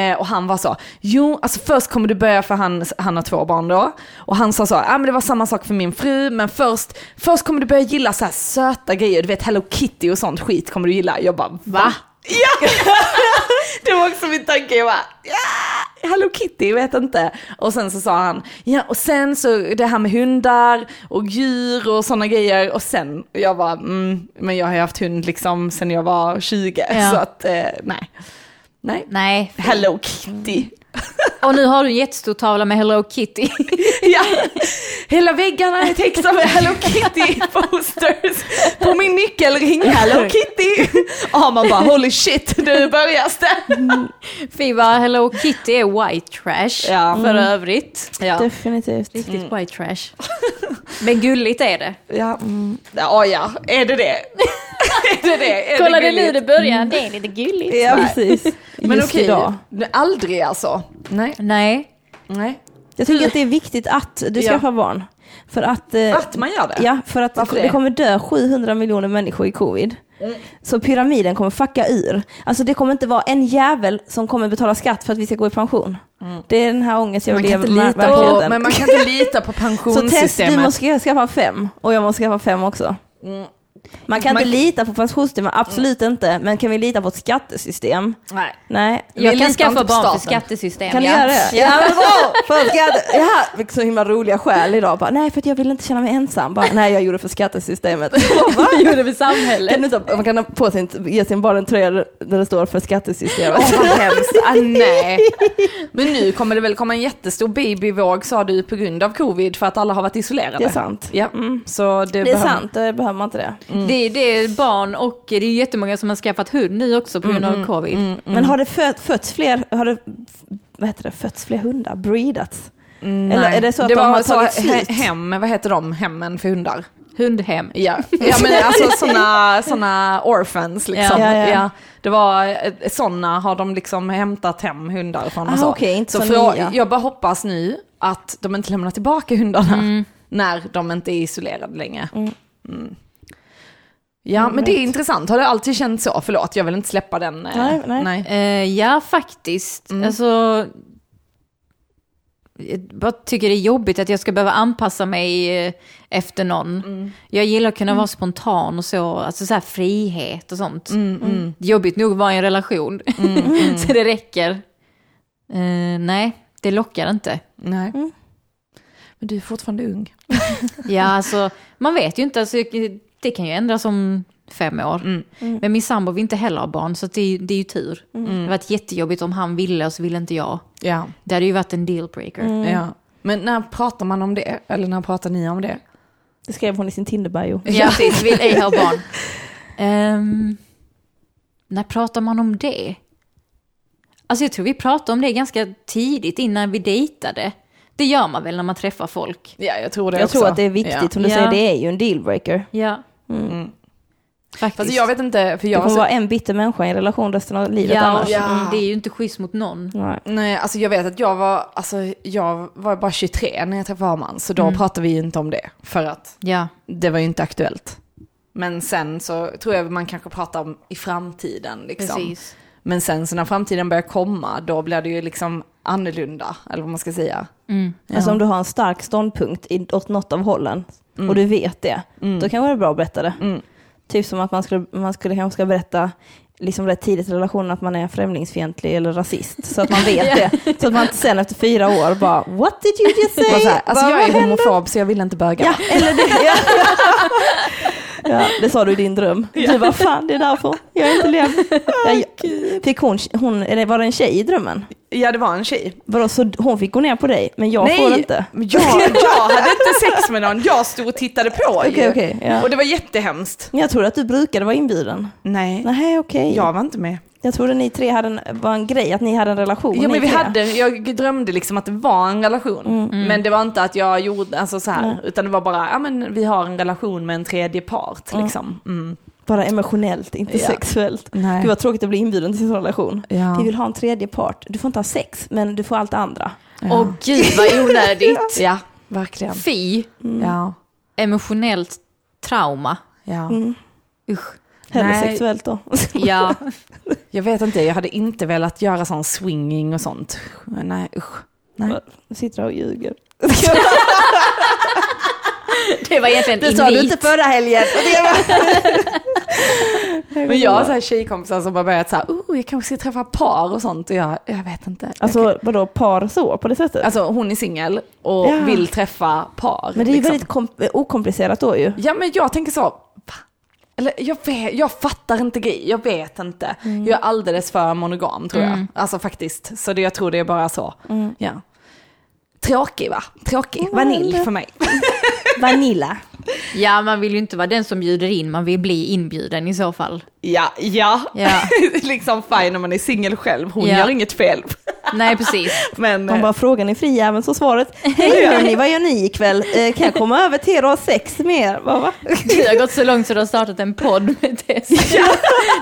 Speaker 1: Eh, och han var så, jo, alltså först kommer du börja, för han, han har två barn då, och han sa så, ja ah, men det var samma sak för min fru, men först, först kommer du börja gilla så här söta grejer, du vet Hello Kitty och sånt skit kommer du gilla. Jag bara, va? Ja! det var också min tanke, jag bara, ja! Hello Kitty, jag vet inte. Och sen så sa han, ja och sen så det här med hundar och djur och sådana grejer. Och sen, jag var mm, men jag har ju haft hund liksom sen jag var 20,
Speaker 3: Ja.
Speaker 1: så att eh, nej. Nej.
Speaker 3: nej.
Speaker 1: Hello Kitty.
Speaker 3: Och nu har du en jättestor tavla med Hello Kitty.
Speaker 1: Ja. Hela väggarna är täckta med Hello Kitty posters. På min nyckelring, Hello Kitty. Ja, man bara holy shit, nu börjar det.
Speaker 3: Fy vad Hello Kitty är white trash
Speaker 1: Ja.
Speaker 3: för övrigt.
Speaker 1: Ja,
Speaker 2: Definitivt.
Speaker 3: Riktigt white trash. Men gulligt är det.
Speaker 1: ja.
Speaker 2: mm.
Speaker 1: Ja, ja, är det det? är det det? Är
Speaker 3: Kolla det nu
Speaker 1: gulligt?
Speaker 3: det börjar, Mm. det är lite gulligt.
Speaker 2: Ja, precis.
Speaker 1: Men
Speaker 2: Just
Speaker 1: okej,
Speaker 2: idag.
Speaker 1: aldrig alltså. Nej.
Speaker 3: Nej,
Speaker 1: Nej.
Speaker 2: Jag tycker att det är viktigt att du
Speaker 1: Ja.
Speaker 2: skaffar barn. För att, eh,
Speaker 1: Att man gör det?
Speaker 2: Ja, för att
Speaker 1: Varför
Speaker 2: det
Speaker 1: det? Mm.
Speaker 2: kommer dö 700 miljoner människor i covid. Så pyramiden kommer fucka ur. Alltså det kommer inte vara en jävel som kommer betala skatt för att vi ska gå i pension.
Speaker 1: Mm.
Speaker 2: Det är den här ångesten jag
Speaker 1: Man kan
Speaker 2: lever
Speaker 1: inte
Speaker 2: med
Speaker 1: lita på,
Speaker 2: verkligheten.
Speaker 1: men man kan inte lita på
Speaker 2: Så Tess, du
Speaker 1: pensionssystemet.
Speaker 2: måste skaffa fem och jag måste skaffa fem också.
Speaker 1: Mm.
Speaker 2: Man kan
Speaker 1: Man-
Speaker 2: inte lita på pensionssystemet, absolut
Speaker 1: Mm.
Speaker 2: inte. Men kan vi lita på ett skattesystem?
Speaker 1: Nej.
Speaker 2: Nej.
Speaker 3: jag
Speaker 1: Vi
Speaker 3: kan
Speaker 1: litar
Speaker 3: skaffa
Speaker 1: inte på
Speaker 3: barn för
Speaker 1: staten.
Speaker 3: skattesystem.
Speaker 2: Kan ni
Speaker 3: ja.
Speaker 2: göra det? Ja, men bra! För att skatte- ja, så himla roliga skäl idag. Bara, nej, för att jag vill inte känna mig ensam. Bara, nej, jag gjorde det för skattesystemet.
Speaker 3: Vad gjorde
Speaker 2: Kan
Speaker 3: vi samhället?
Speaker 2: du ta, man kan ha på sin, ge sin barn en tröja där det står för skattesystemet.
Speaker 1: Åh vad hemskt, ah, nej. Men nu kommer det väl komma en jättestor babyvåg sa du på grund av covid för att alla har varit isolerade.
Speaker 2: Det är sant. Mm.
Speaker 1: Ja, så det,
Speaker 2: Det är
Speaker 1: behöver-
Speaker 2: sant, det behöver man inte det.
Speaker 3: Det, är- det är barn och det är jättemånga som har skaffat hund nu också på grund av covid.
Speaker 1: Mm,
Speaker 2: Men har det fött, fötts fler, har det, vad heter det, fötts fler hundar? Breedats? Eller
Speaker 1: mm, Nej.
Speaker 2: är det så att
Speaker 1: det
Speaker 2: de
Speaker 1: var
Speaker 2: har
Speaker 1: så
Speaker 2: tagit
Speaker 1: he-
Speaker 2: slut?
Speaker 1: hem, vad heter de, hemmen för hundar?
Speaker 3: Hundhem.
Speaker 1: Ja, ja men alltså sådana såna orphans liksom.
Speaker 2: Ja,
Speaker 1: Ja,
Speaker 2: ja, ja.
Speaker 1: Det var sådana har de liksom hämtat hem hundar från
Speaker 2: Ah,
Speaker 1: och så.
Speaker 2: okej, inte
Speaker 1: så
Speaker 2: så
Speaker 1: frå-
Speaker 2: nya.
Speaker 1: jag bara hoppas nu att de inte lämnar tillbaka hundarna
Speaker 2: Mm.
Speaker 1: när de inte är isolerade längre. Mm. Ja, men det är intressant. Har det alltid känts så? Förlåt, jag vill inte släppa den. eh,
Speaker 2: Nej, nej.
Speaker 3: Eh, ja, faktiskt. Alltså, jag bara tycker det är jobbigt att jag ska behöva anpassa mig eh, efter någon. Jag gillar att kunna vara spontan och så, alltså så här frihet och sånt.
Speaker 1: Mm,
Speaker 2: Mm.
Speaker 3: Det är Jobbigt nog att vara i en relation, så det räcker. Eh, nej, det lockar inte.
Speaker 1: nej.
Speaker 2: Mm.
Speaker 1: Men du är fortfarande ung.
Speaker 3: Ja, alltså, man vet ju inte, alltså, det kan ju ändras om fem år.
Speaker 2: Mm.
Speaker 3: Men min sambo vill inte heller ha barn, så att det, är- det är ju tur. Det hade varit jättejobbigt om han ville och så ville inte jag.
Speaker 1: Mm. Ja.
Speaker 3: Det hade ju varit en dealbreaker.
Speaker 2: Mm.
Speaker 1: ja. Men när pratar man om det? Eller när pratar ni om det?
Speaker 2: Det skrev hon i sin Tinder-bio.
Speaker 3: Ja, precis. Vill ej ha barn. Ehm, när pratar man om det? Alltså jag tror vi pratade om det ganska tidigt innan vi dejtade. Det gör man väl när man träffar folk?
Speaker 1: Ja, jag tror det
Speaker 2: Jag
Speaker 1: också.
Speaker 2: tror att det är viktigt,
Speaker 1: Ja.
Speaker 2: som du
Speaker 3: Ja.
Speaker 2: säger, det är ju en dealbreaker.
Speaker 3: Ja. alltså,
Speaker 1: Mm.
Speaker 3: Faktiskt.
Speaker 1: Fast jag vet inte, för
Speaker 2: Du
Speaker 1: jag var
Speaker 2: kommer
Speaker 1: så
Speaker 2: vara en bitter människa i en relation resten av livet
Speaker 3: ja,
Speaker 2: annars.
Speaker 1: alltså- Ja.
Speaker 3: mm, Det är ju inte schysst mot någon.
Speaker 2: Nej.
Speaker 1: Nej, alltså jag vet att jag var, alltså jag var bara 23 när jag träffade Arman, så då
Speaker 2: Mm.
Speaker 1: pratade vi ju inte om det, för att
Speaker 3: Ja.
Speaker 1: det var ju inte aktuellt. Men sen så tror jag man kanske pratar om i framtiden liksom.
Speaker 3: Precis.
Speaker 1: Men sen så när framtiden börjar komma, då blir det ju liksom annorlunda, eller vad man ska säga.
Speaker 3: Mm.
Speaker 2: Alltså om du har en stark ståndpunkt i, åt något av hållen och du vet det,
Speaker 1: Mm.
Speaker 2: då kan det vara bra att berätta det. Typ som att man skulle, man skulle kanske ska berätta liksom rätt tidigt i relationen att man är främlingsfientlig eller rasist. Så att man vet det. Så att man inte sen efter fyra år bara “What did you just
Speaker 1: Bara
Speaker 2: say?”
Speaker 1: så här, alltså
Speaker 2: Bara,
Speaker 1: jag
Speaker 2: "Vad
Speaker 1: är
Speaker 2: hände?"
Speaker 1: homofob så jag vill inte böga.
Speaker 2: Ja, eller det. Ja. Ja, det sa du i din dröm. Du bara “Fan, det är därför. Jag är inte lem." Jag, fick hon, hon, eller var det en tjej i drömmen?
Speaker 1: Ja, det var en tjej.
Speaker 2: Vadå, så hon fick gå ner på dig, men jag får inte?
Speaker 1: men jag, jag hade inte sex med någon, jag stod och tittade på ju.
Speaker 2: Okej, okej, ja.
Speaker 1: Och det var jättehemskt.
Speaker 2: Men Jag trodde att du brukade vara inbjuden.
Speaker 1: Nej,
Speaker 2: Nej, okej.
Speaker 1: jag var inte med.
Speaker 2: Jag trodde ni tre hade en, var en grej, att ni hade en relation.
Speaker 1: Ja,
Speaker 2: ni
Speaker 1: men vi
Speaker 2: tre. Mm.
Speaker 1: hade, jag drömde liksom att det var en relation. Men det var inte att jag gjorde alltså så här, utan det var bara, ja men vi har en relation med en tredje part liksom. Mm.
Speaker 2: Bara emotionellt, inte
Speaker 1: Ja.
Speaker 2: sexuellt.
Speaker 1: Nej.
Speaker 2: Gud vad tråkigt att bli inbjuden till sin relation.
Speaker 1: Ja.
Speaker 2: Vi vill ha en tredje part. Du får inte ha sex, men du får allt det andra.
Speaker 3: Åh gud vad onödigt.
Speaker 1: Ja, verkligen.
Speaker 3: Fy.
Speaker 2: Mm.
Speaker 1: Ja,
Speaker 3: Emotionellt trauma.
Speaker 1: ja.
Speaker 2: Mm.
Speaker 3: Usch.
Speaker 2: Hellre
Speaker 1: Nej.
Speaker 2: sexuellt då.
Speaker 3: Ja.
Speaker 1: Jag vet inte, jag hade inte velat göra sån swinging och sånt. Nej, usch. Nej.
Speaker 2: Nu sitter du och ljuger.
Speaker 3: Det var egentligen
Speaker 2: Det sa du
Speaker 3: invigt.
Speaker 2: inte förra helgen.
Speaker 1: Men jag har så här tjejkompisar som har börjat så här, oh, jag kanske ska träffa par och sånt och jag, jag vet inte.
Speaker 2: Alltså vadå, par så på det sättet?
Speaker 1: alltså hon är singel och
Speaker 2: Ja.
Speaker 1: vill träffa par.
Speaker 2: men det är ju
Speaker 1: liksom.
Speaker 2: väldigt kom- okomplicerat då ju.
Speaker 1: Ja men jag tänker så, va? Eller jag, vet, jag fattar inte grejer, jag vet inte.
Speaker 2: Mm.
Speaker 1: Jag är alldeles för monogam tror jag. Alltså faktiskt, så det, jag tror det är bara så.
Speaker 2: Mm.
Speaker 1: Ja. Tråkig va? Tråkig, vanilj för mig.
Speaker 2: Vanilla.
Speaker 3: Ja, man vill ju inte vara den som bjuder in, man vill bli inbjuden i så fall.
Speaker 1: Ja, ja.
Speaker 3: Ja.
Speaker 1: liksom fine om man är singel själv, hon
Speaker 3: Ja.
Speaker 1: gör inget fel.
Speaker 3: Nej, precis.
Speaker 1: Men,
Speaker 2: Man bara, frågan är fri även så svaret. Hej hörni, vad gör ni ikväll? Eh, kan jag komma över till er och ha sex med er? Bara, va?
Speaker 3: Du har gått så långt så du har startat en podd med Tess.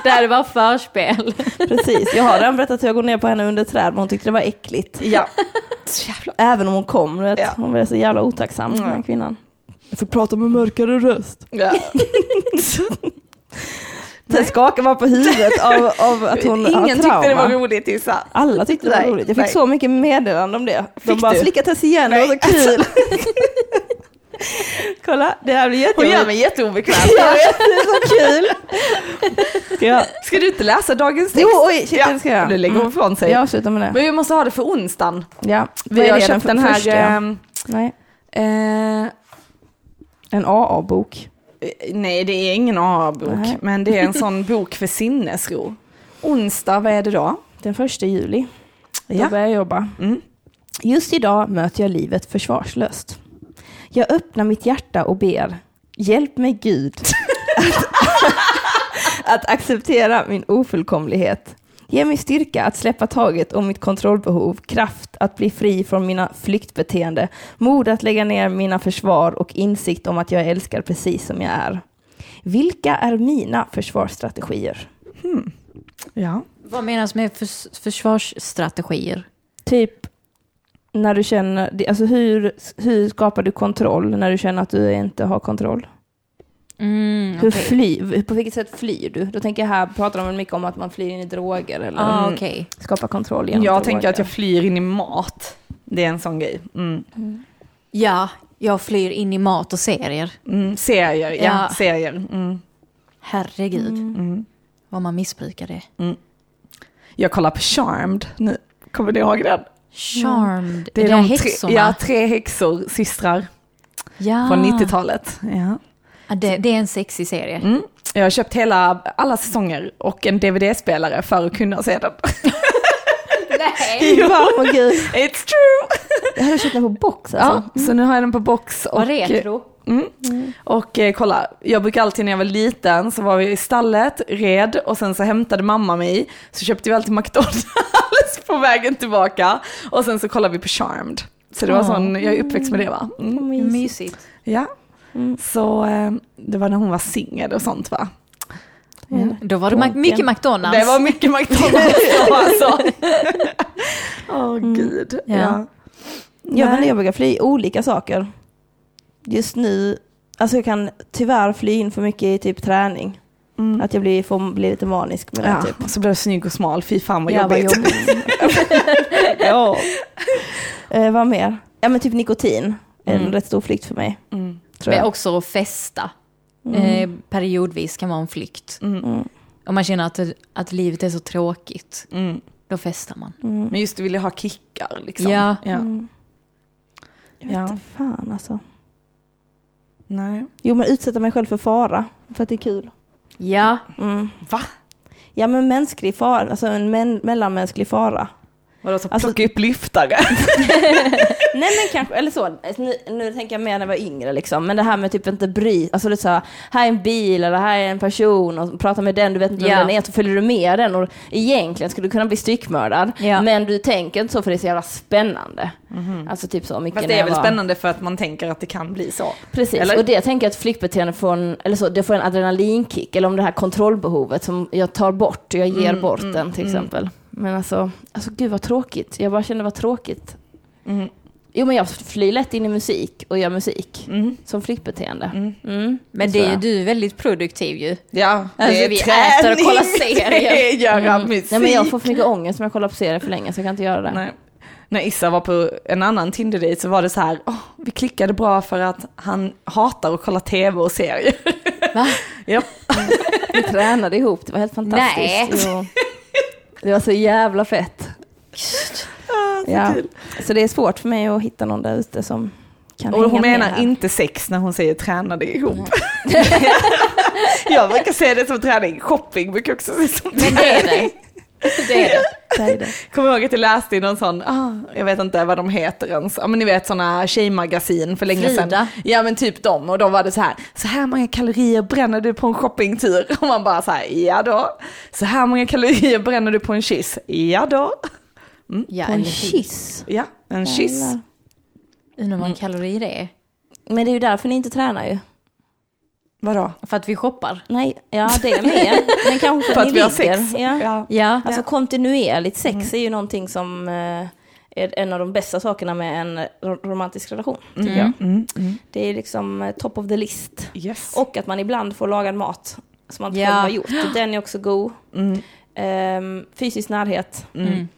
Speaker 3: Det här var förspel.
Speaker 2: Precis, jag har redan berättat hur jag går ner på henne under ett träd, men hon tyckte det var äckligt.
Speaker 1: eh, ja. Så jävla-
Speaker 2: Även om hon kom, du vet.
Speaker 1: Ja.
Speaker 2: hon blev så jävla otacksam den här
Speaker 1: Mm.
Speaker 2: kvinnan. Jag fick prata med mörkare röst.
Speaker 1: Ja.
Speaker 2: Sen skakar man på huvudet av, av att hon har
Speaker 1: Ingen tyckte det var
Speaker 2: trauma.
Speaker 1: roligt Tissa.
Speaker 2: Alla tyckte det var
Speaker 1: Nej,
Speaker 2: roligt. Jag fick
Speaker 1: nej.
Speaker 2: så mycket meddelanden om det. De
Speaker 1: Fick
Speaker 2: bara,
Speaker 1: du? alltså.
Speaker 2: slicka Tess igen, det var så kul. Kolla, det här blir
Speaker 1: Hon gör
Speaker 2: jätteroligt.
Speaker 1: mig jätteobekväm.
Speaker 2: Jag vet, det är så kul. Ska jag?
Speaker 1: Ska du inte läsa dagens text?
Speaker 2: Jo, oj, shit, det ska jag. Mm.
Speaker 1: Nu lägger hon ifrån sig.
Speaker 2: Jag avslutar med det.
Speaker 1: Men vi måste ha det för onsdagen.
Speaker 2: Ja. Vad
Speaker 1: Vi
Speaker 2: är
Speaker 1: har
Speaker 2: det
Speaker 1: köpt den
Speaker 2: för-
Speaker 1: här...
Speaker 2: första?
Speaker 1: ehm,
Speaker 2: Nej,
Speaker 1: eh,
Speaker 2: en AA-bok.
Speaker 1: nej, det är ingen
Speaker 2: Nej.
Speaker 1: AA-bok, men det är en sån bok för sinnesro. Onsdag, vad är det då?
Speaker 2: Den första juli. Då
Speaker 1: Ja.
Speaker 2: börjar jag jobba.
Speaker 1: Mm.
Speaker 2: Just idag möter jag livet försvarslöst. Jag öppnar mitt hjärta och ber, hjälp mig Gud att, att acceptera min ofullkomlighet. Ge mig styrka att släppa taget om mitt kontrollbehov, kraft att bli fri från mina flyktbeteende, mod att lägga ner mina försvar och insikt om att jag älskar precis som jag är. Vilka är mina försvarsstrategier?
Speaker 1: Ja.
Speaker 3: Vad menas med förs- försvarsstrategier?
Speaker 2: Typ när du känner, det- alltså hur, hur skapar du kontroll när du känner att du inte har kontroll?
Speaker 3: Mm,
Speaker 2: Hur fly, på vilket sätt flyr du? Då tänker jag här, pratar de väl mycket om att man flyr in i droger eller
Speaker 3: Ah, okej.
Speaker 2: skapar kontroll genom
Speaker 1: Jag
Speaker 2: droger.
Speaker 1: tänker att jag flyr in i mat. Det är en sån grej. Mm.
Speaker 3: Ja, jag flyr in i mat och serier.
Speaker 1: Mm. Serier, ja.
Speaker 3: Ja.
Speaker 1: Serier. Mm.
Speaker 3: Herregud,
Speaker 2: Mm.
Speaker 3: vad man missbrukar det.
Speaker 1: Jag kollar på Charmed nu. Kommer ni ihåg den?
Speaker 3: Charmed, det är, de häxorna.
Speaker 1: tre, ja, tre häxor, systrar
Speaker 3: Ja.
Speaker 1: från 90-talet. Ja.
Speaker 3: Ja, det, det är en sexig serie.
Speaker 1: Mm. Jag har köpt hela, alla säsonger och en DVD-spelare för att kunna se den.
Speaker 3: Nej.
Speaker 2: Åh oh, gud,
Speaker 1: It's true!
Speaker 2: jag hade köpt den på box
Speaker 1: Ja,
Speaker 2: alltså.
Speaker 1: så nu har jag den på box. Och,
Speaker 3: Vad retro.
Speaker 1: Mm. Och eh, kolla, jag brukar alltid när jag var liten så var vi i stallet, red och sen så hämtade mamma mig. Så köpte vi alltid McDonalds på vägen tillbaka. Och sen så kollade vi på Charmed. Så det var
Speaker 3: Åh.
Speaker 1: sån, jag är uppväxt med det va? Mm.
Speaker 3: Mysigt.
Speaker 1: Ja.
Speaker 2: Mm.
Speaker 1: Så eh, det var när hon var singel och sånt va?
Speaker 2: Mm.
Speaker 3: Då var det ma- mycket McDonalds.
Speaker 1: Det var mycket McDonalds då alltså. Åh gud.
Speaker 3: Ja.
Speaker 1: Ja.
Speaker 2: Jag, vet inte, jag brukar fly i olika saker. Just nu, alltså jag kan tyvärr fly in för mycket i typ träning.
Speaker 1: Mm.
Speaker 2: Att jag blir, får, blir lite manisk med det
Speaker 1: Ja,
Speaker 2: typ.
Speaker 1: och så blev du snygg och smal, fy fan vad
Speaker 2: Ja, vad
Speaker 1: jobbigt.
Speaker 2: ja. Eh, vad mer? Ja men typ nikotin är en rätt stor flykt för mig.
Speaker 1: Mm.
Speaker 2: Tror
Speaker 3: Men
Speaker 2: jag.
Speaker 3: också att festa. Eh, periodvis kan vara en flykt.
Speaker 1: Mm.
Speaker 2: Mm.
Speaker 3: Om man känner att, att livet är så tråkigt,
Speaker 1: Mm.
Speaker 3: då festar man.
Speaker 1: Men just du ville ha kickar liksom.
Speaker 3: Ja.
Speaker 1: ja.
Speaker 2: Mm. Jag vet
Speaker 1: Ja.
Speaker 2: inte fan alltså.
Speaker 1: Nej.
Speaker 2: Jo men utsätta mig själv för fara, för att det är kul.
Speaker 3: Ja,
Speaker 2: Mm.
Speaker 1: Va?
Speaker 2: Ja men mänsklig fara, alltså en men- mellanmänsklig fara.
Speaker 1: Vadå, så
Speaker 2: Alltså-
Speaker 1: plocka upp lyftare?
Speaker 2: Nej men kanske, eller så, Alltså, nu, nu tänker jag mer när jag var yngre liksom, men det här med typ inte bry, alltså det så här, här är en bil eller här är en person och prata med den, du vet inte vem
Speaker 3: Ja.
Speaker 2: den är, så följer du med den och egentligen skulle du kunna bli styckmördad,
Speaker 3: Ja.
Speaker 2: men du tänker inte så för det är så jävla spännande. Alltså typ så
Speaker 1: Mhm.
Speaker 2: mycket
Speaker 1: Fast
Speaker 2: när
Speaker 1: det är
Speaker 2: jag
Speaker 1: väl
Speaker 2: var-
Speaker 1: spännande för att man tänker att det kan bli så.
Speaker 2: Precis,
Speaker 1: Eller?
Speaker 2: och det tänker jag att flyktbeteende får en, eller så, det får en adrenalinkick, eller om det här kontrollbehovet som jag tar bort, jag ger
Speaker 1: Mm,
Speaker 2: bort den till exempel. Men alltså, alltså gud vad tråkigt, jag bara kände vad tråkigt.
Speaker 1: Mm.
Speaker 2: Jo men jag flyr lätt in i musik och gör musik
Speaker 1: Mm.
Speaker 2: som flyktbeteende.
Speaker 1: Mm.
Speaker 2: Mm,
Speaker 3: men
Speaker 2: tror
Speaker 3: det är ju
Speaker 2: jag.
Speaker 3: du är väldigt produktiv ju.
Speaker 1: Ja, det
Speaker 3: Alltså,
Speaker 1: är
Speaker 3: vi
Speaker 1: träning,
Speaker 3: äter och kollar
Speaker 1: Det är
Speaker 3: serier.
Speaker 1: göra
Speaker 2: Mm.
Speaker 1: musik.
Speaker 2: Nej men jag får för mycket ångest om jag kollar på serier för länge så jag kan inte göra det.
Speaker 1: Nej. När Issa var på en annan tinder så var det så här, "Åh, vi klickade bra för att han hatar att kolla tv och serier.
Speaker 3: Va?
Speaker 1: ja.
Speaker 2: Vi tränade ihop, det var helt fantastiskt.
Speaker 3: Nej.
Speaker 2: Jo. Det var så jävla fett. Ja. Så det är svårt för mig att hitta någon där ute som kan
Speaker 1: Och hon
Speaker 2: hänga med
Speaker 1: menar
Speaker 2: här.
Speaker 1: inte sex när hon säger tränade ihop. jag brukar se det som träning, shopping brukar jag också se som
Speaker 3: Men det är det. Det är det.
Speaker 2: Säg det.
Speaker 1: Kommer ihåg att jag läste i någon sån, ah, jag vet inte vad de heter ens, ja men ni vet såna tjejmagasin för länge sedan.
Speaker 3: Frida.
Speaker 1: Ja men typ dem, och då var det så här, så här många kalorier bränner du på en shoppingtur? Och man bara så här, ja då. Så här många kalorier bränner du på en kyss? Ja då.
Speaker 3: Ja,
Speaker 2: På en
Speaker 3: eller-
Speaker 2: kyss.
Speaker 1: Ja, en kyss.
Speaker 2: Jävlar.
Speaker 3: Undrar vad en kalori det är.
Speaker 2: Men det är ju därför ni inte tränar ju.
Speaker 1: Vadå?
Speaker 3: För att vi shoppar.
Speaker 2: Nej, ja det är med. Men kanske
Speaker 1: För
Speaker 2: ni
Speaker 1: att vi har
Speaker 2: ligger.
Speaker 1: sex.
Speaker 2: Ja.
Speaker 1: Ja. Mm.
Speaker 3: Ja.
Speaker 2: Alltså kontinuerligt sex är ju någonting som eh, är en av de bästa sakerna med en ro- romantisk relation. Tycker jag.
Speaker 1: Mm, mm.
Speaker 2: Det är liksom eh, top of the list.
Speaker 1: Yes.
Speaker 2: Och att man ibland får lagad mat som man inte
Speaker 3: Ja.
Speaker 2: själv har gjort. Den är också god.
Speaker 1: Mm.
Speaker 2: Ehm, fysisk närhet.
Speaker 3: Mm.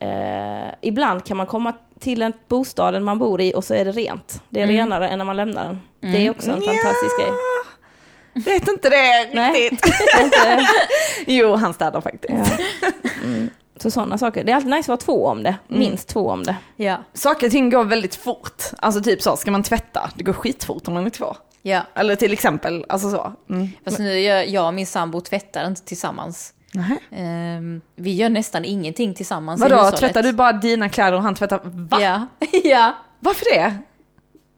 Speaker 2: Eh, ibland kan man komma till en bostaden man bor i och så är det rent. Det är
Speaker 1: Mm.
Speaker 2: renare än när man lämnar den. Det är också en fantastisk grej.
Speaker 1: Ja, Vet inte det
Speaker 2: Nej.
Speaker 1: riktigt. jo, han städar faktiskt.
Speaker 2: Mm. Så sådana saker. Det är alltid nice att vara två om det.
Speaker 1: Mm.
Speaker 2: Minst två om det.
Speaker 3: Ja.
Speaker 1: Saker och ting går väldigt fort. Alltså typ så, ska man tvätta? Det går skitfort om man är två.
Speaker 3: ja.
Speaker 1: Eller till exempel, alltså så. Mm.
Speaker 3: Fast nu gör jag och min sambo tvättar inte tillsammans. Ehm, vi gör nästan ingenting tillsammans
Speaker 2: Alltså,
Speaker 3: i
Speaker 1: Vadå,
Speaker 3: hushållet.
Speaker 1: tvättar du bara dina kläder och han tvättar? Va?
Speaker 3: Ja. ja.
Speaker 1: Varför det?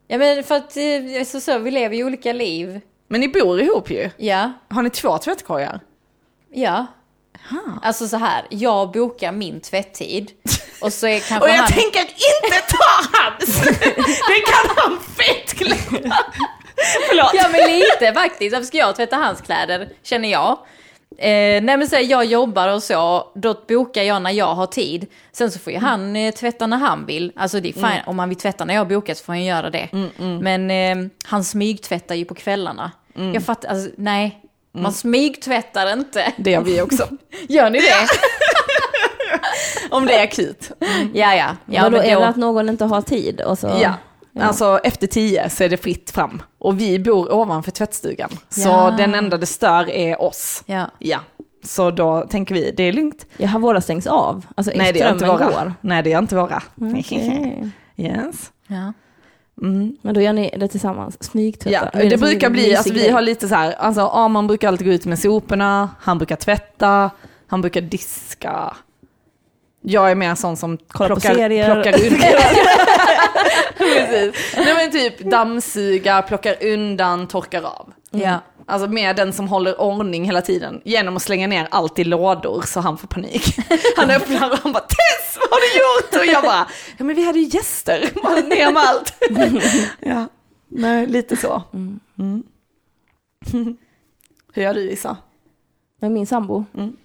Speaker 3: Ja men för att eh, så, så, vi lever ju olika liv.
Speaker 1: Men ni bor ihop ju.
Speaker 3: Ja.
Speaker 1: Har ni två tvättkorgar?
Speaker 3: Ja. Alltså så här, jag bokar min tvätttid och så är kanske
Speaker 1: Och jag
Speaker 3: han...
Speaker 1: tänker inte ta hans! Det kan han fett glömma! Förlåt.
Speaker 3: Ja men lite faktiskt, varför ska jag tvätta hans kläder känner jag. Eh, nej men så här, jag jobbar och så, då bokar jag när jag har tid. Sen så får ju han eh, tvätta när han vill. Alltså det är fine,
Speaker 1: Mm.
Speaker 3: om han vill tvätta när jag bokar så får han göra det. Men eh, han smygtvättar ju på kvällarna.
Speaker 1: Mm.
Speaker 3: Jag fattar, alltså nej. Man smygtvättar inte.
Speaker 1: Det gör vi också.
Speaker 3: Gör ni det?
Speaker 1: Om det är akut.
Speaker 3: Ja, ja. ja
Speaker 2: Vadå,
Speaker 3: men
Speaker 2: är
Speaker 3: då-
Speaker 2: det att någon inte har tid? Och så...
Speaker 1: Ja. Alltså efter tio så är det fritt fram. Och vi bor ovanför tvättstugan. Så
Speaker 3: Ja.
Speaker 1: den enda det stör är oss.
Speaker 3: Ja.
Speaker 1: Ja. Så då tänker vi, det är lugnt.
Speaker 2: Jaha, våra stängs av? Alltså,
Speaker 1: Nej det är inte
Speaker 2: strömmen
Speaker 1: våra.
Speaker 2: går?
Speaker 1: Nej det är inte våra.
Speaker 2: Okej.
Speaker 1: Yes. Mm.
Speaker 3: ja.
Speaker 2: Men då gör ni det tillsammans? Smygtvättar?
Speaker 1: Ja, det, brukar bli, alltså, vi har lite så här, alltså Arman brukar alltid gå ut med soporna, han brukar tvätta, han brukar diska. Jag är mer sån som
Speaker 2: Kollar på
Speaker 1: plockar,
Speaker 2: serier.
Speaker 1: plockar undan. Precis. Nej men typ dammsuga, plockar undan, torkar av.
Speaker 3: Ja.
Speaker 1: Alltså med den som håller ordning hela tiden genom att slänga ner allt i lådor så han får panik. Han öppnar och han bara Tess, vad har du gjort? Och jag bara, ja men vi hade ju gäster, bara ner med allt. ja, nej lite så. Mm. Hur gör du Isa?
Speaker 2: Med min sambo?
Speaker 1: Mm.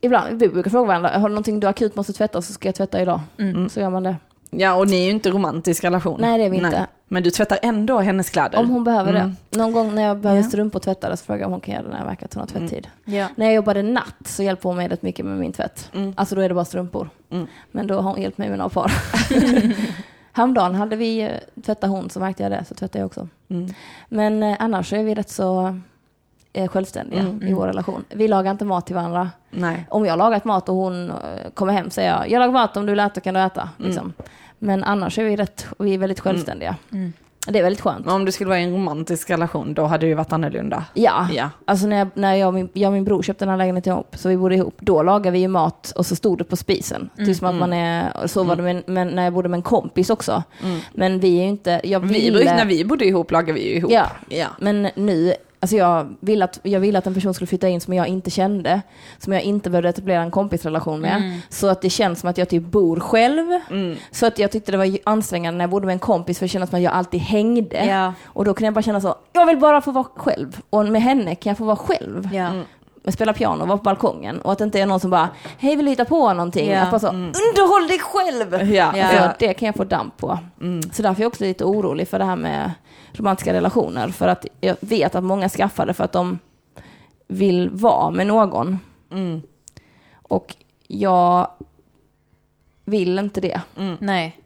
Speaker 2: Ibland, vi brukar fråga varandra, har du någonting du akut måste tvätta så ska jag tvätta idag.
Speaker 3: Mm.
Speaker 2: Så gör man det.
Speaker 1: Ja och ni är ju inte i romantisk relation.
Speaker 2: Nej, det är vi inte.
Speaker 1: Men du tvättar ändå hennes kläder.
Speaker 2: Om hon behöver
Speaker 1: Mm.
Speaker 2: det. Någon gång när jag behöver
Speaker 1: Ja.
Speaker 2: strumpor tvättade så frågar jag om hon kan göra det när jag verkar att hon har tvättid.
Speaker 3: Ja.
Speaker 2: När jag jobbade natt så hjälper hon mig rätt mycket med min tvätt. Alltså då är det bara strumpor.
Speaker 1: Mm.
Speaker 2: Men då har hon hjälpt mig med några par. Häromdagen hade vi eh, tvättat hon så märkte jag det, så tvättade jag också.
Speaker 1: Mm.
Speaker 2: Men eh, annars så är vi rätt så eh, självständiga i vår relation. Vi lagar inte mat till varandra.
Speaker 1: Nej.
Speaker 2: Om jag lagat mat och hon eh, kommer hem säger jag, jag lagar mat om du vill äta kan du äta.
Speaker 1: Mm.
Speaker 2: Liksom. Men annars är vi, rätt, vi är väldigt självständiga.
Speaker 3: Mm.
Speaker 2: Det är väldigt skönt.
Speaker 1: Men om du skulle vara i en romantisk relation då hade det ju varit annorlunda.
Speaker 2: Ja.
Speaker 1: Ja.
Speaker 2: Alltså när, jag, när jag, och min, jag och min bror köpte den här lägenheten ihop, så vi bodde ihop, då lagade vi ju mat och så stod det på spisen.
Speaker 1: Mm.
Speaker 2: Tills man, man är, så var det med, men när jag bodde med en kompis också. Men vi är ju inte, jag
Speaker 1: Mm. Vi,
Speaker 2: ville,
Speaker 1: brukar- när vi bodde ihop lagade vi ju ihop.
Speaker 2: Ja.
Speaker 1: ja.
Speaker 2: men nu, alltså jag ville, att, jag ville att en person skulle flytta in som jag inte kände, som jag inte behövde etablera en kompisrelation med.
Speaker 1: Mm.
Speaker 2: Så att det känns som att jag typ bor själv. Så att jag tyckte det var ju ansträngande när jag bodde med en kompis för det kändes som att jag alltid hängde.
Speaker 3: Ja.
Speaker 2: Och då kunde jag bara känna så, jag vill bara få vara själv. Och med henne kan jag få vara själv
Speaker 3: Ja.
Speaker 2: men spela piano, vara på balkongen och att det inte är någon som bara, hej vill du hitta på någonting?
Speaker 3: Ja. Mm.
Speaker 2: Att bara så, underhåll dig själv!
Speaker 1: Ja. Mm.
Speaker 3: Ja.
Speaker 2: Alltså, det kan jag få damp på. Så därför är jag också lite orolig för det här med romantiska relationer. För att jag vet att många skaffar det för att de vill vara med någon.
Speaker 1: Mm.
Speaker 2: Och jag vill inte det.
Speaker 3: Nej.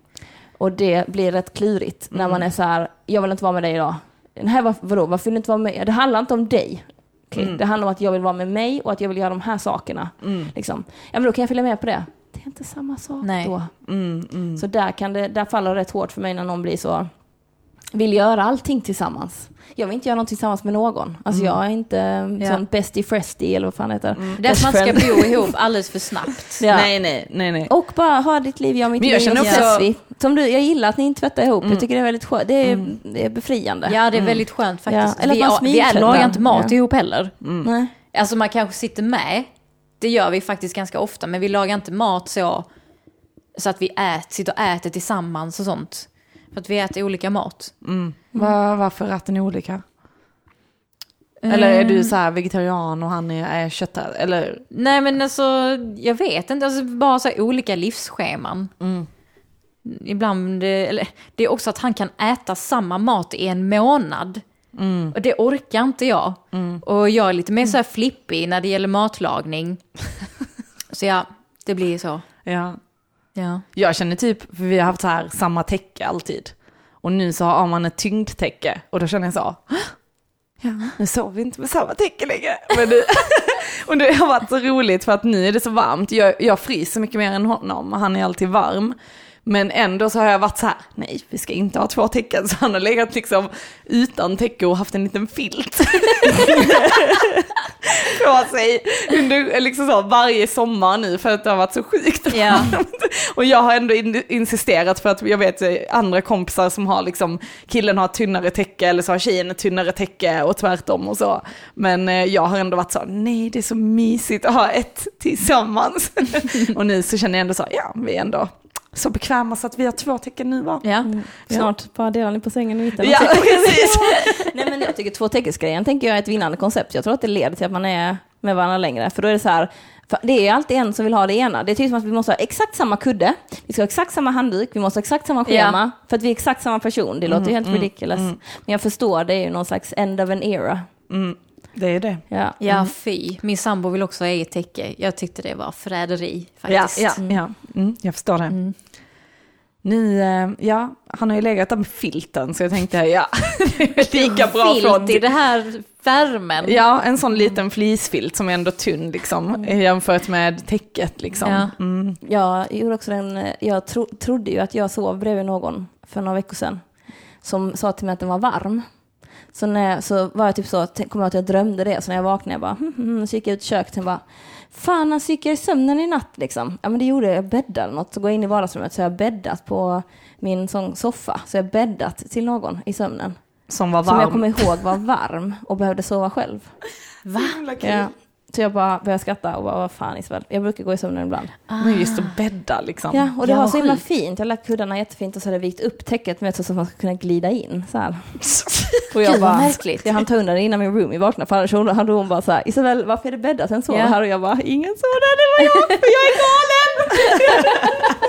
Speaker 2: Och det blir rätt klurigt
Speaker 3: Mm.
Speaker 2: när man är så här, jag vill inte vara med dig idag. Nej, var, vadå, varför vill du inte vara med? Det handlar inte om dig. Okej,
Speaker 3: Mm.
Speaker 2: Det handlar om att jag vill vara med mig och att jag vill göra de här sakerna.
Speaker 1: Mm.
Speaker 2: Liksom. Ja, men då kan jag följa med på det. Det är inte samma sak
Speaker 3: Nej. Mm.
Speaker 2: då.
Speaker 1: Mm.
Speaker 2: Så där, kan det, där faller det rätt hårt för mig när någon blir så, vill göra allting tillsammans. Jag vill inte göra någonting tillsammans med någon. Alltså jag är inte
Speaker 3: Mm. Ja. Mm.
Speaker 2: sån bestie frestie eller vad fan det heter.
Speaker 3: Det är att
Speaker 2: Best
Speaker 3: man ska
Speaker 2: friend.
Speaker 3: bo ihop alldeles för snabbt.
Speaker 2: Ja.
Speaker 1: Nej, nej, nej, nej.
Speaker 2: Och bara ha ditt liv, jag och mitt
Speaker 1: Men jag
Speaker 2: liv.
Speaker 1: känner
Speaker 2: och så
Speaker 1: också- Mm.
Speaker 2: ses vi. Som du, jag gillar att ni inte tvättar ihop. Jag tycker det är väldigt skönt. Det är, det är befriande.
Speaker 3: Ja, det är väldigt skönt faktiskt.
Speaker 2: Ja, eller att
Speaker 3: vi,
Speaker 2: man
Speaker 3: ja, vi är-
Speaker 2: smygtvättar.
Speaker 3: lagar inte mat
Speaker 2: Ja.
Speaker 3: ihop heller.
Speaker 1: Mm.
Speaker 2: Nej.
Speaker 3: Alltså man kanske sitter med, det gör vi faktiskt ganska ofta, men vi lagar inte mat så, så att vi ät, sitter och äter tillsammans och sånt. För att vi äter olika mat.
Speaker 1: Va, varför äter ni olika? Eller är du så här vegetarian och han är, är köttare? Eller?
Speaker 3: Nej men alltså, jag vet inte, alltså, bara så här olika livsscheman. Ibland, eh, eller det är också att han kan äta samma mat i en månad. Och det orkar inte jag. Och jag är lite mer så här flippig när det gäller matlagning. så ja, det blir så.
Speaker 1: Ja.
Speaker 3: Ja.
Speaker 1: Jag känner typ, för vi har haft så här samma täcke alltid. Och nu så har man ett tyngdtäcke och då känner jag så, "Hå? ja, nu sover vi inte med samma täcke längre. Men nu, och det har varit så roligt för att nu är det så varmt, jag, jag fryser mycket mer än honom och han är alltid varm. Men ändå så har jag varit så här, nej vi ska inte ha två tecken. Så han har legat liksom utan täcke och haft en liten filt på sig under liksom så, varje sommar nu för att det har varit så sjukt
Speaker 3: Ja.
Speaker 1: varmt. Och jag har ändå in, insisterat för att jag vet eh, andra kompisar som har liksom, killen har ett tunnare täcke eller så har tjejen ett tunnare täcke och tvärtom och så. Men eh, jag har ändå varit så, nej det är så mysigt att ha ett tillsammans. och nu så känner jag ändå så, ja vi är ändå så bekväma så att vi har två tecken nu va?
Speaker 3: Ja.
Speaker 2: Mm.
Speaker 4: Snart bara delar ni på sängen i mitten.
Speaker 1: Ja, precis.
Speaker 2: Nej men jag tycker två teckensgrejen tänker jag är ett vinnande koncept. Jag tror att det leder till att man är med varandra längre. För då är det så här, för det är alltid en som vill ha det ena. Det är typ som att vi måste ha exakt samma kudde, vi ska ha exakt samma handduk, vi måste ha exakt samma schema. För att vi är exakt samma person. Det
Speaker 1: Mm.
Speaker 2: låter ju helt ridiculous. Men jag förstår, det är ju någon slags end of an era.
Speaker 1: Mm, Det är det.
Speaker 2: Ja.
Speaker 3: Ja, fy. Mm. Min sambo vill också ha eget täcke. Jag tyckte det var förräderi
Speaker 1: Ja,
Speaker 3: faktiskt.
Speaker 1: ja, ja. Mm, jag förstår det. Ni, eh, ja, han har ju legat där med filten så jag tänkte ja, det är lika bra från
Speaker 3: Filt i det här värmen.
Speaker 1: Ja, en sån liten fleecefilt som är ändå tunn liksom jämfört med täcket liksom.
Speaker 3: Ja.
Speaker 1: Mm.
Speaker 2: Jag gjorde också den, jag tro, trodde ju att jag sov bredvid någon för några veckor sedan som sa till mig att den var varm. Så, när jag, så var jag typ så, tänk- kom jag ihåg att jag drömde det, så när jag vaknade jag bara, hm, hm, hm, så gick jag ut i köket och bara, fan alltså gick jag i sömnen i natt liksom? Ja men det gjorde jag, jag bäddade eller något, så går jag in i vardagsrummet så har jag bäddat på min sån soffa, så jag har bäddat till någon i sömnen.
Speaker 1: Som var
Speaker 2: Som
Speaker 1: varm.
Speaker 2: jag kommer ihåg var varm och behövde sova själv.
Speaker 3: Va?
Speaker 2: Ja. Så jag bara började skratta och bara, vad fan Isabel, jag brukar gå i sömnen ibland.
Speaker 1: Men just att bädda liksom.
Speaker 2: Ja, och det
Speaker 3: Ja,
Speaker 2: var så himla
Speaker 3: sjukt.
Speaker 2: fint. Jag lade kuddarna jättefint och så hade jag vikt upp täcket med så att man skulle kunna glida in så här. Och
Speaker 3: Gud,
Speaker 2: jag
Speaker 3: vad
Speaker 2: bara,
Speaker 3: märkligt.
Speaker 2: jag hann ta undan det innan min roomie vaknade för annars hon- hade hon bara så här, Isabel varför är det bäddat? Sen sover
Speaker 3: Ja.
Speaker 2: här och jag bara, ingen sover där, det var jag, för jag är galen!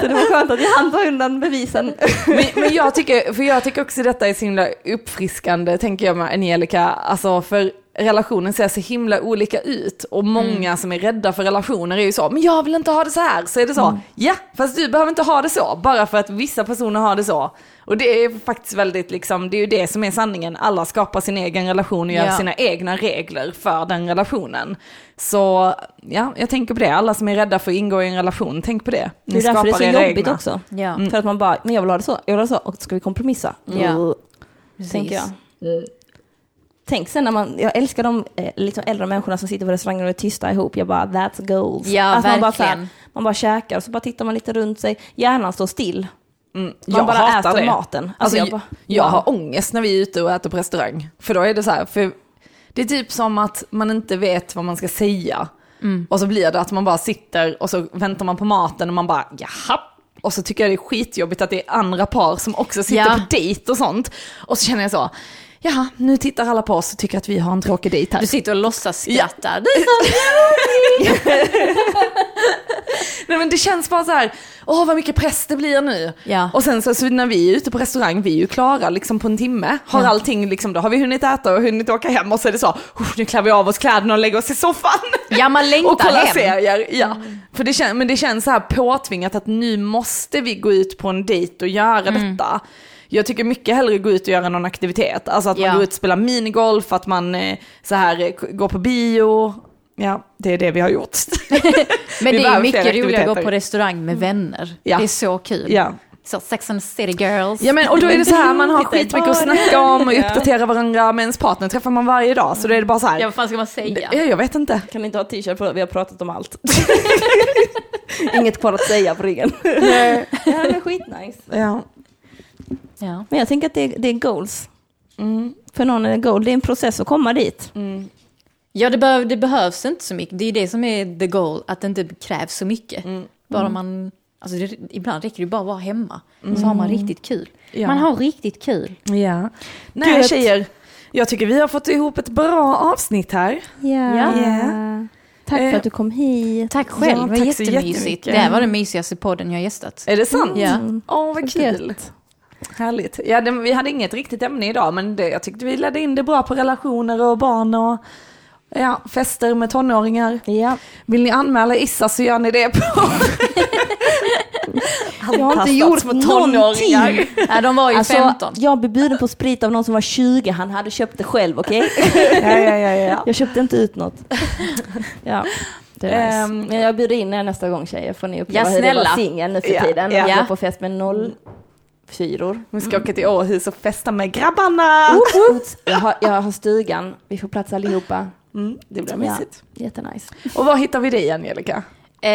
Speaker 2: så det var skönt att jag hann ta undan bevisen.
Speaker 1: men, men jag tycker, för jag tycker också detta är så himla uppfriskande, tänker jag med Angelica, alltså för relationen ser så himla olika ut och
Speaker 2: Mm.
Speaker 1: många som är rädda för relationer är ju så, men jag vill inte ha det så här, så är det så,
Speaker 2: Mm.
Speaker 1: ja, fast du behöver inte ha det så, bara för att vissa personer har det så. Och det är faktiskt väldigt liksom, det är ju det som är sanningen, alla skapar sin egen relation och gör
Speaker 3: Ja.
Speaker 1: sina egna regler för den relationen. Så ja, jag tänker på det, alla som är rädda för att ingå i en relation, tänk på det.
Speaker 2: Det är därför det är så
Speaker 1: era
Speaker 2: jobbigt
Speaker 1: egna.
Speaker 2: också.
Speaker 3: Ja,
Speaker 2: För att man bara, men jag vill ha det så, jag vill ha det så, och ska vi kompromissa?
Speaker 3: Ja.
Speaker 2: Precis.
Speaker 3: precis.
Speaker 2: tänker jag.
Speaker 1: Mm.
Speaker 2: Tänk sen när man, jag älskar de eh, liksom äldre människorna som sitter på restauranger och är tysta ihop. Jag bara, that's goals. Alltså,
Speaker 3: Ja,
Speaker 2: man, bara, så här,
Speaker 3: verkligen.
Speaker 2: man bara käkar och så bara tittar man lite runt sig. Hjärnan står still. Man
Speaker 1: Mm, jag
Speaker 2: bara
Speaker 1: hatar
Speaker 2: äter
Speaker 1: det.
Speaker 2: maten.
Speaker 1: Alltså,
Speaker 2: Alltså,
Speaker 1: jag,
Speaker 2: jag bara-
Speaker 1: jag
Speaker 2: ja.
Speaker 1: har ångest när vi är ute och äter på restaurang. För då är det så här, för det är typ som att man inte vet vad man ska säga. Och så blir det att man bara sitter och så väntar man på maten och man bara jaha. Och så tycker jag det är skitjobbigt att det är andra par som också sitter
Speaker 3: Ja.
Speaker 1: på dejt och sånt. Och så känner jag så, jaha, nu tittar alla på oss och tycker att vi har en tråkig dejt här.
Speaker 3: Du sitter och låtsas skratta.
Speaker 1: Nej men det känns bara så här, åh vad mycket press det blir nu.
Speaker 3: Ja.
Speaker 1: Och sen så, så när vi är ute på restaurang, vi är ju klara liksom på en timme. Har allting liksom, då har vi hunnit äta och hunnit åka hem och så är det så, "Oh, nu klär vi av oss kläderna och lägger oss i soffan.
Speaker 3: Ja, man längtar
Speaker 1: och kollar
Speaker 3: hem. Mm.
Speaker 1: serier. Ja. För det kän, men det känns så här påtvingat att nu måste vi gå ut på en dejt och göra
Speaker 3: Mm.
Speaker 1: detta. Jag tycker mycket hellre gå ut och göra någon aktivitet. Alltså att
Speaker 3: Ja.
Speaker 1: man går ut och spelar minigolf, att man eh, så här eh, k- går på bio. Ja, det är det vi har gjort.
Speaker 3: Men
Speaker 1: Vi
Speaker 3: det är
Speaker 1: behöver
Speaker 3: ju mycket
Speaker 1: fler
Speaker 3: roligare att
Speaker 1: aktiviteter.
Speaker 3: gå
Speaker 1: Mm.
Speaker 3: på restaurang med vänner.
Speaker 1: Ja.
Speaker 3: Det är så kul.
Speaker 1: ja.
Speaker 3: Så Sex and the City Girls.
Speaker 1: Ja men och då är det så här, man har
Speaker 2: Titta i
Speaker 1: skitmycket att
Speaker 2: baren.
Speaker 1: snacka om och uppdatera varandra med ens partner träffar man varje dag så då är det bara så här.
Speaker 3: Ja, vad fan ska man säga?
Speaker 1: Ja, jag vet inte.
Speaker 2: Kan inte ha t-shirt på, vi har pratat om allt. Inget kvar att säga på ryggen. ja, men skitnice.
Speaker 1: Ja.
Speaker 3: Ja.
Speaker 2: Men jag tänker att det är, det är goals.
Speaker 1: Mm.
Speaker 2: För någon är det goal, det är en process att komma dit.
Speaker 3: Mm. Ja, det, behöv, det behövs inte så mycket. Det är det som är the goal, att det inte krävs så
Speaker 1: Mm.
Speaker 3: mycket. Bara man, alltså det, ibland räcker det bara att vara hemma, så har man riktigt kul.
Speaker 1: Mm. Ja.
Speaker 3: Man har riktigt kul.
Speaker 1: ja. Nej
Speaker 3: Gud.
Speaker 1: tjejer, jag tycker vi har fått ihop ett bra avsnitt här.
Speaker 2: Ja.
Speaker 1: Ja.
Speaker 2: Tack
Speaker 1: Eh,
Speaker 2: för att du kom hit.
Speaker 3: Tack själv, det var
Speaker 1: tack så
Speaker 3: jättemysigt.
Speaker 1: jättemycket.
Speaker 3: Det här var den mysigaste podden jag gästat.
Speaker 1: Är det sant?
Speaker 3: Ja.
Speaker 1: Åh vad
Speaker 2: Så
Speaker 1: kul. Härligt. Ja, det, vi hade inget riktigt ämne idag men det, jag tyckte vi ledde in det bra på relationer och barn och ja, fester med tonåringar.
Speaker 2: Ja.
Speaker 1: Vill ni anmäla Issa så gör ni det på...
Speaker 2: Jag har inte gjort någonting.
Speaker 3: Nej, de var ju
Speaker 2: Alltså,
Speaker 3: 15.
Speaker 2: jag blev bjuden på sprit av någon som var 20, han hade köpt det själv, okej?
Speaker 1: Ja, ja, ja, ja.
Speaker 2: Jag köpte inte ut något. Ja,
Speaker 4: Det är nice.
Speaker 1: Ehm,
Speaker 2: Men jag bjuder in er nästa gång tjejer, får ni uppleva
Speaker 3: Ja,
Speaker 2: hur det var
Speaker 3: snälla.
Speaker 2: singel nu för
Speaker 1: Ja,
Speaker 2: tiden.
Speaker 1: ja.
Speaker 2: Jag går på fest med noll fyror.
Speaker 1: vi ska åka till Åhus och festa med grabbarna.
Speaker 2: Jag har, jag har stugan, vi får plats allihopa.
Speaker 1: Mm, det blir
Speaker 2: Ja,
Speaker 1: mysigt.
Speaker 2: jättenice.
Speaker 1: Och var hittar vi dig Angelica?
Speaker 3: Eh,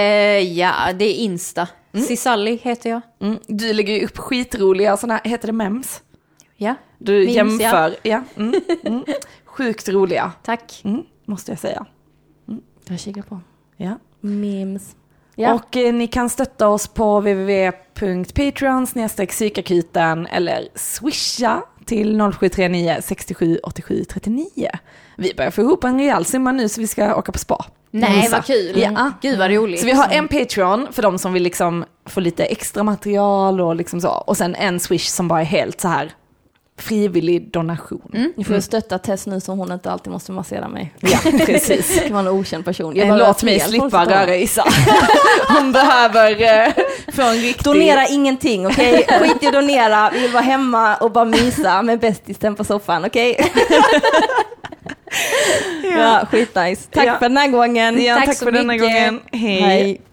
Speaker 3: ja, det är Insta. Cisalli heter jag.
Speaker 1: Mm, du lägger ju upp skitroliga sådana här, heter det mems?
Speaker 3: Ja,
Speaker 1: Du
Speaker 3: Memes, ja.
Speaker 1: jämför, ja. Mm, mm. Sjukt roliga,
Speaker 3: tack.
Speaker 1: mm, måste jag säga.
Speaker 2: Jag kikar på.
Speaker 1: Ja.
Speaker 2: Memes. Ja.
Speaker 1: Och eh, ni kan stötta oss på www.patreon psykakuten eller swisha till 0739 67 87 39. Vi börjar få ihop en rejäl summa nu så vi ska åka på spa.
Speaker 3: Nej,
Speaker 1: Insta.
Speaker 3: vad kul.
Speaker 1: Ja.
Speaker 3: Gud vad roligt.
Speaker 1: Så vi har en Patreon för de som vill liksom få lite extra material och liksom så. Och sen en Swish som bara är helt så här frivillig donation. Mm.
Speaker 2: Ni får stötta Tess nu så hon inte alltid måste massera mig.
Speaker 1: Ja, precis.
Speaker 2: Det kan vara en okänd person.
Speaker 1: Eh,
Speaker 2: bara
Speaker 1: Låt
Speaker 2: rör
Speaker 1: mig
Speaker 2: fel folk
Speaker 1: slippa
Speaker 2: som tar-
Speaker 1: röra Issa. Hon behöver eh, få en riktig...
Speaker 2: Typ Donera ingenting, okej? Skit i att donera, vi vill vara hemma och bara mysa med bästisen på soffan, okej? ja, skitnice. Tack
Speaker 1: Ja.
Speaker 2: för den här gången.
Speaker 1: Ja, tack,
Speaker 3: så
Speaker 1: för denna
Speaker 3: mycket.
Speaker 1: gången. Hej.
Speaker 2: Hej.